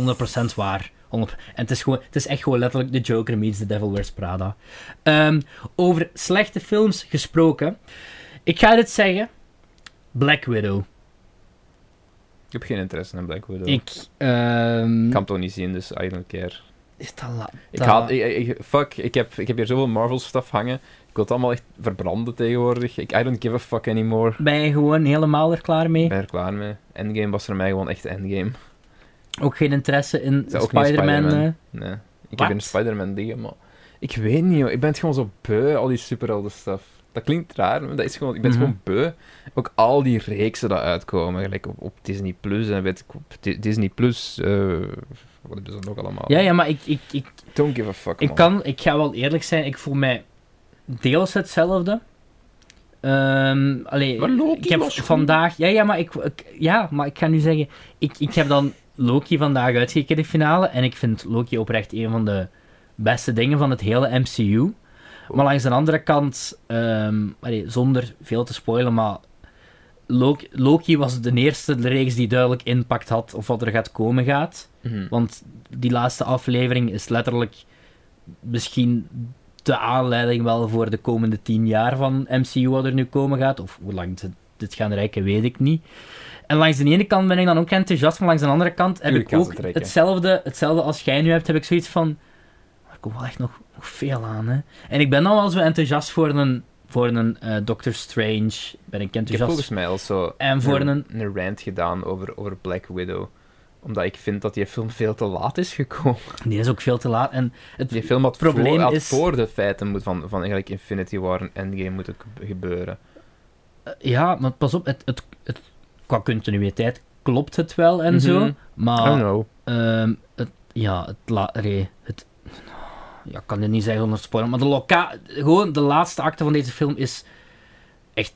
S2: 100% waar. 100%. En het is, gewoon, het is echt gewoon letterlijk The Joker meets The Devil Wears Prada. Ehm, over slechte films gesproken. Ik ga dit zeggen. Black Widow.
S1: Ik heb geen interesse in Black Widow.
S2: Ik... ehm
S1: Ik kan het ook niet zien, dus I don't care.
S2: is dat la-
S1: Ik
S2: dat-
S1: haat, ik, ik- fuck, ik heb, ik heb hier zoveel Marvel stuff hangen. Ik wil het allemaal echt verbranden tegenwoordig. Ik, I don't give a fuck anymore. Ik
S2: Ben je gewoon helemaal er klaar mee?
S1: ben er klaar mee. Endgame was voor mij gewoon echt endgame.
S2: Ook geen interesse in
S1: Ik zou ook niet
S2: Spider-Man?
S1: Spider-Man-
S2: eh?
S1: Nee. Ik
S2: Wat?
S1: heb een Spider-Man dingen, maar... Ik weet niet, joh. Ik ben het gewoon zo beu, al die superhelden stuff. Dat klinkt raar, maar dat is gewoon... Ik ben het
S2: Mhm.
S1: gewoon beu. Ook al die reeksen die uitkomen. Gelijk op, op Disney+, Plus en weet ik... Op Di- Disney+, Plus... eh, wat hebben ze nog allemaal?
S2: Ja, ja, maar ik, ik, ik,
S1: Don't give a fuck,
S2: ik,
S1: man.
S2: kan, ik ga wel eerlijk zijn, ik voel mij deels hetzelfde. Ehm allee,
S1: Maar Loki
S2: ik heb
S1: was goed.
S2: vandaag. Ja, ja, maar ik, ik- ja, maar ik ga nu zeggen. Ik, ik heb dan Loki vandaag uitgekeken in de finale. En ik vind Loki oprecht een van de beste dingen van het hele MCU. Maar langs de andere kant, ehm, allee, zonder veel te spoilen, maar Loki, Loki was de eerste reeks die duidelijk impact had of wat er gaat komen gaat.
S1: Mhm.
S2: Want die laatste aflevering is letterlijk misschien de aanleiding wel voor de komende tien jaar van MCU wat er nu komen gaat. Of hoe lang dit, dit gaan reiken, weet ik niet. En langs de ene kant ben ik dan ook enthousiast, maar langs de andere kant heb
S1: Tuurlijk
S2: ik
S1: gaan ze
S2: ook
S1: het reiken.
S2: hetzelfde, hetzelfde als jij nu hebt, heb ik zoiets van... Er komt wel echt nog, nog veel aan, hè. En ik ben al wel zo enthousiast voor een, voor een eh, Doctor Strange. Ben ik
S1: Ik heb
S2: enthousiast.
S1: volgens mij al zo
S2: En voor
S1: een, een rant gedaan over, over Black Widow. Omdat ik vind dat die film veel te laat is gekomen.
S2: Die is ook veel te laat. En het
S1: Die film had,
S2: probleem
S1: voor, had
S2: is-
S1: voor de feiten moet van, van eigenlijk Infinity War en Endgame moeten gebe- gebeuren.
S2: Ja, maar pas op, het, het, het, qua continuïteit klopt het wel en zo.
S1: Mhm.
S2: Maar.
S1: I know.
S2: ehm, het, ja, het, la, allee, het. Ja, ik kan dit niet zeggen onder spoiler. Maar de loca gewoon de laatste acte van deze film is echt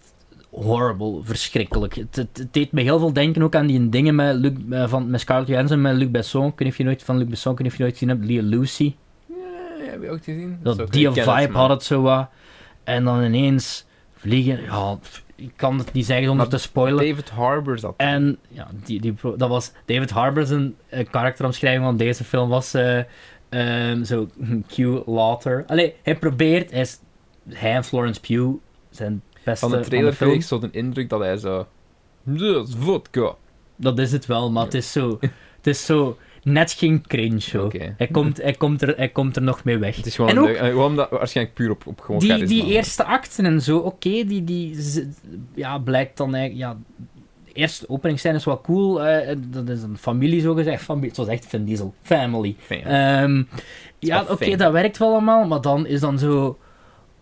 S2: horrible, verschrikkelijk. Het, het, het deed me heel veel denken ook aan die dingen met, Luc, eh, van, met Scarlett Johansson, met Luc Besson. Ik weet niet of je nooit van Luc Besson, ik weet niet of je nooit gezien hebt, Lia Lucy.
S1: Ja, Eh, heb je ook gezien?
S2: Dat
S1: is ook-
S2: die
S1: ik ken
S2: vibe
S1: het, maar-
S2: had het zo wat. En dan ineens vliegen. Ja, pff, ik kan het niet zeggen zonder te spoilen.
S1: David Harbour zat.
S2: En ja, die, die, dat was David Harbour zijn eh, karakteromschrijving van deze film was eh, ehm, zo Q later. Allee, hij probeert, hij, is, hij en Florence Pugh zijn beste
S1: Van de trailer
S2: eh, film.
S1: kreeg ik zo de indruk dat hij zo... Dat is vodka.
S2: Dat is het wel, maar het is zo, het is zo net geen cringe. zo.
S1: Oké.
S2: Hij, komt, hij, komt er, hij komt er nog mee weg.
S1: Het is gewoon
S2: en
S1: een
S2: ook,
S1: leuk- en gewoon omdat, waarschijnlijk puur op, op gewoon
S2: die,
S1: charisma.
S2: die eerste acten en zo, oké, die, die z- ja, blijkt dan eigenlijk. Ja, de eerste openingsscène is wel cool. eh, eh, dat is een familie, zo gezegd. Familie, het was echt Vin Diesel. Family. Ehm, ja,
S1: Of
S2: oké,
S1: fijn.
S2: dat werkt wel allemaal, maar dan is dan zo.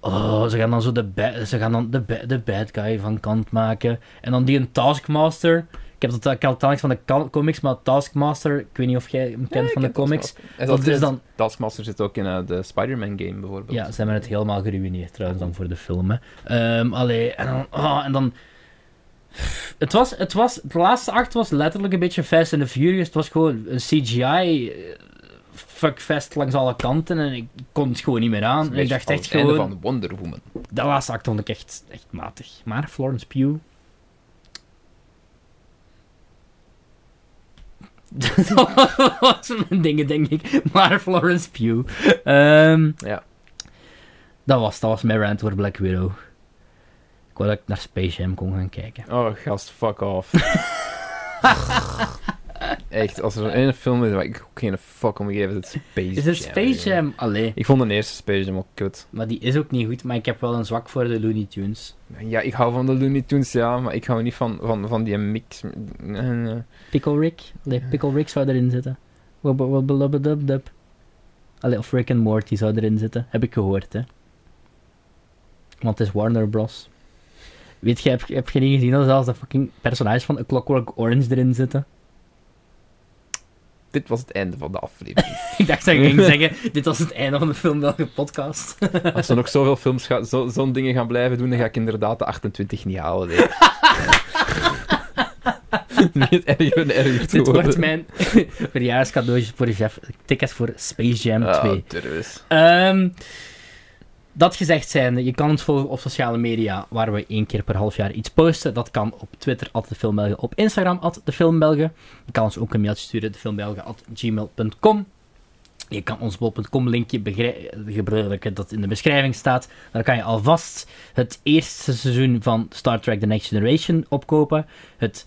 S2: Oh, ze gaan dan zo de, ba- ze gaan dan de, ba- de bad guy van kant maken. En dan die een Taskmaster. Ik heb dat ik had het eigenlijk van de kan- comics, maar Taskmaster, ik weet niet of jij hem kent van de comics.
S1: En
S2: Dat is dan
S1: Taskmaster zit ook in eh, de Spider-Man game bijvoorbeeld.
S2: ja, ze hebben het helemaal geruineerd trouwens dan voor de film. Hè. Ehm, allee, en dan... ah, en dan het was, het was... De laatste act was letterlijk een beetje Fast and the Furious. Het was gewoon een CGI... eh, Fuckfest langs alle kanten en ik kon het gewoon niet meer
S1: Dat is
S2: aan.
S1: een
S2: En
S1: beetje
S2: ik dacht
S1: als
S2: echt
S1: het einde
S2: gewoon...
S1: van Wonder Woman.
S2: De laatste act vond ik echt, echt matig. Maar Florence Pugh... dat was mijn dingen, denk ik. Maar Florence Pugh. Ehm,
S1: Ja.
S2: dat was, dat was mijn rant voor Black Widow. Ik wou dat ik naar Space Jam kon gaan kijken.
S1: Oh, gast, fuck off. Echt, als er zo'n ene film is waar ik ook geen fuck om geef, is het Space
S2: Is er
S1: Jam,
S2: Space
S1: jongen.
S2: Jam? Allee.
S1: Ik vond de eerste Space Jam ook kut.
S2: Maar die is ook niet goed, maar ik heb wel een zwak voor de Looney Tunes.
S1: Ja, ik hou van de Looney Tunes, ja, maar ik hou niet van, van, van die mix. Nee, nee.
S2: Pickle Rick? Nee, Pickle Rick zou erin zitten. Wabbelubbeldubdub. Allee, of Rick and Morty zou erin zitten. Heb ik gehoord, hè. Want het is Warner Bros. Weet je, heb, heb je niet gezien dat zelfs de fucking personages van A Clockwork Orange erin zitten?
S1: Dit was het einde van de aflevering.
S2: ik dacht dat ik ging zeggen, dit was het einde van de Film Belge podcast.
S1: Als er nog zoveel films gaan, zo, zo'n dingen gaan blijven doen, dan ga ik inderdaad de 28 niet halen. nee. Nu het erger en erger te
S2: Dit wordt
S1: worden.
S2: mijn verjaarscadeautje voor Jeff. Tickets voor Space Jam 2.
S1: Ah, durvis.
S2: Ehm, dat gezegd zijnde, je kan ons volgen op sociale media, waar we één keer per half jaar iets posten. Dat kan op Twitter, at de Filmbelgen, op Instagram, at de Filmbelgen. Je kan ons ook een mailtje sturen, defilmbelgen, at gmail.com. Je kan ons bol.com linkje begrij- gebruiken dat in de beschrijving staat. Daar kan je alvast het eerste seizoen van Star Trek The Next Generation opkopen. Het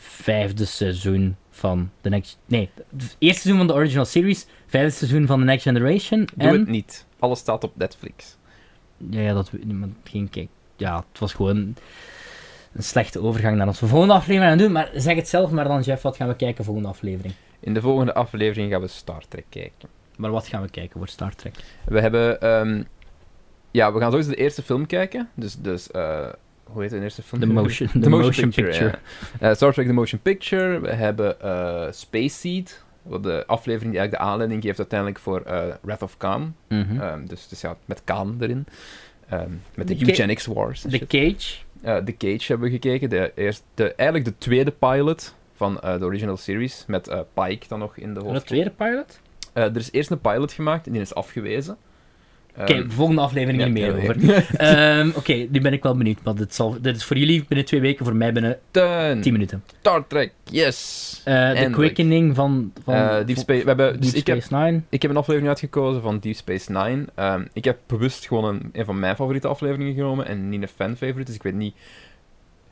S2: vijfde seizoen van The Next... Nee, het eerste seizoen van de original series. Vijfde seizoen van The Next Generation.
S1: Doe
S2: en...
S1: het niet. Alles staat op Netflix.
S2: Ja, ja dat we- maar geen kijk. Ja, het was gewoon een slechte overgang naar onze volgende aflevering gaan doen. Maar zeg het zelf maar dan, Jeff, wat gaan we kijken volgende aflevering?
S1: In de volgende aflevering gaan we Star Trek kijken.
S2: Maar wat gaan we kijken voor Star Trek?
S1: We hebben... ehm, ja, we gaan sowieso de eerste film kijken. Dus... dus eh, hoe heet de eerste film?
S2: The motion- the motion picture.
S1: ja. Eh, Star Trek The Motion Picture. We hebben eh, Space Seed. Wat de aflevering die eigenlijk de aanleiding geeft uiteindelijk voor eh, Wrath of Khan.
S2: Mhm.
S1: Ehm, dus, dus ja, met Khan erin. Ehm, met de,
S2: De Ca-
S1: Eugenics Wars. en
S2: The
S1: shit.
S2: Cage.
S1: Eh, The Cage hebben we gekeken. De eerste, de, eigenlijk de tweede pilot van eh, de original series. Met eh, Pike dan nog in de hoofd. Eh,
S2: De tweede pilot?
S1: er is eerst een pilot gemaakt en die is afgewezen.
S2: Oké,
S1: Ehm,
S2: volgende aflevering
S1: ja,
S2: er meer
S1: ja, nee.
S2: over. Ehm, Oké, nu ben ik wel benieuwd. Want dit, zal, dit is voor jullie binnen twee weken, voor mij binnen
S1: Mm. Teun.
S2: tien minuten.
S1: Star Trek, yes!
S2: Eh, de
S1: Eindelijk.
S2: quickening van... van
S1: Eh, Deep Space, we hebben, dus
S2: Deep
S1: ik, heb,
S2: Space Nine.
S1: ik heb een aflevering uitgekozen van Deep Space Nine. Ehm, ik heb bewust gewoon een, een van mijn favoriete afleveringen genomen en niet een fan-favorite, dus ik weet niet...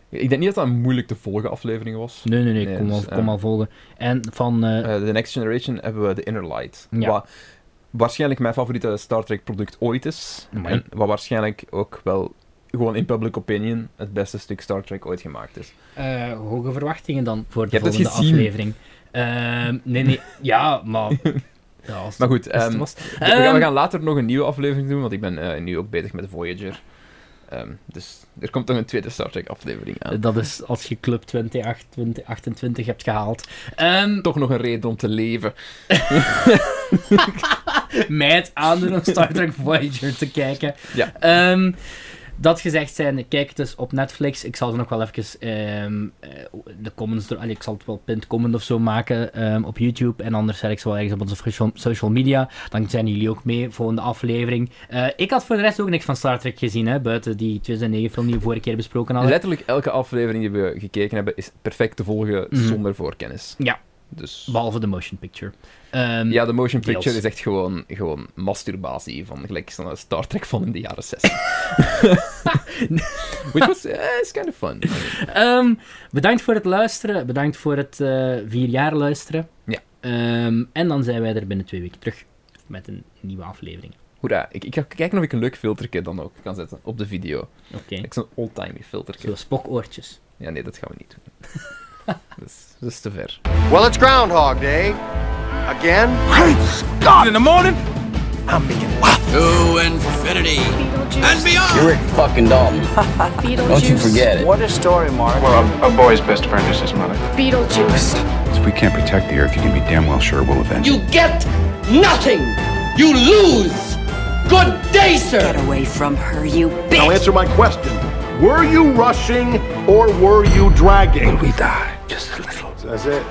S1: Ik denk niet dat dat een moeilijk te volgen aflevering was.
S2: Nee, nee, nee, kom,
S1: dus,
S2: al,
S1: ehm,
S2: kom al volgen. En van... eh,
S1: Eh, The Next Generation hebben we The Inner Light.
S2: Ja.
S1: Wat waarschijnlijk mijn favoriete Star Trek product ooit is.
S2: Amai.
S1: En wat waarschijnlijk ook wel gewoon in public opinion het beste stuk Star Trek ooit gemaakt is.
S2: eh, hoge verwachtingen dan voor de
S1: Je hebt het
S2: volgende
S1: gezien.
S2: aflevering. Ehm, nee, nee, ja, maar... Ja, als-
S1: Maar goed,
S2: als het
S1: ehm,
S2: was.
S1: we, we gaan, we
S2: Ehm,
S1: gaan later nog een nieuwe aflevering doen, want ik ben eh, nu ook bezig met Voyager. Ehm, dus er komt nog een tweede Star Trek aflevering aan.
S2: Dat is als je Club 2028 2028 hebt gehaald. Ehm,
S1: Toch nog een reden om te leven.
S2: mij het aandoen om Star Trek Voyager te kijken.
S1: Ja.
S2: Ehm, dat gezegd zijn, kijk het dus op Netflix. Ik zal er nog wel even ehm, eh, de comments... door- Allee, ik zal het wel punt comment of zo maken ehm, op YouTube. En anders zet ik ze wel ergens op onze social- social media. Dan zijn jullie ook mee, volgende aflevering. Eh, ik had voor de rest ook niks van Star Trek gezien, hè, buiten die 2009-film die we vorige keer besproken hadden.
S1: Letterlijk elke aflevering die we gekeken hebben is perfect te volgen
S2: Mhm.
S1: zonder voorkennis.
S2: Ja,
S1: Dus...
S2: behalve de motion picture. Ehm,
S1: Ja, de motion picture
S2: deels.
S1: is echt gewoon, gewoon masturbatie van gelijk zo'n Star Trek van in de jaren 60. Which was, eh, is kind of fun.
S2: Ehm, bedankt voor het luisteren. Bedankt voor het eh, vier jaar luisteren.
S1: Ja.
S2: Ehm, en dan zijn wij er binnen twee weken terug met een nieuwe aflevering.
S1: Hoera, ik, ik ga kijken of ik een leuk filterje dan ook kan zetten op de video.
S2: Oké.
S1: Ik zo'n oldtimey filterje.
S2: Zo spokoortjes.
S1: Ja, nee, dat gaan we niet doen. dat, is, dat is te ver.
S17: Well, it's Groundhog Day. Again? Great Scott! In the morning? I'm making
S18: To infinity and beyond. You're fucking dumb.
S17: Don't
S18: you forget it.
S17: What a story, Mark.
S19: Well, a, a boy's best friend is his mother.
S17: Beetlejuice.
S19: If we can't protect the Earth, you can be damn well sure we'll avenge
S18: You get nothing. You lose. Good day, sir. Get away from her, you bitch.
S20: Now answer my question. Were you rushing or were you dragging? we die?
S21: So that's it.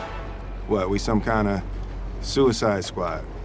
S21: What, we some kind of suicide squad?